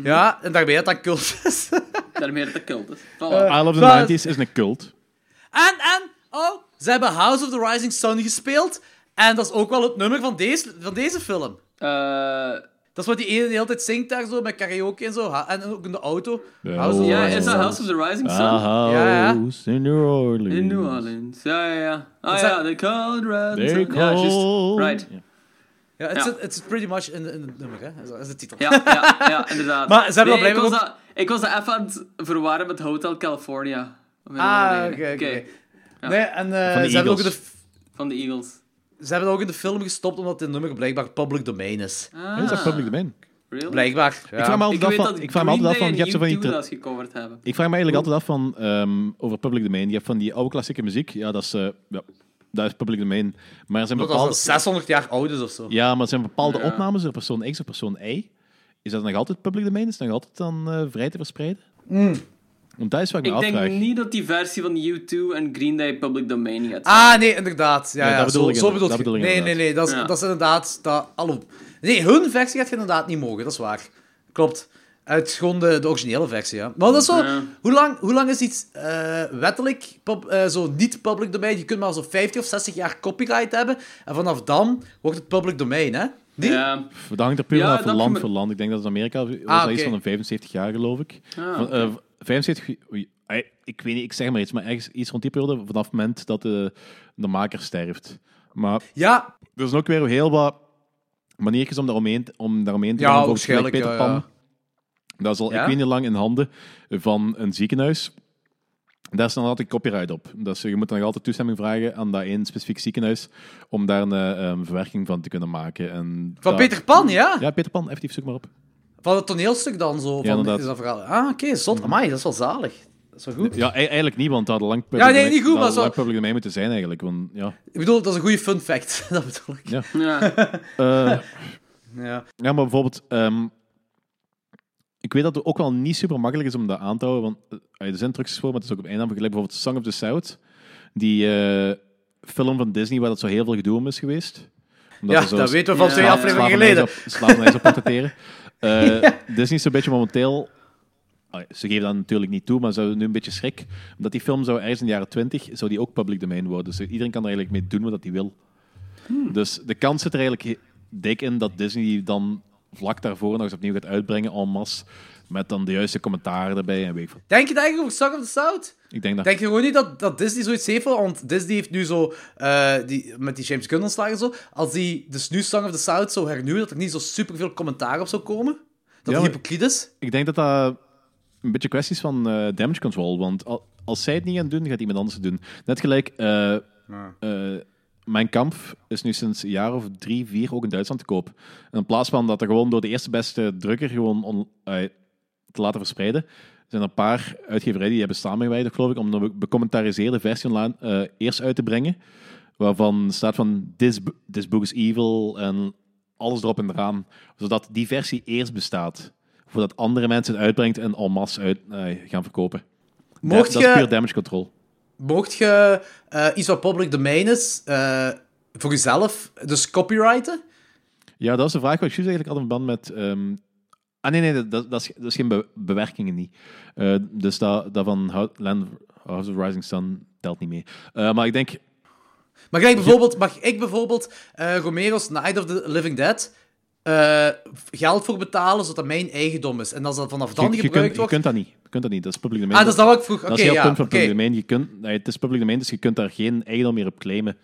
S1: Ja, en daarmee dat dat cult is.
S2: Daarmee dat dat cult is. Voilà.
S3: I Love the
S1: dat-
S3: 90s is een cult.
S1: En, en, oh, ze hebben House of the Rising Sun gespeeld. En dat is ook wel het nummer van deze, van deze film.
S2: Eh,
S1: Dat is wat die ene de hele tijd zingt daar zo, met karaoke en zo. Ha- En ook in de auto.
S3: Ja,
S1: House of the
S2: ja,
S1: Rising
S2: is dat
S1: Sun.
S2: House of the Rising Sun?
S3: Aha,
S1: Ja,
S3: in New Orleans.
S2: In New Orleans. Ja, ja, ja. Ah
S1: Is
S2: ja,
S1: dat-
S2: they call it Rising
S3: They
S2: Sun. Ja, juist.
S3: call-
S2: Right.
S1: Ja, it's,
S2: Ja.
S1: it's pretty much in, in het nummer, hè. Dat is de titel.
S2: Ja, ja, ja, inderdaad.
S1: Maar ze hebben dat
S2: Nee, ik, was
S1: blijkbaar
S2: dat, ik was dat even aan het verwarren met Hotel California. Om een of
S1: Ah,
S2: andere
S1: oké,
S2: reden.
S1: oké.
S2: Oké,
S1: Nee, en eh,
S3: Van de
S1: ze, hebben ook in de,
S3: Eagles.
S1: f-
S2: Van de Eagles.
S1: ze hebben ook in de film gestopt omdat dit nummer blijkbaar public domain is.
S2: Oh.
S3: Ja, Is dat public domain?
S2: Ah, Really?
S1: Blijkbaar. Ja.
S3: Ik vraag me
S2: Ik
S3: altijd af
S2: weet
S3: van,
S2: dat
S3: ik vraag me altijd af
S2: Green
S3: van, je
S2: Day
S3: hebt zo
S2: en
S3: van die
S2: U2
S3: tra-
S2: dat gecoverd hebben.
S3: Ik vraag me eigenlijk altijd af van, ehm, over public domain. Je hebt van die oude klassieke muziek, ja, dat is, eh, ja, dat is public domain. Maar er zijn
S1: Dat
S3: bepaalde,
S1: was 600 jaar oud is of zo.
S3: ja, maar er zijn bepaalde
S2: Ja.
S3: opnames door persoon X of persoon Y. Is dat nog altijd public domain? Is dat nog altijd dan eh, vrij te verspreiden?
S1: Hmm.
S3: Want dat is wat ik me
S2: Ik denk
S3: afvraag.
S2: niet dat die versie van U2 en Green Day public domain gaat zijn.
S1: Ah, nee, inderdaad. Ja,
S3: Ja,
S1: ja,
S3: dat bedoel
S1: zo,
S3: ik
S1: zo
S3: inderdaad,
S1: bedoel
S3: dat
S1: je.
S3: bedoel ik
S1: Nee, nee, nee,
S3: inderdaad.
S1: dat is,
S2: Ja.
S1: dat is inderdaad... Dat, alle... Nee, hun versie gaat je inderdaad niet mogen, dat is waar. Klopt. Het is gewoon de, de originele versie, ja. Maar dat is zo...
S2: Ja.
S1: Hoe, lang, hoe lang is iets eh, wettelijk, pub- eh, zo niet public domein? Je kunt maar zo 50 of 60 jaar copyright hebben. En vanaf dan wordt het public domein, hè? Die?
S2: Ja.
S3: Dat hangt er puur
S2: Ja,
S3: vanaf
S2: dat
S3: land
S2: geme-
S3: voor land. Ik denk dat het in Amerika was
S1: Ah,
S3: dat iets
S1: oké.
S3: van een 75 jaar, geloof ik.
S2: Ah,
S3: Van, eh, 75, oei, ai, ik weet niet, ik zeg maar iets, maar ergens iets rond die periode, vanaf het moment dat de, de maker sterft. Maar
S1: Ja,
S3: er zijn ook weer heel wat maniertjes om daaromheen, om daaromheen te
S1: Ja,
S3: gaan. Bijvoorbeeld
S1: waarschijnlijk,
S3: gelijk
S1: ja, ja.
S3: Dat is al
S1: Ja?
S3: ik weet niet lang in handen van een ziekenhuis. Daar is nog altijd copyright op. Dus je moet dan nog altijd toestemming vragen aan dat één specifiek ziekenhuis om daar een eh, een verwerking van te kunnen maken. En
S1: van
S3: dat-
S1: Peter Pan, ja?
S3: Ja, Peter Pan, effectief, zoek maar op.
S1: Van het toneelstuk dan, zo. Van,
S3: inderdaad. Mm.
S1: is dat verhaal. Ah, oké, zot. Amai, dat is wel zalig. Dat is wel goed.
S3: Ja, e- eigenlijk niet, want dat had lang public
S1: Ja, nee,
S3: domein-
S1: niet goed,
S3: dat
S1: maar
S3: had
S1: zo-
S3: lang public domein moeten zijn eigenlijk. Want, ja.
S1: Ik bedoel, dat is een goede fun fact. dat bedoel ik.
S2: Ja.
S3: Eh,
S1: Ja.
S3: ja, maar bijvoorbeeld... ehm, ik weet dat het ook wel niet super makkelijk is om dat aan te houden, want eh, er zijn trucjes voor, maar het is ook op één naam vergelijk. Bijvoorbeeld Song of the South, die eh, film van Disney waar dat zo heel veel gedoe om is geweest. Omdat
S1: Ja,
S3: er zo
S1: dat weten we van
S2: Ja.
S1: twee
S2: Ja,
S1: afleveringen
S3: slavernij
S1: geleden.
S3: zou- Slavernij zou portretteren. Eh, Disney is een beetje momenteel... ah, Ze geven dat natuurlijk niet toe, maar ze hebben nu een beetje schrik. Omdat die film zou ergens in de jaren 20 zou die ook public domain worden. Dus iedereen kan er eigenlijk mee doen wat hij wil. Dus de kans zit er eigenlijk he- dik in dat Disney dan vlak daarvoor nog eens opnieuw gaat uitbrengen, en masse, met dan de juiste commentaren erbij en weet ik veel.
S1: Denk je dat eigenlijk over Song of the South?
S3: Ik denk dat...
S1: Denk je gewoon niet dat, dat Disney zoiets heeft? Want Disney heeft nu zo, eh, die, met die James Gunn ontslagen en zo, als die de nu Song of the South zou hernieuwen, dat er niet zo superveel commentaar op zou komen. Dat
S3: Ja,
S1: het
S3: maar-
S1: hypocriet is.
S3: Ik denk dat dat een beetje kwesties van eh, damage control. Want al- als zij het niet gaan doen, gaat iemand anders het doen. Net gelijk, eh, eh, Mijn Kamp is nu sinds een jaar of drie, vier ook in Duitsland te koop. En in plaats van dat er gewoon door de eerste beste drukker gewoon on- eh, te laten verspreiden, zijn er een paar uitgeverijen die hebben samengewerkt, geloof ik, om een be- becommentariseerde versie online eh, eerst uit te brengen. Waarvan staat van, this, b- this book is evil en alles erop en eraan. Zodat die versie eerst bestaat. Voordat andere mensen het uitbrengt en en masse uit, eh, gaan verkopen.
S1: Mocht
S3: dat, dat is puur
S1: je,
S3: damage control.
S1: mocht je eh, iets wat public domain is, eh, voor jezelf, dus copyrighten?
S3: Ja, dat is de vraag wat Shoes eigenlijk had in verband met... ehm, ah, nee, nee, dat, dat, is, dat is geen be- bewerkingen niet. Eh, dus dat, dat van Hou- Land, House of Rising Sun telt niet mee. Eh, maar ik denk...
S1: Mag ik bijvoorbeeld, mag ik bijvoorbeeld eh, Romero's Night of the Living Dead eh, geld voor betalen, zodat dat mijn eigendom is? En als dat vanaf
S3: Je,
S1: dan
S3: je
S1: gebruikt
S3: kunt, je
S1: wordt...
S3: kunt dat niet. Je kunt dat niet. Dat is public domain.
S1: Ah, dat is dan wat ik vroeg. Oké,
S3: dat is heel
S1: ja.
S3: punt van
S1: oké.
S3: public domein. Je kunt, nee, het is public domain, dus je kunt daar geen eigendom meer op claimen.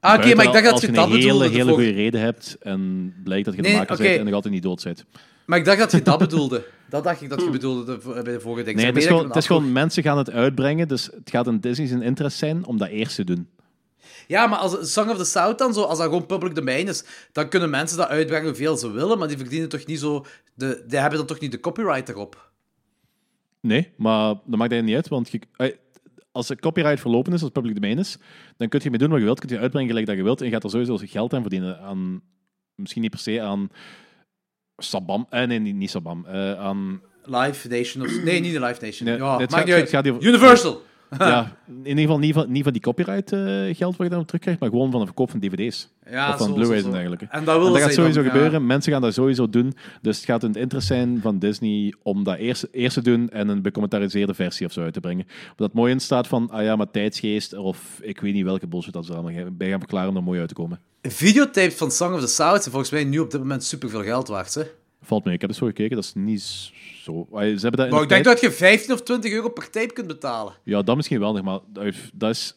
S1: Ah, oké,
S3: Buiten
S1: maar ik dacht dat
S3: als
S1: je
S3: je
S1: dat
S3: een hele,
S1: bedoelde.
S3: hele
S1: voor-
S3: goede reden hebt en blijkt dat je
S1: Nee,
S3: de maker
S1: oké.
S3: bent en nog altijd niet dood bent.
S1: Maar ik dacht dat je dat bedoelde. Dat dacht ik dat je bedoelde de- bij de vorige dingen.
S3: Nee, het is, gewoon, het is gewoon mensen gaan het uitbrengen, dus het gaat in Disney zijn interesse zijn om dat eerst te doen.
S1: Ja, maar als Song of the South dan zo, als dat gewoon public domain is, dan kunnen mensen dat uitbrengen hoeveel ze willen, maar die verdienen toch niet zo... De, die hebben dan toch niet de copyright erop?
S3: Nee, maar dat maakt eigenlijk niet uit, want je, eh, als de copyright verlopen is, als het public domein is, dan kun je mee doen wat je wilt, kun je uitbrengen gelijk dat je wilt en je gaat er sowieso geld aan verdienen. Aan, misschien niet per se aan Sabam, eh, nee, niet, niet Sabam, eh, aan...
S1: Live Nation of... Nee, niet de Live Nation.
S3: Nee,
S1: ja,
S3: het
S1: maakt
S3: gaat-
S1: niet uit.
S3: het gaat hier-
S1: Universal!
S3: ja, in ieder geval niet van, niet van die copyright eh, geld wat je dan terugkrijgt, maar gewoon van de verkoop van dvd's.
S1: Ja,
S3: of van
S1: zo,
S3: Blu-rays
S1: zo,
S3: en
S1: zo.
S3: dergelijke.
S1: En dat wil
S3: En dat gaat sowieso
S1: dan, ja.
S3: gebeuren. Mensen gaan dat sowieso doen. Dus het gaat in het interesse zijn van Disney om dat eerst, eerst te doen en een becommentariseerde versie of zo uit te brengen. Omdat mooi in staat van, ah ja, maar tijdsgeest of ik weet niet welke bullshit dat ze er allemaal bij gaan verklaren om er mooi uit te komen.
S1: Videotapes van Song of the South zijn volgens mij nu op dit moment superveel geld waard. Hè?
S3: Valt mee. Ik heb het zo gekeken. Dat is niet zo... Ah, Ze hebben dat
S1: Maar
S3: in de
S1: ik denk dat
S3: tijd-
S1: je 15 of 20 euro per tape kunt betalen.
S3: Ja, dat misschien wel nog, maar dat heeft- dat is...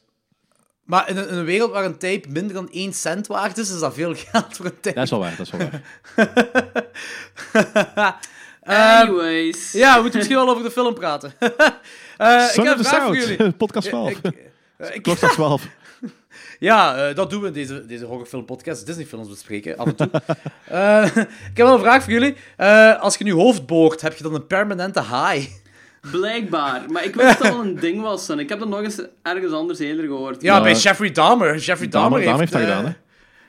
S1: Maar in een, in een wereld waar een tape minder dan 1 cent waard is, is dat veel geld voor een tape.
S3: Dat is wel waar, dat is wel waar.
S2: Anyways.
S1: Ja, we moeten misschien wel over de film praten. Eh, ik
S3: Son
S1: heb
S3: of
S1: een
S3: the
S1: vraag voor jullie.
S3: South, podcast 12.
S1: Ik- eh, ik-
S3: Klokstad 12.
S1: ja, eh, dat doen we in deze, deze horrorfilmpodcast. Disney-films bespreken, af en toe. Eh, ik heb wel een vraag voor jullie. Eh, als je nu hoofd boort, heb je dan een permanente high?
S2: Blijkbaar. Maar ik wist dat al een ding was. En ik heb dat nog eens ergens anders eerder gehoord.
S1: Ja,
S3: Ja.
S1: bij Jeffrey Dahmer. Jeffrey Dahmer,
S3: Dame, heeft dat
S1: eh,
S3: gedaan, hè.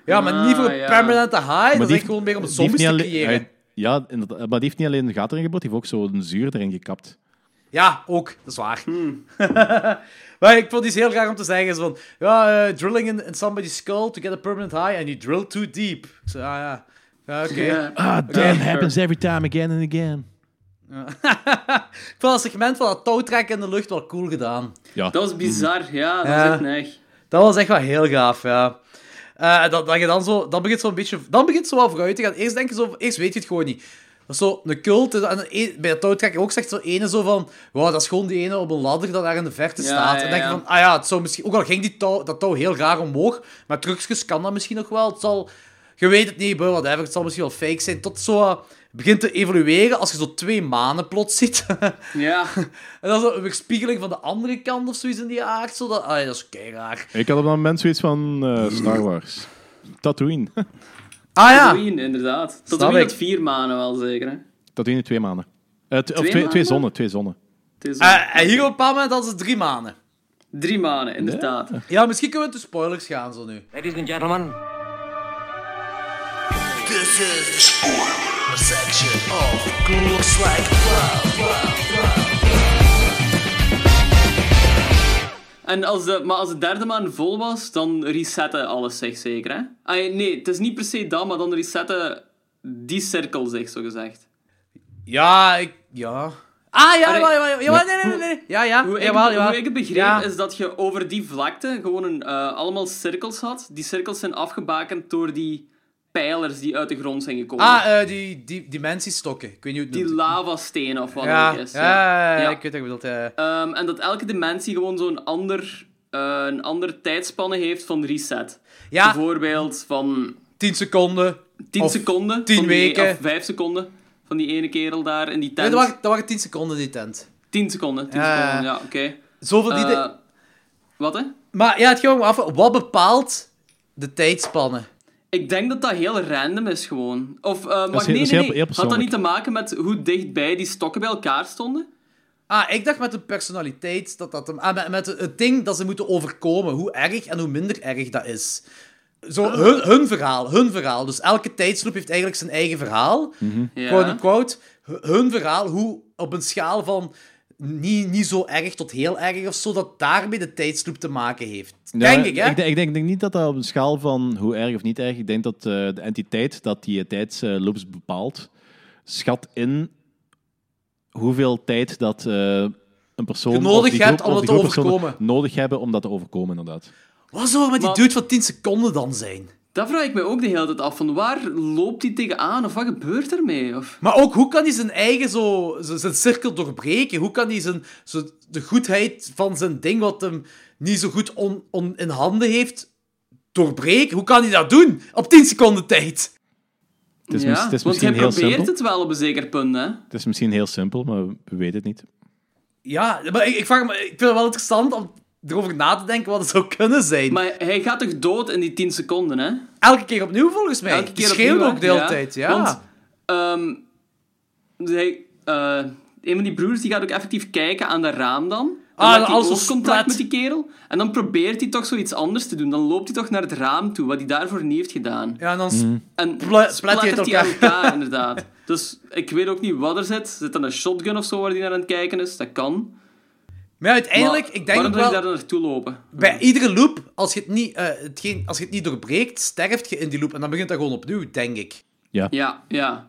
S1: Ja, maar niet voor een
S2: Ah, ja.
S1: permanente high. dat
S3: die
S1: is echt
S3: heeft-
S1: gewoon meer om
S3: die
S1: zombies
S3: heeft niet
S1: te
S3: alleen-
S1: creëren.
S3: hij- ja, inderdaad. maar die heeft niet alleen een gat erin geboord, die heeft ook zo'n zuur erin gekapt.
S1: Ja, ook. Dat is waar. maar ik vond iets heel graag om te zeggen. is van, ja, eh, drilling in, in somebody's skull to get a permanent high and you drill too deep. Ik zei, ah ja. Ja, oké.
S2: Ja.
S3: Ah, damn, happens every time, again and again.
S1: ik vond dat segment van dat touwtrekken in de lucht wel cool gedaan.
S3: Ja,
S2: Dat was bizar. Ja, dat
S1: Ja.
S2: is echt neig.
S1: Dat was echt wel heel gaaf, ja. Eh, dat, dat je dan zo... Dan begint zo'n beetje... Dan begint zo wel vooruit te gaan. Eerst denk je zo... Eerst weet je het gewoon niet. Dat is zo een cult. En dan een- bij dat touwtrekken ook zegt zo'n ene zo van... Wow, dat is gewoon die ene op een ladder dat daar in de verte
S2: Ja,
S1: staat.
S2: ja,
S1: en dan denk je
S2: ja.
S1: van... Ah ja, het zou misschien... Ook al ging die touw, dat touw heel raar omhoog. Maar trucjes kan dat misschien nog wel. Het zal... Je weet het niet, bro, whatever. Het zal misschien wel fake zijn. Tot zo... eh, begint te evolueren als je zo twee manen plots ziet.
S2: Ja.
S1: en dan zo een weerspiegeling van de andere kant of zoiets in die aard. Zo dat, ah, ja, dat is kei raar.
S3: ik had op dat moment zoiets van eh, Star Wars. Tatooine.
S1: Ah ja!
S2: Tatooine, inderdaad.
S1: Snap
S2: Tatooine
S1: ik.
S2: had vier manen wel zeker, hè.
S3: Tatooine twee maanden. Eh, t- of
S2: Twee
S3: twee, twee
S2: maanden?
S3: zonnen, twee zonnen.
S2: Het is
S1: Eh, en hier op een bepaald moment hadden ze drie maanden.
S2: drie manen, inderdaad.
S1: Ja, misschien kunnen we de spoilers gaan zo nu.
S8: Ladies and gentlemen,
S4: This is the spoiler section of Looks Like Wow, Wow, Wow.
S2: En als de, maar als de derde maan vol was, dan resetten alles zich zeker, hè? Ah, nee, het is niet per se dat, maar dan resetten die cirkel zich, zo gezegd.
S1: Ja, ik... Ja... Ah, ja,
S2: Allee.
S1: jawel, jawel, jawel, jawel, nee, nee, nee, nee. Ja, ja,
S2: Hoe ik,
S1: jawel, jawel.
S2: hoe ik het begreep
S1: Ja.
S2: is dat je over die vlakte gewoon een, eh, allemaal cirkels had. Die cirkels zijn afgebakend door die pijlers die uit de grond zijn gekomen.
S1: Ah, eh, die, die dimensiestokken. Ik weet niet hoe het
S2: die
S1: noemt.
S2: lavastenen of wat
S1: ja,
S2: het is.
S1: ja, ja, ja,
S2: Ja.
S1: ik weet wat je bedoelt. eh.
S2: Ehm, en dat elke dimensie gewoon zo'n ander, eh, een andere tijdspanne heeft van reset.
S1: ja,
S2: Bijvoorbeeld van
S1: 10 seconden.
S2: 10
S1: Of
S2: seconden.
S1: 10
S2: van die-
S1: weken.
S2: Of 5 seconden. Van die ene kerel daar in die
S1: Nee,
S2: tent.
S1: dat waren, dat waren 10 seconden in die tent.
S2: 10 seconden. 10
S1: Ja, ja.
S2: seconden, ja, oké.
S1: Zoveel die...
S2: Eh,
S1: de-
S2: wat hè?
S1: Maar ja, het ging me af. Wat bepaalt de tijdspannen?
S2: Ik denk dat dat heel random is gewoon. Of, eh, maar
S3: is
S2: nee,
S3: heel- dat is
S2: nee,
S3: heel-
S2: nee.
S3: heel
S2: Had dat
S3: persoonlijk.
S2: niet te maken met hoe dichtbij die stokken bij elkaar stonden?
S1: Ah, ik dacht met de personaliteit dat dat hem. Ah, met, met het ding dat ze moeten overkomen. Hoe erg en hoe minder erg dat is. Zo, hun, hun verhaal, hun verhaal. Dus elke tijdsloop heeft eigenlijk zijn eigen verhaal.
S2: Ja.
S1: Quote unquote. Hu- Hun verhaal, hoe op een schaal van niet, niet zo erg tot heel erg of zo, dat daarmee de tijdsloop te maken heeft. denk ik, hè?
S3: Ik, denk- ik denk, ik denk niet dat dat op een schaal van hoe erg of niet erg. Ik denk dat eh, de entiteit dat die eh, tijdsloops bepaalt, schat in hoeveel tijd dat eh, een persoon.
S1: Je
S3: of
S1: nodig
S3: die
S1: hebt om
S3: groep- of
S1: het
S3: die
S1: te
S3: groep personen
S1: overkomen.
S3: Nodig hebben om dat te overkomen, inderdaad.
S1: Wat zou er met die
S2: Maar-
S1: dude van 10 seconden dan zijn?
S2: Dat vraag ik me ook de hele tijd af. Van waar loopt die tegenaan? Of wat gebeurt ermee? Of...
S1: Maar ook, hoe kan hij zijn eigen zo, z- zijn cirkel doorbreken? Hoe kan hij zijn, zo, de goedheid van zijn ding, wat hem niet zo goed on, on- in handen heeft, doorbreken? Hoe kan hij dat doen? Op 10 seconden tijd.
S3: Het is,
S2: ja,
S3: mis- het is
S2: want hij
S3: misschien heel
S2: probeert
S3: simpel.
S2: het wel op een zeker punt, hè?
S3: Het is misschien heel simpel, maar we weten het niet.
S1: Ja, maar ik, ik, vraag me, ik vind het wel interessant om erover na te denken wat het zou kunnen zijn.
S2: Maar hij gaat toch dood in die 10 seconden, hè?
S1: Elke keer opnieuw, volgens mij.
S2: Elke
S1: Die
S2: keer
S1: schreeuwde
S2: opnieuw, hè?
S1: ook de hele tijd, ja.
S2: Want, ehm, hij, eh, een van die broers die gaat ook effectief kijken aan dat raam dan. Dan
S1: Ah,
S2: maakt hij
S1: alles zo
S2: oogcontact
S1: splat.
S2: met die kerel. En dan probeert hij toch zoiets anders te doen. Dan loopt hij toch naar het raam toe, wat hij daarvoor niet heeft gedaan.
S1: Ja, en dan... s-
S2: En
S1: Spla- splat hij het
S2: splattert hij aan
S1: elkaar.
S2: elkaar, inderdaad. Dus ik weet ook niet wat er zit. Zit er een shotgun of zo waar hij naar aan het kijken is? Dat kan.
S1: Maar uiteindelijk, ik denk
S2: waarom
S1: ook wel...
S2: zou je daar naartoe lopen?
S1: Bij iedere loop, als je, het niet, eh, hetgeen, als je het niet doorbreekt, sterft je in die loop. En dan begint dat gewoon opnieuw, denk ik.
S2: Ja, ja.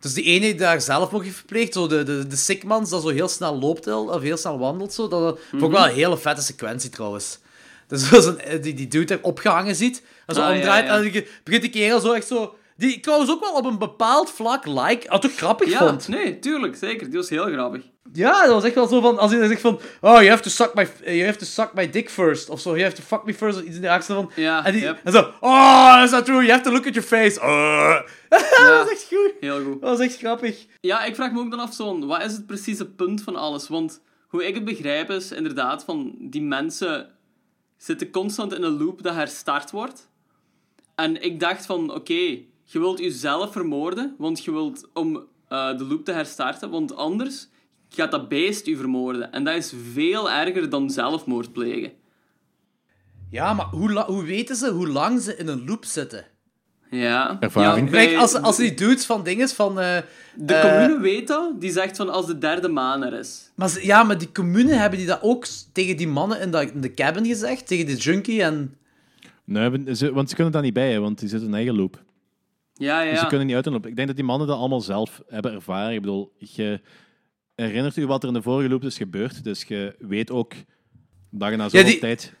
S1: Dus die ene die daar zelf nog heeft verpleegd, zo de, de, de Sigmans, dat zo heel snel loopt heel- of heel snel wandelt. Zo, dat vond ik
S2: Mhm.
S1: wel een hele vette sequentie trouwens. Dus zoals een, eh, die, die dude daar opgehangen ziet, en zo
S2: Ah, ja,
S1: omdraait,
S2: ja.
S1: en die begint die kerel zo echt zo... Die ik trouwens ook wel op een bepaald vlak like, ah, toch grappig
S2: Ja,
S1: vond.
S2: nee, tuurlijk, zeker. Die was heel grappig.
S1: Ja, dat was echt wel zo van, als hij dan zegt van, oh, you have to suck my, you have to suck my dick first, of zo, you have to fuck me first, of iets in de achtste van,
S2: Ja,
S1: en, die,
S2: yep.
S1: en zo, oh, that's not true, you have to look at your face, Ah. dat was echt goed,
S2: Heel goed.
S1: dat was echt grappig.
S2: Ja, ik vraag me ook dan af, zo'n, wat is het precieze punt van alles? Want hoe ik het begrijp is inderdaad van die mensen zitten constant in een loop dat herstart wordt. En ik dacht van, oké, je wilt jezelf vermoorden, want je wilt om eh, de loop te herstarten, want anders gaat dat beest u vermoorden. En dat is veel erger dan zelfmoord plegen.
S1: Ja, maar hoe, la- hoe weten ze hoe lang ze in een loop zitten?
S2: Ja.
S3: Ervaring.
S2: Ja, bij-
S1: Kijk, als, als die dudes van dinges van... eh,
S2: De
S1: eh,
S2: commune weet dat, die zegt van als de derde maan er is.
S1: maar ze- ja, maar die commune hebben die dat ook s- tegen die mannen in, dat, in de cabin gezegd, tegen die junkie en...
S3: Nee, want Nou, ze- want ze kunnen daar niet bij, hè, want die zitten in eigen loop.
S2: Ja, ja.
S3: Dus
S2: ja.
S3: ze kunnen niet uit hun loop. Ik denk dat die mannen dat allemaal zelf hebben ervaren. Ik bedoel, je herinnert u wat er in de vorige loop is gebeurd, dus je weet ook dagen na zo'n
S1: die-
S3: tijd...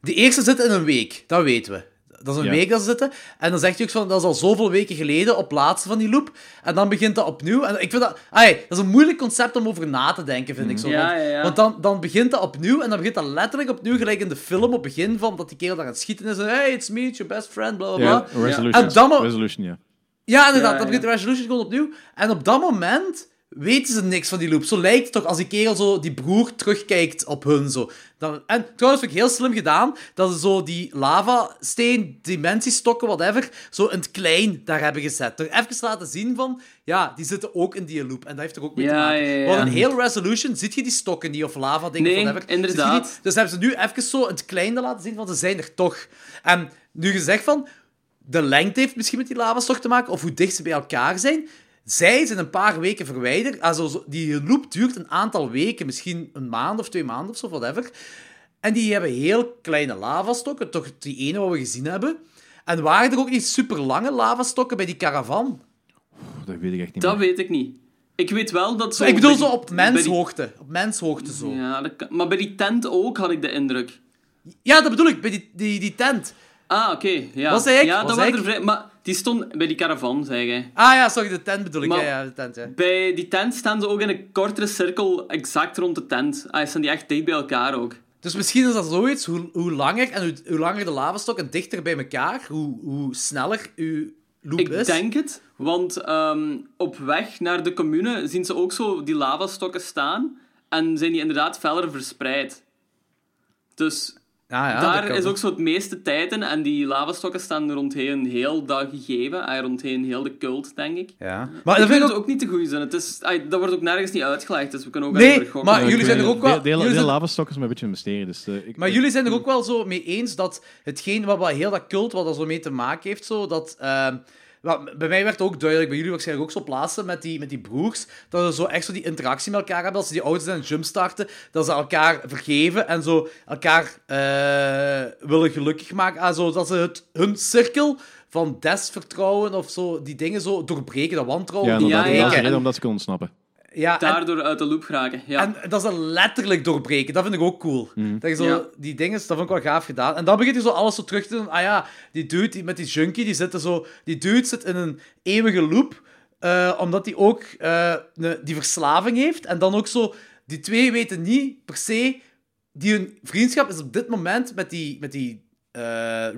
S1: De eerste zitten in een week, dat weten we. Dat is een
S3: Ja.
S1: week dat ze zitten. En dan zegt hij ook van, dat is al zoveel weken geleden op plaatsen van die loop. En dan begint dat opnieuw. En ik vind dat... ai, dat is een moeilijk concept om over na te denken, vind ik zo.
S2: Mm. Ja,
S1: want
S2: ja, ja.
S1: want dan, dan begint dat opnieuw. En dan begint dat letterlijk opnieuw, gelijk in de film op het begin van dat die kerel daar aan het schieten is. En, hey, it's me, it's your best friend, bla bla bla.
S3: Ja, eh, resolution.
S1: En dan-
S3: resolution, ja.
S1: Ja, inderdaad.
S2: Ja,
S1: dan
S2: ja.
S1: begint de resolution gewoon opnieuw. En op dat moment weten ze niks van die loop. Zo lijkt het toch als die kerel zo die broer terugkijkt op hun. Zo. Dan, en trouwens vind ik heel slim gedaan dat ze zo die lavasteen, dimensiestokken, whatever, zo in het klein daar hebben gezet. Er even laten zien van, ja, die zitten ook in die loop. En dat heeft er ook mee te
S2: Ja,
S1: maken.
S2: ja, ja.
S1: Want in heel resolution ziet je die stokken niet, of lava dingen,
S2: Nee,
S1: of whatever.
S2: inderdaad.
S1: Ziet je die? Dus hebben ze nu even zo in het klein laten zien, want ze zijn er toch. En nu gezegd van, de lengte heeft misschien met die lavastorm te maken, of hoe dicht ze bij elkaar zijn. Zij zijn een paar weken verwijderd. Also, zo- die loop duurt een aantal weken, misschien een maand of twee maanden of zo, whatever. En die hebben heel kleine lavastokken, toch die ene wat we gezien hebben. En waren er ook niet super lange lavastokken bij die caravan?
S3: Pff, Dat weet ik echt niet
S2: Dat
S3: meer.
S2: weet ik niet. Ik weet wel dat zo...
S1: ik bedoel
S2: bij-
S1: zo op
S2: bij die-
S1: menshoogte. Op menshoogte zo. Ja,
S2: Ja, dat kan- maar bij die tent ook had ik de indruk.
S1: dat bedoel ik, bij die, die, die tent.
S2: Ah, oké. ja.
S1: Wat zei ik?
S2: Ja,
S1: Wat
S2: dat
S1: zei
S2: waren er vrij... Maar die stond bij die caravan, zei jij.
S1: Ah ja, sorry, de tent bedoel ik.
S2: Maar-
S1: Ja, ja, de tent, ja.
S2: Bij die tent staan ze ook in een kortere cirkel exact rond de tent. Ah, staan die echt dicht bij elkaar ook.
S1: Dus misschien is dat zoiets, hoe, hoe langer en hoe, hoe langer de lavastokken dichter bij elkaar, hoe, hoe sneller uw loop
S2: Ik
S1: is.
S2: denk het, want ehm, op weg naar de commune zien ze ook zo die lavastokken staan. En zijn die inderdaad feller verspreid. Dus
S1: Ah ja, dat
S2: Daar
S1: kan.
S2: is ook zo het meeste tijd in. En die lavastokken staan rondheen heel dat gegeven. Ah, rondheen heel de cult, denk ik.
S1: Ja. Maar
S2: ik
S1: dat
S2: vind
S1: vind
S2: het
S1: ik
S2: ook...
S1: ook...
S2: niet te goed zijn. Het is, ah, dat wordt ook nergens niet uitgelegd, dus we kunnen ook
S1: Nee,
S2: alleen maar gokken.
S1: maar jullie zijn er ook wel-
S3: De, de, de,
S1: jullie zijn-
S3: lavastok is maar een beetje een mysterie, dus... eh, ik,
S1: Maar jullie zijn er ook wel zo mee eens dat hetgeen wat, wat heel dat cult, wat dat zo mee te maken heeft, zo, dat... ehm, wat- bij mij werd ook duidelijk, bij jullie waarschijnlijk ook zo plaatsen met die, met die broers, dat ze zo echt zo die interactie met elkaar hebben, als ze die ouders aan jump starten, dat ze elkaar vergeven en zo elkaar eh, willen gelukkig maken. Ah, zo, dat ze het, hun cirkel van desvertrouwen of zo, die dingen zo doorbreken, dat wantrouwen
S3: Ja, inderdaad.
S2: Ja, ja.
S3: dat is de
S1: doorbreken.
S3: reden omdat ze kunnen ontsnappen.
S1: Ja, en-
S2: Daardoor uit de loop geraken. Ja. Mhm.
S1: en dat ze letterlijk doorbreken, dat vind ik ook cool. Dat je zo,
S2: Ja.
S1: die dingen, dat vond ik wel gaaf gedaan. En dan begint je zo alles zo terug te doen. Ah ja, die dude die, met die junkie, die zitten zo... Die dude zit in een eeuwige loop, eh, omdat die ook eh, ne- die verslaving heeft. En dan ook zo, die twee weten niet per se... Die hun vriendschap is op dit moment met die, met die eh,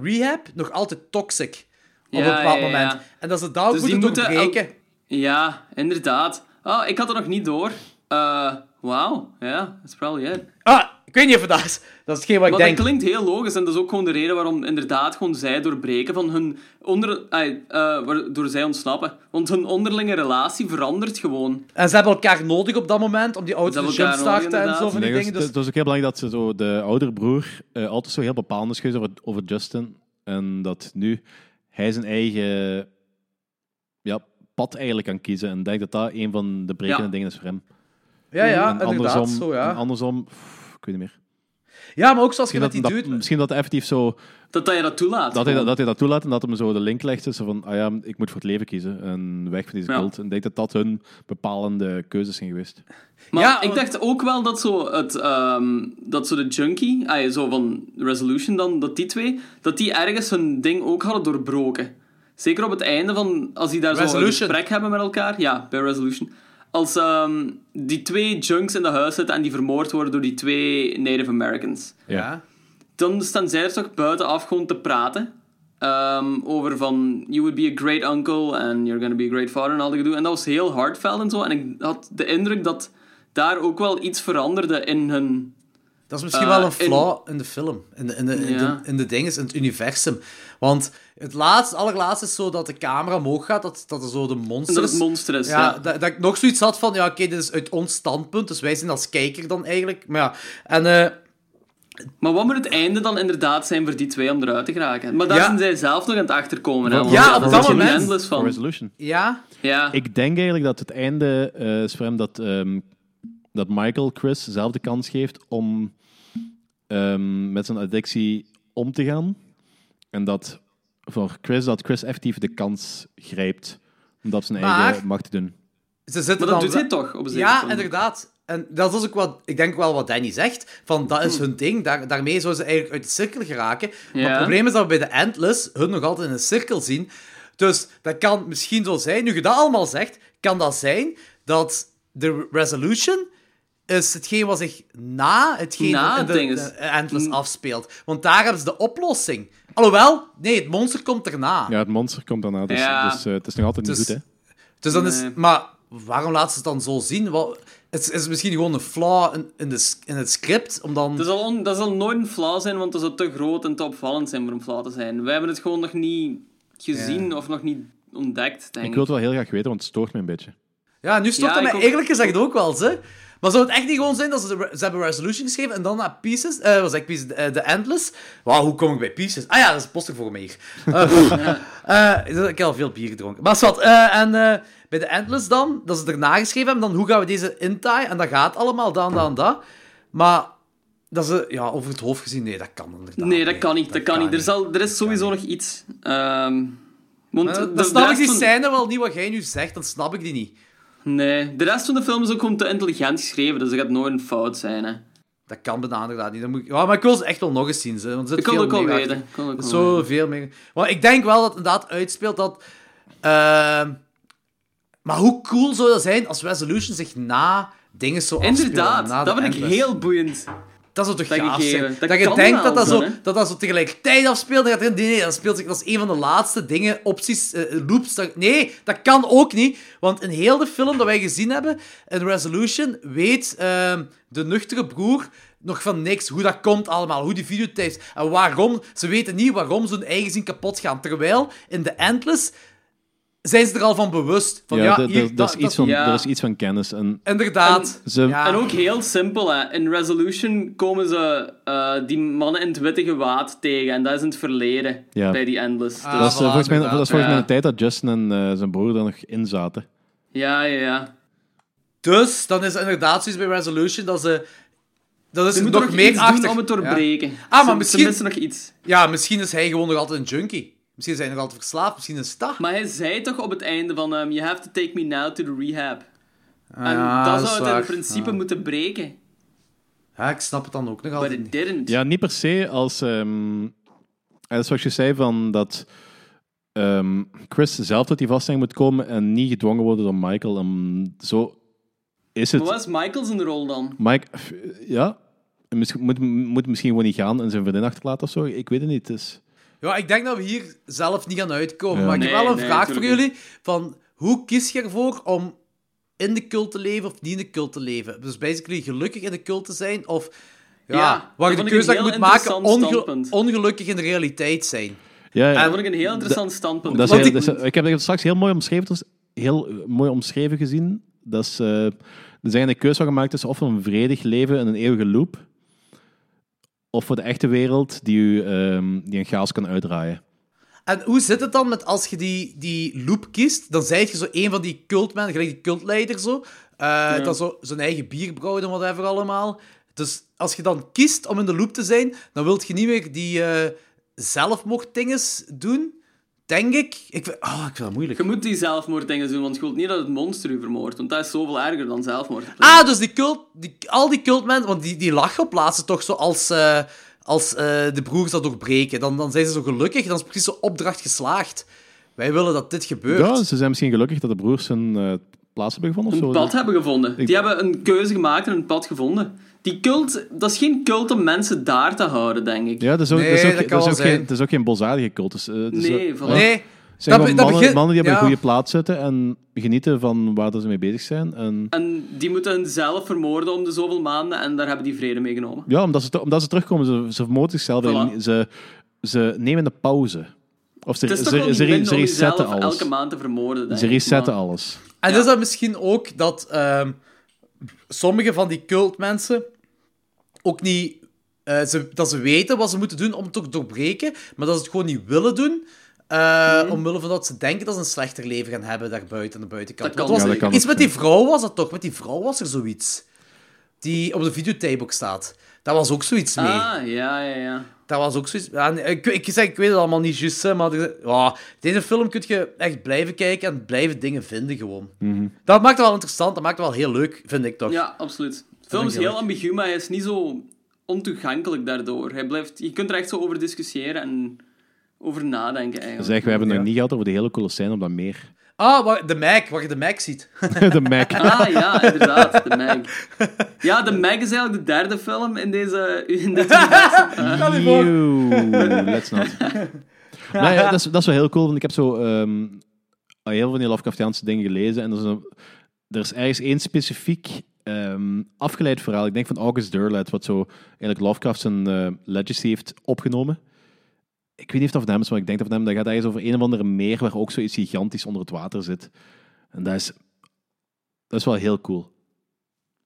S1: rehab nog altijd toxic. Op
S2: Ja,
S1: een bepaald
S2: ja, ja,
S1: moment.
S2: ja.
S1: En dat ze dat ook
S2: Dus die
S1: moeten
S2: moeten el-
S1: doorbreken.
S2: ja, inderdaad. Oh, ik had het nog niet door. Eh, Wauw, ja, dat is probably it.
S1: Ah, ik weet niet of het dat is. Dat is hetgeen wat ik
S2: Maar
S1: denk.
S2: dat klinkt heel logisch en dat is ook gewoon de reden waarom inderdaad gewoon zij doorbreken van hun onder, ai, eh, waardoor zij ontsnappen. Want hun onderlinge relatie verandert gewoon.
S1: En ze hebben elkaar nodig op dat moment om die
S2: Ze
S1: auto te
S2: hebben elkaar
S1: jumpstarten
S2: nodig,
S1: en zo van die
S3: Nee, dus
S1: dingen.
S3: Het
S1: Dus...
S3: het was ook heel belangrijk dat ze zo de oudere broer eh, altijd zo heel bepalend is geweest over, over Justin. En dat nu hij zijn eigen ja, pad eigenlijk kan kiezen. En ik denk dat dat een van de brekende
S2: Ja.
S3: dingen is voor hem.
S1: Ja, ja,
S3: en
S1: inderdaad.
S3: andersom,
S1: Zo, ja.
S3: en andersom pff, ik weet niet meer.
S1: Ja, maar ook zoals je met die
S3: Misschien dat, dat-
S1: dude...
S3: misschien dat hij effectief zo...
S2: Dat, dat je dat toelaat.
S3: Dat hij dat,
S2: gewoon.
S3: dat hij dat toelaat en dat hem zo de link legt tussen van... Ah ja, ik moet voor het leven kiezen en weg van deze
S2: Ja.
S3: cult. En ik denk dat dat hun bepalende keuzes zijn geweest.
S2: Maar
S1: Ja,
S2: ik
S1: want-
S2: dacht ook wel dat zo, het, ehm, dat zo de junkie, ah, zo van Resolution dan, dat die twee, dat die ergens hun ding ook hadden doorbroken. Zeker op het einde van, als die daar zo een
S1: Resolution.
S2: gesprek hebben met elkaar. Ja, bij Resolution. Als ehm, die twee junks in de huis zitten en die vermoord worden door die twee Native Americans.
S1: Ja.
S2: Dan staan zij er toch buitenaf gewoon te praten. ehm, over van, you would be a great uncle and you're gonna be a great father en al dat gedoe. En dat was heel heartfelt en zo. En ik had de indruk dat daar ook wel iets veranderde in hun...
S1: Dat is misschien
S2: Eh,
S1: wel een
S2: in-
S1: flaw in, de film. In de, in de, in
S2: Ja.
S1: de, in de dinges, in het universum. Want het laatste, allerlaatste is zo dat de camera omhoog gaat, dat, dat er zo de monsters...
S2: Dat het monster is,
S1: Ja,
S2: ja.
S1: Dat, dat ik nog zoiets had van, ja oké, dit is uit ons standpunt, dus wij zijn als kijker dan eigenlijk. Maar ja, en... eh,
S2: Maar wat moet het einde dan inderdaad zijn voor die twee om eruit te geraken? Maar daar
S1: Ja.
S2: zijn zij zelf nog aan het achterkomen. Hè? want
S1: Ja, op
S2: daar
S1: dat
S2: zit je
S1: moment.
S2: Endless
S3: Voor
S2: van.
S3: Resolution.
S1: ja,
S2: Ja.
S3: Ik denk eigenlijk dat het einde, eh Sprem, dat, ehm, dat Michael Chris zelf de kans geeft om ehm, met zijn addictie om te gaan. En dat voor Chris, dat Chris effectief de kans grijpt om dat op zijn
S1: Maar-
S3: eigen macht te doen.
S1: ze zitten
S2: maar dat
S1: dan...
S2: doet hij toch, op een zeker
S1: Ja,
S2: punt.
S1: inderdaad. En dat is ook wat, ik denk wel wat Danny zegt, van dat is hun ding, daar, daarmee zouden ze eigenlijk uit de cirkel geraken. Maar
S2: Hm. Ja.
S1: het probleem is dat we bij de Endless hun nog altijd in een cirkel zien. Dus dat kan misschien zo zijn, nu je dat allemaal zegt, kan dat zijn dat de Resolution is hetgeen wat zich na hetgeen
S2: Na
S1: in
S2: het
S1: de,
S2: ding is. Hm.
S1: de Endless afspeelt. Want daar hebben ze de oplossing. Alhoewel, nee, het monster komt erna.
S3: Ja, het monster komt daarna, dus,
S2: Ja.
S3: dus eh, het is nog altijd niet
S1: Dus-
S3: goed, hè?
S1: Dus dan is...
S2: Nee.
S1: Maar waarom laten ze het dan zo zien? Wat, het is- is misschien gewoon een flaw in, in, de, s- in het script, om dan...
S2: Dat zal, on- dat zal nooit een flaw zijn, want dat zou te groot en te opvallend zijn voor een flaw te zijn. Wij hebben het gewoon nog niet gezien of nog niet ontdekt, denk
S3: Ik
S2: ik.
S3: wil het wel heel graag weten, want het stoort me een beetje.
S1: Ja, nu stopt
S2: Ja,
S1: dat mij
S2: ik ook.
S1: eerlijk gezegd ook wel, ze. Maar zou het echt niet gewoon zijn dat ze, de re- ze hebben Resolution geschreven en dan naar Pieces... eh was ik Pieces? eh, The Endless? Wauw, hoe kom ik bij Pieces? Ah ja, dat is een poster voor mij hier. Eh, eh, ik heb al veel bier gedronken. Maar wat. en eh, bij The Endless dan, dat ze het erna geschreven hebben, dan hoe gaan we deze intaaien? En dat gaat allemaal, dan, dan, dat. Maar dat ze... Ja, over het hoofd gezien, nee, dat kan inderdaad
S2: Nee, dat kan niet. Dat, kan, niet. Er, zal, er is sowieso
S1: niet.
S2: nog iets. Ehm, want
S1: Maar
S2: de,
S1: Eh, Dan,
S2: de
S1: snap ik
S2: rest
S1: die
S2: van-
S1: scène wel niet wat jij nu zegt, dan snap ik die niet.
S2: Nee, de rest van de film is ook gewoon te intelligent geschreven, dus dat gaat nooit een fout zijn. Hè.
S1: Dat kan bijna inderdaad niet. Dan moet ik... ja, maar ik wil ze echt wel nog eens zien. Ze, want er zit
S2: Ik kan
S1: veel
S2: het ook al
S1: meer
S2: weten.
S1: achter.
S2: Ik kan het ook
S1: Er is
S2: al
S1: Zo
S2: weten.
S1: veel meer. Maar ik denk wel dat het inderdaad uitspeelt dat... ehm, Maar hoe cool zou dat zijn als Resolution zich na dingen zo afspelen? na
S2: Inderdaad,
S1: de
S2: dat vind ik
S1: endless?
S2: heel boeiend.
S1: Dat zou toch
S2: dat
S1: gaaf
S2: gegeven.
S1: zijn? Dat,
S2: Dat
S1: je
S2: kan
S1: denkt
S2: wel
S1: dat dat,
S2: zijn,
S1: zo,
S2: hè?
S1: dat dat zo tegelijkertijd afspeelt. Dan gaat er, nee, nee, dat speelt zich... Dat is een van de laatste dingen, opties, eh, loops. dat- nee, dat kan ook niet. Want in heel de film dat wij gezien hebben, in Resolution, weet ehm, de nuchtere broer nog van niks. Hoe dat komt allemaal, hoe die videotapes... En waarom... Ze weten niet waarom ze hun eigen zin kapot gaan. Terwijl in The Endless zijn ze er al van bewust. Van, ja,
S3: Ja, er- er-
S1: hier,
S3: er
S1: dat-
S3: is
S1: dat-
S3: iets van-
S2: ja.
S3: er is iets van kennis. En
S1: Inderdaad.
S3: ze,
S1: Ja.
S2: En ook heel simpel, hè. In Resolution komen ze eh, die mannen in het witte gewaad tegen. En dat is in het verleden,
S3: Ja.
S2: bij die Endless.
S1: Ah.
S3: dat is, eh,
S1: voilà,
S3: volgens mij, dat is
S1: inderdaad,
S3: volgens mij
S2: ja.
S3: de tijd dat Justin en eh, zijn broer daar nog in zaten.
S2: Ja, ja, ja.
S1: Dus dan is het inderdaad zoiets bij Resolution dat ze. Dat is
S2: Ze moeten
S1: nog
S2: nog
S1: meer
S2: iets
S1: achter.
S2: doen om het doorbreken.
S1: maar
S2: Ze-
S1: misschien-
S2: Ze missen nog iets.
S1: Ja. ja, misschien is hij gewoon nog altijd een junkie. Misschien is hij nog altijd verslaafd, misschien is het dat.
S2: Maar hij zei toch op het einde van... ehm, you have to take me now to the rehab. en
S1: ja,
S2: Ah, dat Ah.
S1: dat is
S2: zou het in
S1: waar.
S2: principe
S1: Ja.
S2: moeten breken.
S1: Ja, ik snap het dan ook nog
S2: But
S1: altijd.
S2: it
S1: niet.
S2: didn't.
S3: Ja, niet per se als. ehm eh, zoals je zei, van dat ehm, Chris zelf tot die vaststelling moet komen en niet gedwongen worden door Michael. En zo is
S2: Maar
S3: het.
S2: wat is Michael zijn rol dan?
S3: Mike, f- ja, misschien, moet, moet misschien gewoon niet gaan en zijn vriendin achterlaten of zo. Ik weet het niet. dus- Het is-
S1: Ja, ik denk dat we hier zelf niet gaan uitkomen. Maar ik heb
S2: Nee,
S1: wel een
S2: nee,
S1: vraag voor
S2: natuurlijk
S1: jullie. Van, hoe kies je ervoor om in de cult te leven of niet in de cult te leven? Dus basically gelukkig in de cult te zijn of... Ja,
S2: Ja, dat
S1: waar je
S2: vond
S1: de
S2: ik
S1: keuze dat
S2: een
S1: je
S2: heel
S1: moet maken
S2: interessant
S1: onge-
S2: standpunt.
S1: ongelukkig in de realiteit zijn.
S3: ja, ja.
S2: Dat vond Ah, ik een heel interessant standpunt.
S3: Dat is
S1: Want
S3: heel-
S1: ik-
S3: dat is- ik heb het straks heel mooi omschreven, dus heel eh, mooi omschreven gezien. Dat is, eh, er zijn een keuze gemaakt tussen of een vredig leven en een eeuwige loop, of voor de echte wereld die, u, ehm, die een chaos kan uitdraaien.
S1: En hoe zit het dan met als je die, die loop kiest? Dan zijt je zo een van die cultmen, gelijk die cultleider zo. eh, Dat zo zijn eigen bier brouwt en whatever allemaal. Dus als je dan kiest om in de loop te zijn, dan wilt je niet meer die eh zelfmoorddinges doen, denk ik. Ik vind, oh, ik vind dat moeilijk.
S2: Je moet die zelfmoorddingen doen, want je wilt niet dat het monster u vermoordt. Want dat is zoveel erger dan zelfmoord.
S1: Ah, dus die cult, die, al die cultmen, want die, die lachen op laatste toch zo als, eh, als eh, de broers dat doorbreken. Dan, dan zijn ze zo gelukkig, dan is precies de opdracht geslaagd. Wij willen dat dit gebeurt.
S3: Ja, ze zijn misschien gelukkig dat de broers hun eh, plaats hebben gevonden of
S2: een
S3: zo.
S2: pad hebben gevonden. Die hebben een keuze gemaakt en een pad gevonden. Die cult, dat is geen cult om mensen daar te houden, denk ik.
S3: Ja, dat is ook,
S1: Nee,
S3: dat is ook,
S1: dat kan
S3: dat is
S1: wel
S3: ook geen,
S1: zijn.
S3: het is ook geen bosaardige cult. Dus, eh, het is
S2: Nee,
S3: ook-
S2: voilà.
S3: ja.
S1: Nee,
S3: Het zijn
S1: Dat
S3: gewoon
S1: be- dat
S3: mannen,
S1: begint-
S3: mannen die op
S1: ja.
S3: een goede plaats zitten en genieten van waar dat ze mee bezig zijn. En,
S2: En die moeten hunzelf vermoorden om de zoveel maanden en daar hebben die vrede mee genomen.
S3: ja, omdat ze, te- omdat ze terugkomen, ze, ze vermoorden zichzelf.
S2: Voilà.
S3: en Ze, ze nemen een pauze. Of ze,
S2: Het
S3: ze,
S2: is toch wel
S3: ze,
S2: niet
S3: ze,
S2: min om
S3: resetten
S2: jezelf
S3: alles.
S2: elke maand te vermoorden, denk
S3: Ze
S2: ik,
S3: resetten
S2: maar-
S3: alles.
S1: En
S2: Ja.
S1: is dat misschien ook dat ehm, sommige van die cultmensen ook niet... eh, ze, dat ze weten wat ze moeten doen om het te doorbreken, maar dat ze het gewoon niet willen doen, eh,
S2: Mhm.
S1: omwille van dat ze denken dat ze een slechter leven gaan hebben daar buiten, aan de buitenkant. Want
S2: Dat
S1: het
S2: kan
S1: was,
S3: Ja, dat kan
S1: iets
S3: ook
S1: met
S3: zijn.
S1: die vrouw was dat toch? Met die vrouw was er zoiets. Die op de videotape ook staat. Daar was ook zoiets mee.
S2: Ah, ja, ja, ja.
S1: Dat was ook zoiets. ja, nee, ik, ik, zeg, ik weet het allemaal niet juist, hè, maar er- ja, deze film kun je echt blijven kijken en blijven dingen vinden gewoon. Dat maakt het wel interessant, dat maakt het wel heel leuk, vind ik toch.
S2: Ja, absoluut. De film
S1: vind
S2: is
S1: ik
S2: heel
S1: ook.
S2: ambigu, maar hij is niet zo ontoegankelijk daardoor. Hij blijft, je kunt er echt zo over discussiëren en over nadenken eigenlijk.
S3: Zeg, we hebben het
S1: Ja.
S3: nog niet gehad over de hele Colosseum op dat meer.
S1: Ah, waar, de Mac, waar je de Mac ziet.
S3: de Mac.
S2: Ah ja, inderdaad, de Meg. Ja, de Meg is eigenlijk de derde film in deze... In dit universum.
S3: Eeuw, let's not. Maar ja, dat, is, dat is wel heel cool, want ik heb zo ehm, al heel veel van die Lovecraftiaanse dingen gelezen. En er is, een- er is ergens één specifiek ehm, afgeleid verhaal. Ik denk van August Derleth, wat zo eigenlijk Lovecraft zijn eh, legacy heeft opgenomen. Ik weet niet of dat van hem is, maar ik denk dat van hem. Dat gaat ergens over een of andere meer waar ook zoiets gigantisch onder het water zit. En dat is, dat is wel heel cool.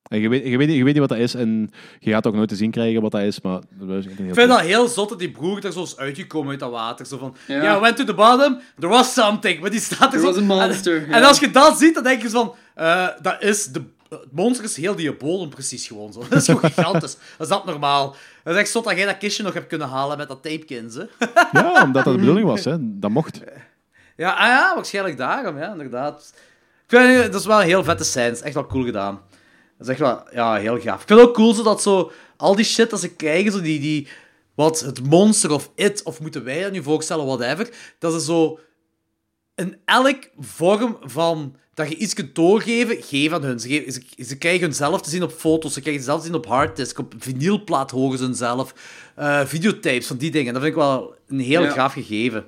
S3: En je weet, je, weet, niet- je weet niet wat dat is en je gaat ook nooit te zien krijgen wat dat is, maar dat is echt een heel
S1: Ik vind
S3: cool-
S1: dat heel zot dat die broer er zo is uitgekomen uit dat water. Zo van, ja,
S2: Ja.
S1: went to the bottom, there was something. Maar die staat er
S2: There
S1: zo...
S2: was a monster,
S1: En,
S2: ja.
S1: en als je dat ziet, dan denk je zo van, eh, dat is de... Het monster is heel die bodem precies gewoon zo. Dat is gewoon gigantisch. Dat is dat normaal. Dat is echt zot dat jij dat kistje nog hebt kunnen halen met dat tapekins, hè.
S3: Ja, omdat dat de bedoeling was. Hè. Dat mocht.
S1: Ja, ah ja, waarschijnlijk daarom, ja, inderdaad. Ik vind, eh, dat is wel een heel vette scène. is echt wel cool gedaan. Dat is echt wel, ja, heel gaaf. Ik vind het ook cool zo dat zo, al die shit dat ze krijgen, zo die, die, wat, het monster of it, of moeten wij dat nu voorstellen, whatever, dat ze zo in elk vorm van, dat je iets kunt doorgeven, geef aan hun. Ze, geven- ze, ze krijgen hunzelf te zien op foto's, ze krijgen zelf te zien op harddisk, op vinylplaat horen ze hunzelf, eh, videotapes, van die dingen. Dat vind ik wel een heel
S2: Ja.
S1: gaaf gegeven.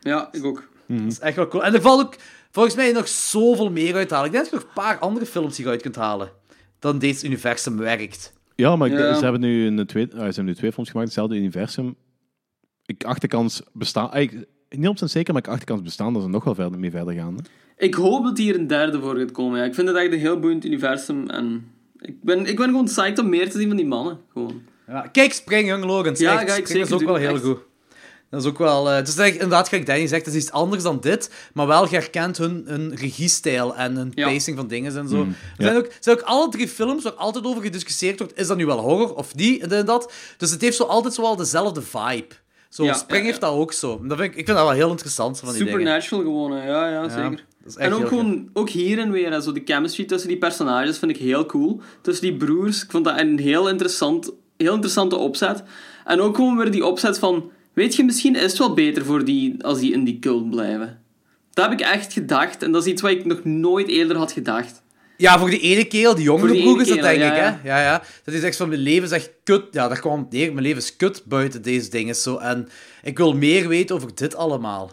S2: Ja, ik ook.
S1: Dat is echt wel cool. En er valt ook volgens mij nog zoveel meer uit te halen. Ik denk dat je nog een paar andere films hieruit kunt halen. Dan deze universum werkt.
S3: Ja, maar ik-
S2: Ja.
S3: ze, hebben nu een twee, ah, ze hebben nu twee films gemaakt, hetzelfde universum. Ik acht de kans bestaan. ah, Ik, niet op zijn zeker, maar ik acht de kans bestaan dat ze nog wel verder mee verder gaan. hè.
S2: Ik hoop dat hier een derde voor gaat komen. Ja. Ik vind het echt een heel boeiend universum. En ik, ben, ik ben gewoon psyched om meer te zien van die mannen. Gewoon.
S1: Ja, kijk, Spring Young Logans.
S2: Ja,
S1: Echt,
S2: ga ik
S1: Spring is
S2: zeker
S1: ook
S2: doen,
S1: wel heel
S2: echt.
S1: goed. Dat is ook wel... eh het is echt, inderdaad, gelijk Danny zegt, het is iets anders dan dit. Maar wel, je herkent hun, hun regiestijl en hun
S2: Ja.
S1: pacing van dingen en zo.
S3: ja.
S1: Er zijn, ook, er zijn ook alle drie films waar altijd over gediscussieerd wordt, is dat nu wel horror of niet, en dit en dat. Dus het heeft zo altijd zo wel dezelfde vibe. Zo,
S2: Ja,
S1: Spring
S2: ja,
S1: heeft
S2: ja.
S1: dat ook zo. Dat vind ik, ik vind dat wel heel interessant, van die dingen.
S2: Supernatural gewoon, hè. ja, ja, zeker.
S1: dat is echt
S2: En ook,
S1: heel
S2: gewoon, ook hier en weer, hè, zo de chemistry tussen die personages vind ik heel cool. Tussen die broers, ik vond dat een heel, interessant, heel interessante opzet. En ook gewoon weer die opzet van, weet je, misschien is het wel beter voor die als die in die cult blijven. Dat heb ik echt gedacht en dat is iets wat ik nog nooit eerder had gedacht.
S1: Ja, voor die ene kerel, die jongere
S2: Voor die
S1: broer
S2: ene
S1: is dat, denk
S2: kerel,
S1: ik, hè.
S2: ja,
S1: Ja, ja. Dat is echt van, mijn leven is echt kut. Ja, daar kwam het neer. Mijn leven is kut buiten deze dingen. Zo. En ik wil meer weten over dit allemaal.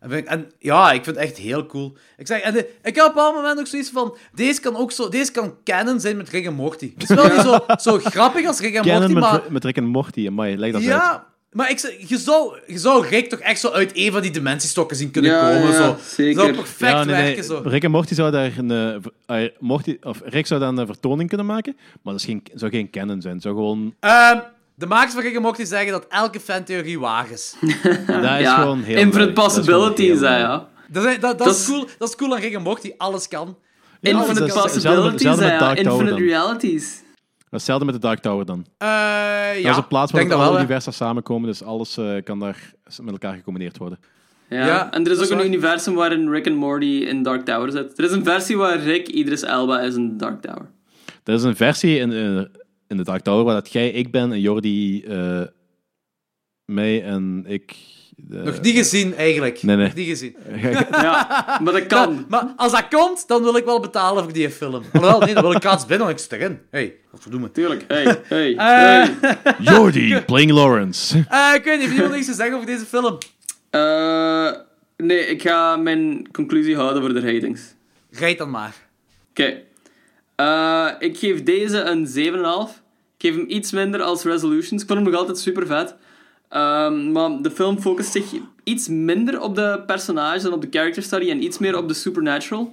S1: En, vind ik- en ja, ik vind het echt heel cool. Ik zeg, en de- ik heb op een moment ook zoiets van, deze kan ook zo, deze kan canon zijn met Rick en Morty. Het is wel niet zo, zo grappig als Rick en Morty,
S3: Kennen
S1: maar...
S3: met, met Rick en Morty. Amai, leg dat uit.
S1: Ja, maar ik, zeg, je, zou, je zou Rick toch echt zo uit een van die dimensiestokken zien kunnen
S2: Ja,
S1: komen.
S2: ja,
S1: zo.
S2: zeker.
S1: Zou perfect
S3: Ja, nee, nee,
S1: werken, zo.
S3: Rick en Morty zou daar een, eh, ver- ah, Morty, of Rick zou daar een eh, vertoning kunnen maken, maar dat is geen, zou geen kennen zijn. Zou gewoon,
S1: Ehm, de makers van Rick en Morty zeggen dat elke fantheorie waar is.
S3: dat is
S2: ja,
S3: gewoon
S2: infinite
S3: heel leuk. Dat is gewoon
S2: possibilities,
S3: heel
S2: hè,
S3: leuk.
S2: ja.
S1: Dat is, dat, dat
S2: Dat
S1: is
S2: is-
S1: cool, dat is cool aan Rick en Morty, alles kan.
S3: Ja,
S2: Infinite
S3: dat is- hetzelfde-
S2: possibilities,
S3: hetzelfde
S2: hè,
S3: met
S2: ja.
S3: Dark Tower
S2: Infinite
S3: dan.
S2: realities.
S3: Hetzelfde met de Dark Tower dan.
S1: Eh, ja,
S3: dat is een plaats waar
S1: denk dat
S3: alle
S1: wel, hè.
S3: universa samenkomen, dus alles eh, kan daar met elkaar gecombineerd worden.
S2: Ja.
S1: Ja,
S2: en er
S1: dat
S2: is
S1: is
S2: ook een
S1: waar.
S2: universum waarin Rick en Morty in Dark Tower zit. Er is een versie waar Rick Idris Elba is in Dark Tower.
S3: Er is een versie in, in, in de Dark Tower waar dat jij, ik ben en Jordi, eh, mij en ik... eh,
S1: Nog niet gezien, eigenlijk.
S3: Nee, nee.
S1: Nog niet gezien.
S2: Ja,
S3: Ah.
S2: maar dat kan.
S1: Ja, maar als dat komt, dan wil ik wel betalen voor die film. Alhoewel, nee, dan wil ik kaats binnen, want ik zit erin. Hey, wat verdoemen.
S2: Tuurlijk. Hey, hey,
S3: Ah.
S2: hey.
S3: Jordi, playing Lawrence.
S1: Eh, ik weet niet, heb iemand niks te zeggen over deze film?
S2: Eh, nee, ik ga mijn conclusie houden voor de ratings.
S1: Rijd dan maar.
S2: Oké. Eh, ik geef deze een 7,5. Ik geef hem iets minder als Resolutions. Ik vond hem nog altijd super vet. Ehm, maar de film focust zich iets minder op de personages en op de character study en iets meer op de supernatural.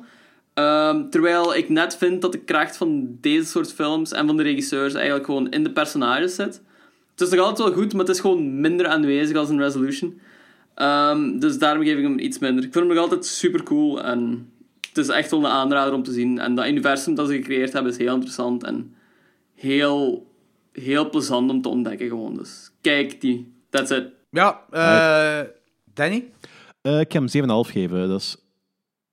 S2: Ehm, terwijl ik net vind dat de kracht van deze soort films en van de regisseurs eigenlijk gewoon in de personages zit. Het is nog altijd wel goed, maar het is gewoon minder aanwezig als een Resolution. Ehm, dus daarom geef ik hem iets minder. Ik vind hem nog altijd super cool en het is echt wel een aanrader om te zien. En dat universum dat ze gecreëerd hebben is heel interessant en heel, heel plezant om te ontdekken gewoon. Dus kijk die. That's it.
S1: Ja, eh Danny?
S3: Eh, ik ga hem 7,5 geven. Dat is,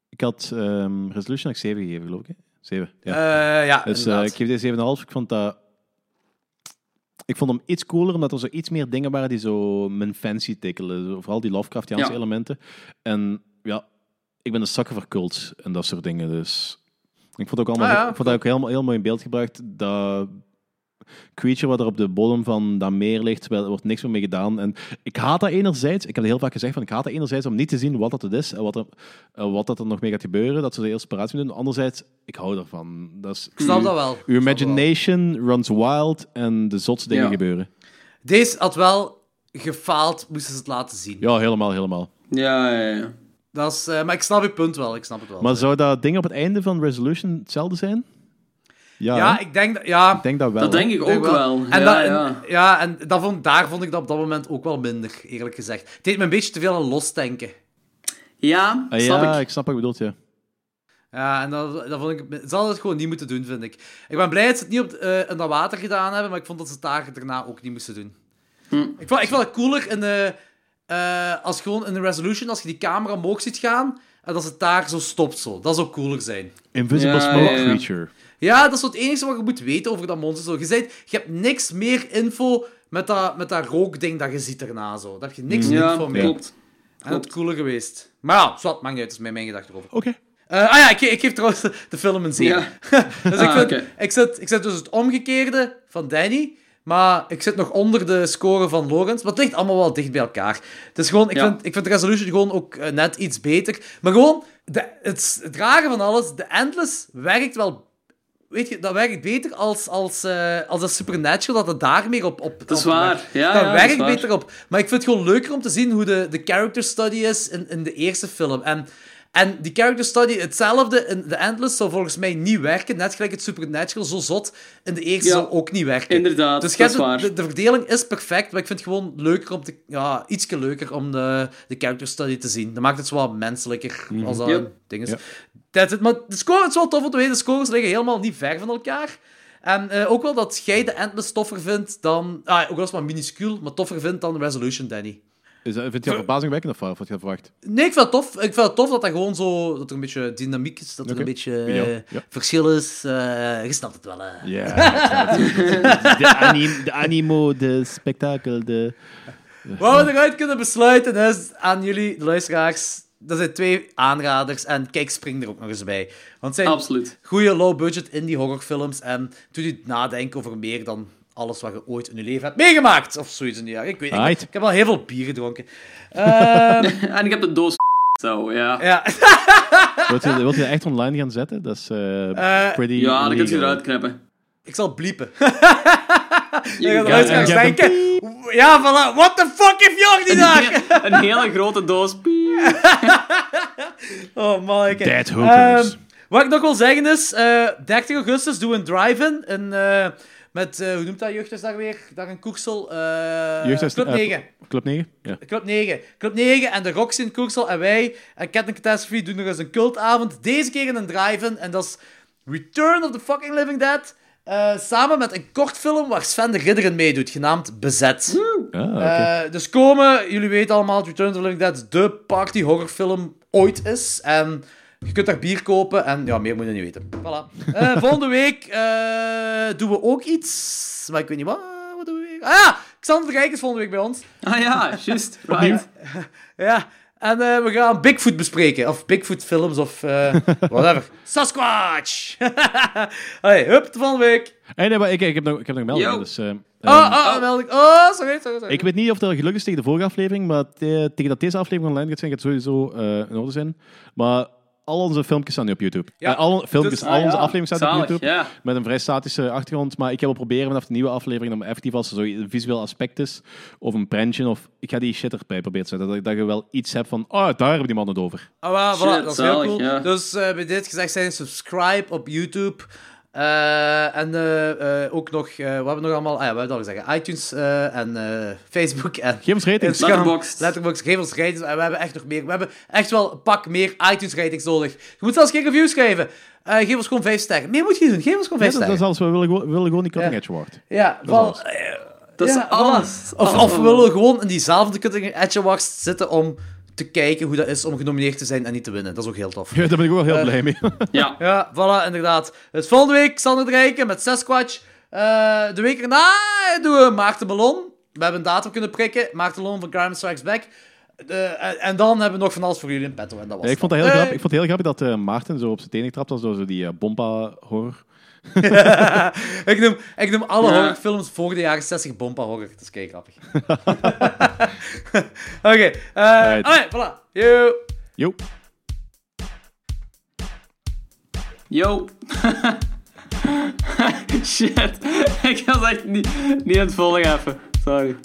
S3: ik had ehm, Resolution had ik 7 gegeven, geloof ik. hè? 7, ja.
S1: Eh, ja,
S3: dus eh,
S1: inderdaad.
S3: ik geef deze 7,5. Ik vond dat... Ik vond hem iets cooler, omdat er zo iets meer dingen waren die zo mijn fancy tikkelen. Zo, Vooral die Lovecraftiaanse
S2: Ja.
S3: elementen. En ja, ik ben een zakken voor cults en dat soort dingen, dus... Ik vond, ook allemaal,
S1: Ah, ja.
S3: ik vond dat ook heel, heel mooi in beeld gebracht. Dat creature wat er op de bodem van dat meer ligt, wel, er wordt niks meer mee gedaan. En ik haat dat enerzijds, ik heb het heel vaak gezegd, van, ik haat dat enerzijds om niet te zien wat dat het is en wat er, eh, wat dat er nog mee gaat gebeuren, dat ze er heel separaat mee doen. Anderzijds, ik hou ervan. Dat is,
S1: Ik snap dat wel.
S3: uw
S1: Ik snap dat wel.
S3: imagination runs wild en de zotste dingen
S2: Ja.
S3: gebeuren.
S1: Deze had wel gefaald, moesten ze het laten zien.
S3: Ja, helemaal, helemaal.
S2: Ja, ja, ja.
S1: Dat is, eh, maar ik snap je punt wel, ik snap het wel.
S3: Maar zou dat ding op het einde van Resolution hetzelfde zijn? Ja,
S1: ja,
S3: hè? ik
S1: ik denk dat... Ja,
S3: denk dat wel.
S2: Dat
S3: hè?
S2: denk ik
S1: Ik denk
S2: ook wel.
S1: En,
S2: ja,
S1: dat,
S2: ja.
S1: en- ja, en dat vond, daar vond ik dat op dat moment ook wel minder, eerlijk gezegd. Het deed me een beetje te veel aan losdenken.
S2: ja,
S3: Ah,
S2: snap
S3: ja,
S2: ik.
S3: ik snap wat je bedoelt, ja.
S1: Ja, en dat, dat vond ik... Ze hadden het gewoon niet moeten doen, vind ik. Ik ben blij dat ze het niet op, eh, in dat water gedaan hebben, maar ik vond dat ze het daar daarna ook niet moesten doen.
S2: Hm.
S1: Ik, vond, ik vond het cooler in de, eh, als gewoon in de resolution, als je die camera omhoog ziet gaan, en dat ze het daar zo stopt zo. Dat zou cooler zijn.
S3: Invisible
S2: Ja,
S3: Smoke
S2: ja, ja.
S3: Creature.
S1: Ja, dat is zo het enige wat je moet weten over dat monster. Zo. Je, zei, het, je hebt niks meer info met dat, met dat rookding dat je ziet daarna. Zo. Daar heb je niks meer
S2: Mm, Ja,
S1: info mee.
S2: klopt.
S1: En dat is cooler geweest. Maar ja, zwart, maakt niet uit. Dat is mijn, mijn gedachte over.
S3: Oké.
S1: ah ja, ik, ge- ik geef trouwens de, de film een 7.
S2: Ja.
S1: dus ik,
S2: Ah,
S1: vind,
S2: oké.
S1: ik, zit, ik zit dus het omgekeerde van Danny. Maar ik zit nog onder de score van Lorenz. Maar het ligt allemaal wel dicht bij elkaar. Het is gewoon, ik,
S2: Ja.
S1: vind, ik vind de resolution gewoon ook eh, net iets beter. Maar gewoon, de, het, het rare van alles, de Endless werkt wel... Weet je, dat werkt beter als, als, eh, als dat Supernatural, dat het daar meer op... op
S2: Dat is
S1: op werkt.
S2: waar. Ja,
S1: dat
S2: ja, dat
S1: werkt
S2: is waar.
S1: beter op. Maar ik vind het gewoon leuker om te zien hoe de, de character study is in, in de eerste film. En, en die character study, hetzelfde in The Endless, zou volgens mij niet werken. Net gelijk het Supernatural, zo zot, in de eerste
S2: Ja.
S1: zou ook niet werken.
S2: Inderdaad,
S1: dus
S2: dat
S1: jij
S2: is
S1: hebt het-
S2: waar.
S1: De, de verdeling is perfect, maar ik vind het gewoon leuker om te... Ja, ietsje leuker om de, de character study te zien. Dat maakt het zo wat menselijker, als dat
S2: Yep.
S1: een ding is.
S3: Mhm. Ja.
S1: That's it. Maar de score het is wel tof, want de hele scores liggen helemaal niet ver van elkaar. En eh, ook wel dat jij de Endless toffer vindt dan... Ah, ook al is het maar minuscuul, maar toffer vindt dan Resolution, Danny.
S3: Is dat- Vind je dat verbazingwekkend of wat of had je dat verwacht?
S1: Nee, ik vind het tof. Ik vind het tof dat dat gewoon zo... Dat er een beetje dynamiek is, dat er
S3: Oké.
S1: een beetje
S3: Ja,
S1: eh,
S3: ja.
S1: verschil is. eh je snapt het wel, hè.
S3: Ja. de, anim, de animo, de spektakel, de...
S1: Wat we eruit kunnen besluiten is aan jullie, de luisteraars... Dat zijn twee aanraders en kijk, spring er ook nog eens bij. Want het zijn
S2: Absoluut.
S1: goede low-budget indie horrorfilms en doet u nadenken over meer dan alles wat je ooit in je leven hebt meegemaakt. Of zoiets in die jaar. Ik weet niet.
S3: Right.
S1: Ik heb al heel veel bier gedronken. Ehm,
S2: En ik heb de doos zo, ja.
S1: ja.
S3: Wilt je, wilt je dat echt online gaan zetten? Dat is eh,
S1: Eh,
S3: pretty
S2: Ja, dan kun je
S3: illegal.
S2: eruit knippen.
S1: Ik zal bliepen.
S2: Je
S1: Ja,
S2: gaat-
S1: dat is
S3: ja.
S1: denken. Ja, voilà. What the fuck heeft Jordi daar?
S2: Een hele grote doos. Piep.
S1: Oh, man. ik-
S3: Dead hookers.
S1: Ehm, wat ik nog wil zeggen is, eh 30 augustus doen we een drive-in. Een, eh, met, eh, hoe noemt dat jeugdhuis daar weer? Daar in Koersel. eh
S3: Jeugdhuis-
S1: Club
S3: eh,
S1: 9.
S3: Club 9? Ja.
S1: Club 9. Club 9 en de Roxy in Koersel en wij en Captain Catastrophe doen nog eens een cultavond. Deze keer in een drive-in en dat is Return of the Fucking Living Dead. Eh, samen met een kortfilm waar Sven de Ridder in meedoet, genaamd Bezet.
S3: Ah, oké.
S1: Eh, dus komen, jullie weten allemaal, dat Return of the Living Dead de party horrorfilm ooit is. En je kunt daar bier kopen en ja, meer moet je niet weten. Voilà. Eh, volgende week eh, doen we ook iets, maar ik weet niet wat. Wat doen we weer? Ah ja, Xander Verrijk is volgende week bij ons.
S2: Ah ja, juist. Right.
S1: Ja, en eh, we gaan Bigfoot bespreken. Of Bigfoot films of eh, whatever. Sasquatch! Allee, hup, de volgende week.
S3: Eh, nee, maar ik, ik, heb nog, ik heb nog meldingen.
S2: Yo.
S3: Dus, eh,
S1: Ah,
S3: ehm,
S1: ah, melding. Oh, sorry, sorry, sorry.
S3: ik weet niet of dat gelukkig is tegen de vorige aflevering, maar te- tegen dat deze aflevering online gaat zijn, gaat het sowieso eh in orde zijn. Maar al onze filmpjes staan nu op YouTube.
S1: Ja.
S3: Eh, al, filmpjes,
S1: Dus-
S3: al
S1: ah,
S3: onze
S1: ja.
S3: afleveringen staan op
S2: Zalig,
S3: YouTube.
S2: ja.
S3: Met een vrij statische achtergrond. Maar ik ga wel proberen vanaf de nieuwe aflevering om effectief als er zo'n visueel aspect is. Of een prentje. Of ik ga die shit erbij proberen te zetten. Dat, dat je wel iets hebt van. Oh, daar hebben die mannen het over.
S1: Ah, wel, voilà,
S2: Shit,
S1: dat is heel
S2: zalig,
S1: cool.
S2: ja.
S1: Dus eh, bij dit gezegd zijn, subscribe op YouTube. Eh, en eh, eh, ook nog, eh, we hebben nog allemaal, ah ja, we hebben het al gezegd, iTunes eh, en eh, Facebook en
S3: Geef ons ratings.
S1: Instagram.
S2: Letterboxd.
S1: Letterboxd, geef ons ratings. En we hebben echt nog meer, we hebben echt wel een pak meer iTunes ratings nodig. Je moet zelfs geen reviews geven. Eh, geef ons gewoon 5 sterren. Meer moet je niet doen, geef ons gewoon
S3: Ja,
S1: 5
S3: dat, dat
S1: sterren.
S3: is alles. We willen, gewoon- we willen gewoon die cutting edge award.
S1: Ja,
S3: is
S1: wel,
S3: alles.
S1: eh,
S2: Dat is
S1: ja,
S2: alles.
S1: Of,
S2: Alles.
S1: of we willen gewoon in diezelfde Cutting Edge Awards zitten om te kijken hoe dat is om genomineerd te zijn en niet te winnen. Dat is ook heel tof.
S3: Ja, daar ben ik ook wel heel blij mee.
S2: Ja.
S1: Ja, voilà, inderdaad. Dus volgende week Sander de Rijken met Sasquatch. Eh de week erna doen we Maarten Ballon. We hebben een datum kunnen prikken. Maarten Ballon van Crime Strikes Back. Eh, en, en dan hebben we nog van alles voor jullie in petto. En dat was
S3: Ja, ik, vond dat heel
S1: het.
S3: grappig, ik vond het heel grappig dat eh, Maarten zo op zijn tenen getrapt was door zo die eh, bompa-horror.
S1: Eh, ik, noem, ik noem alle
S2: Ja.
S1: horrorfilms voor de jaren 60 bompa horror. Dat is kei grappig. Oké. eh
S3: Right.
S1: allee, voilà. Yo.
S3: Yo.
S2: Yo. Shit. Ik was echt niet, niet aan het volgen even. Sorry.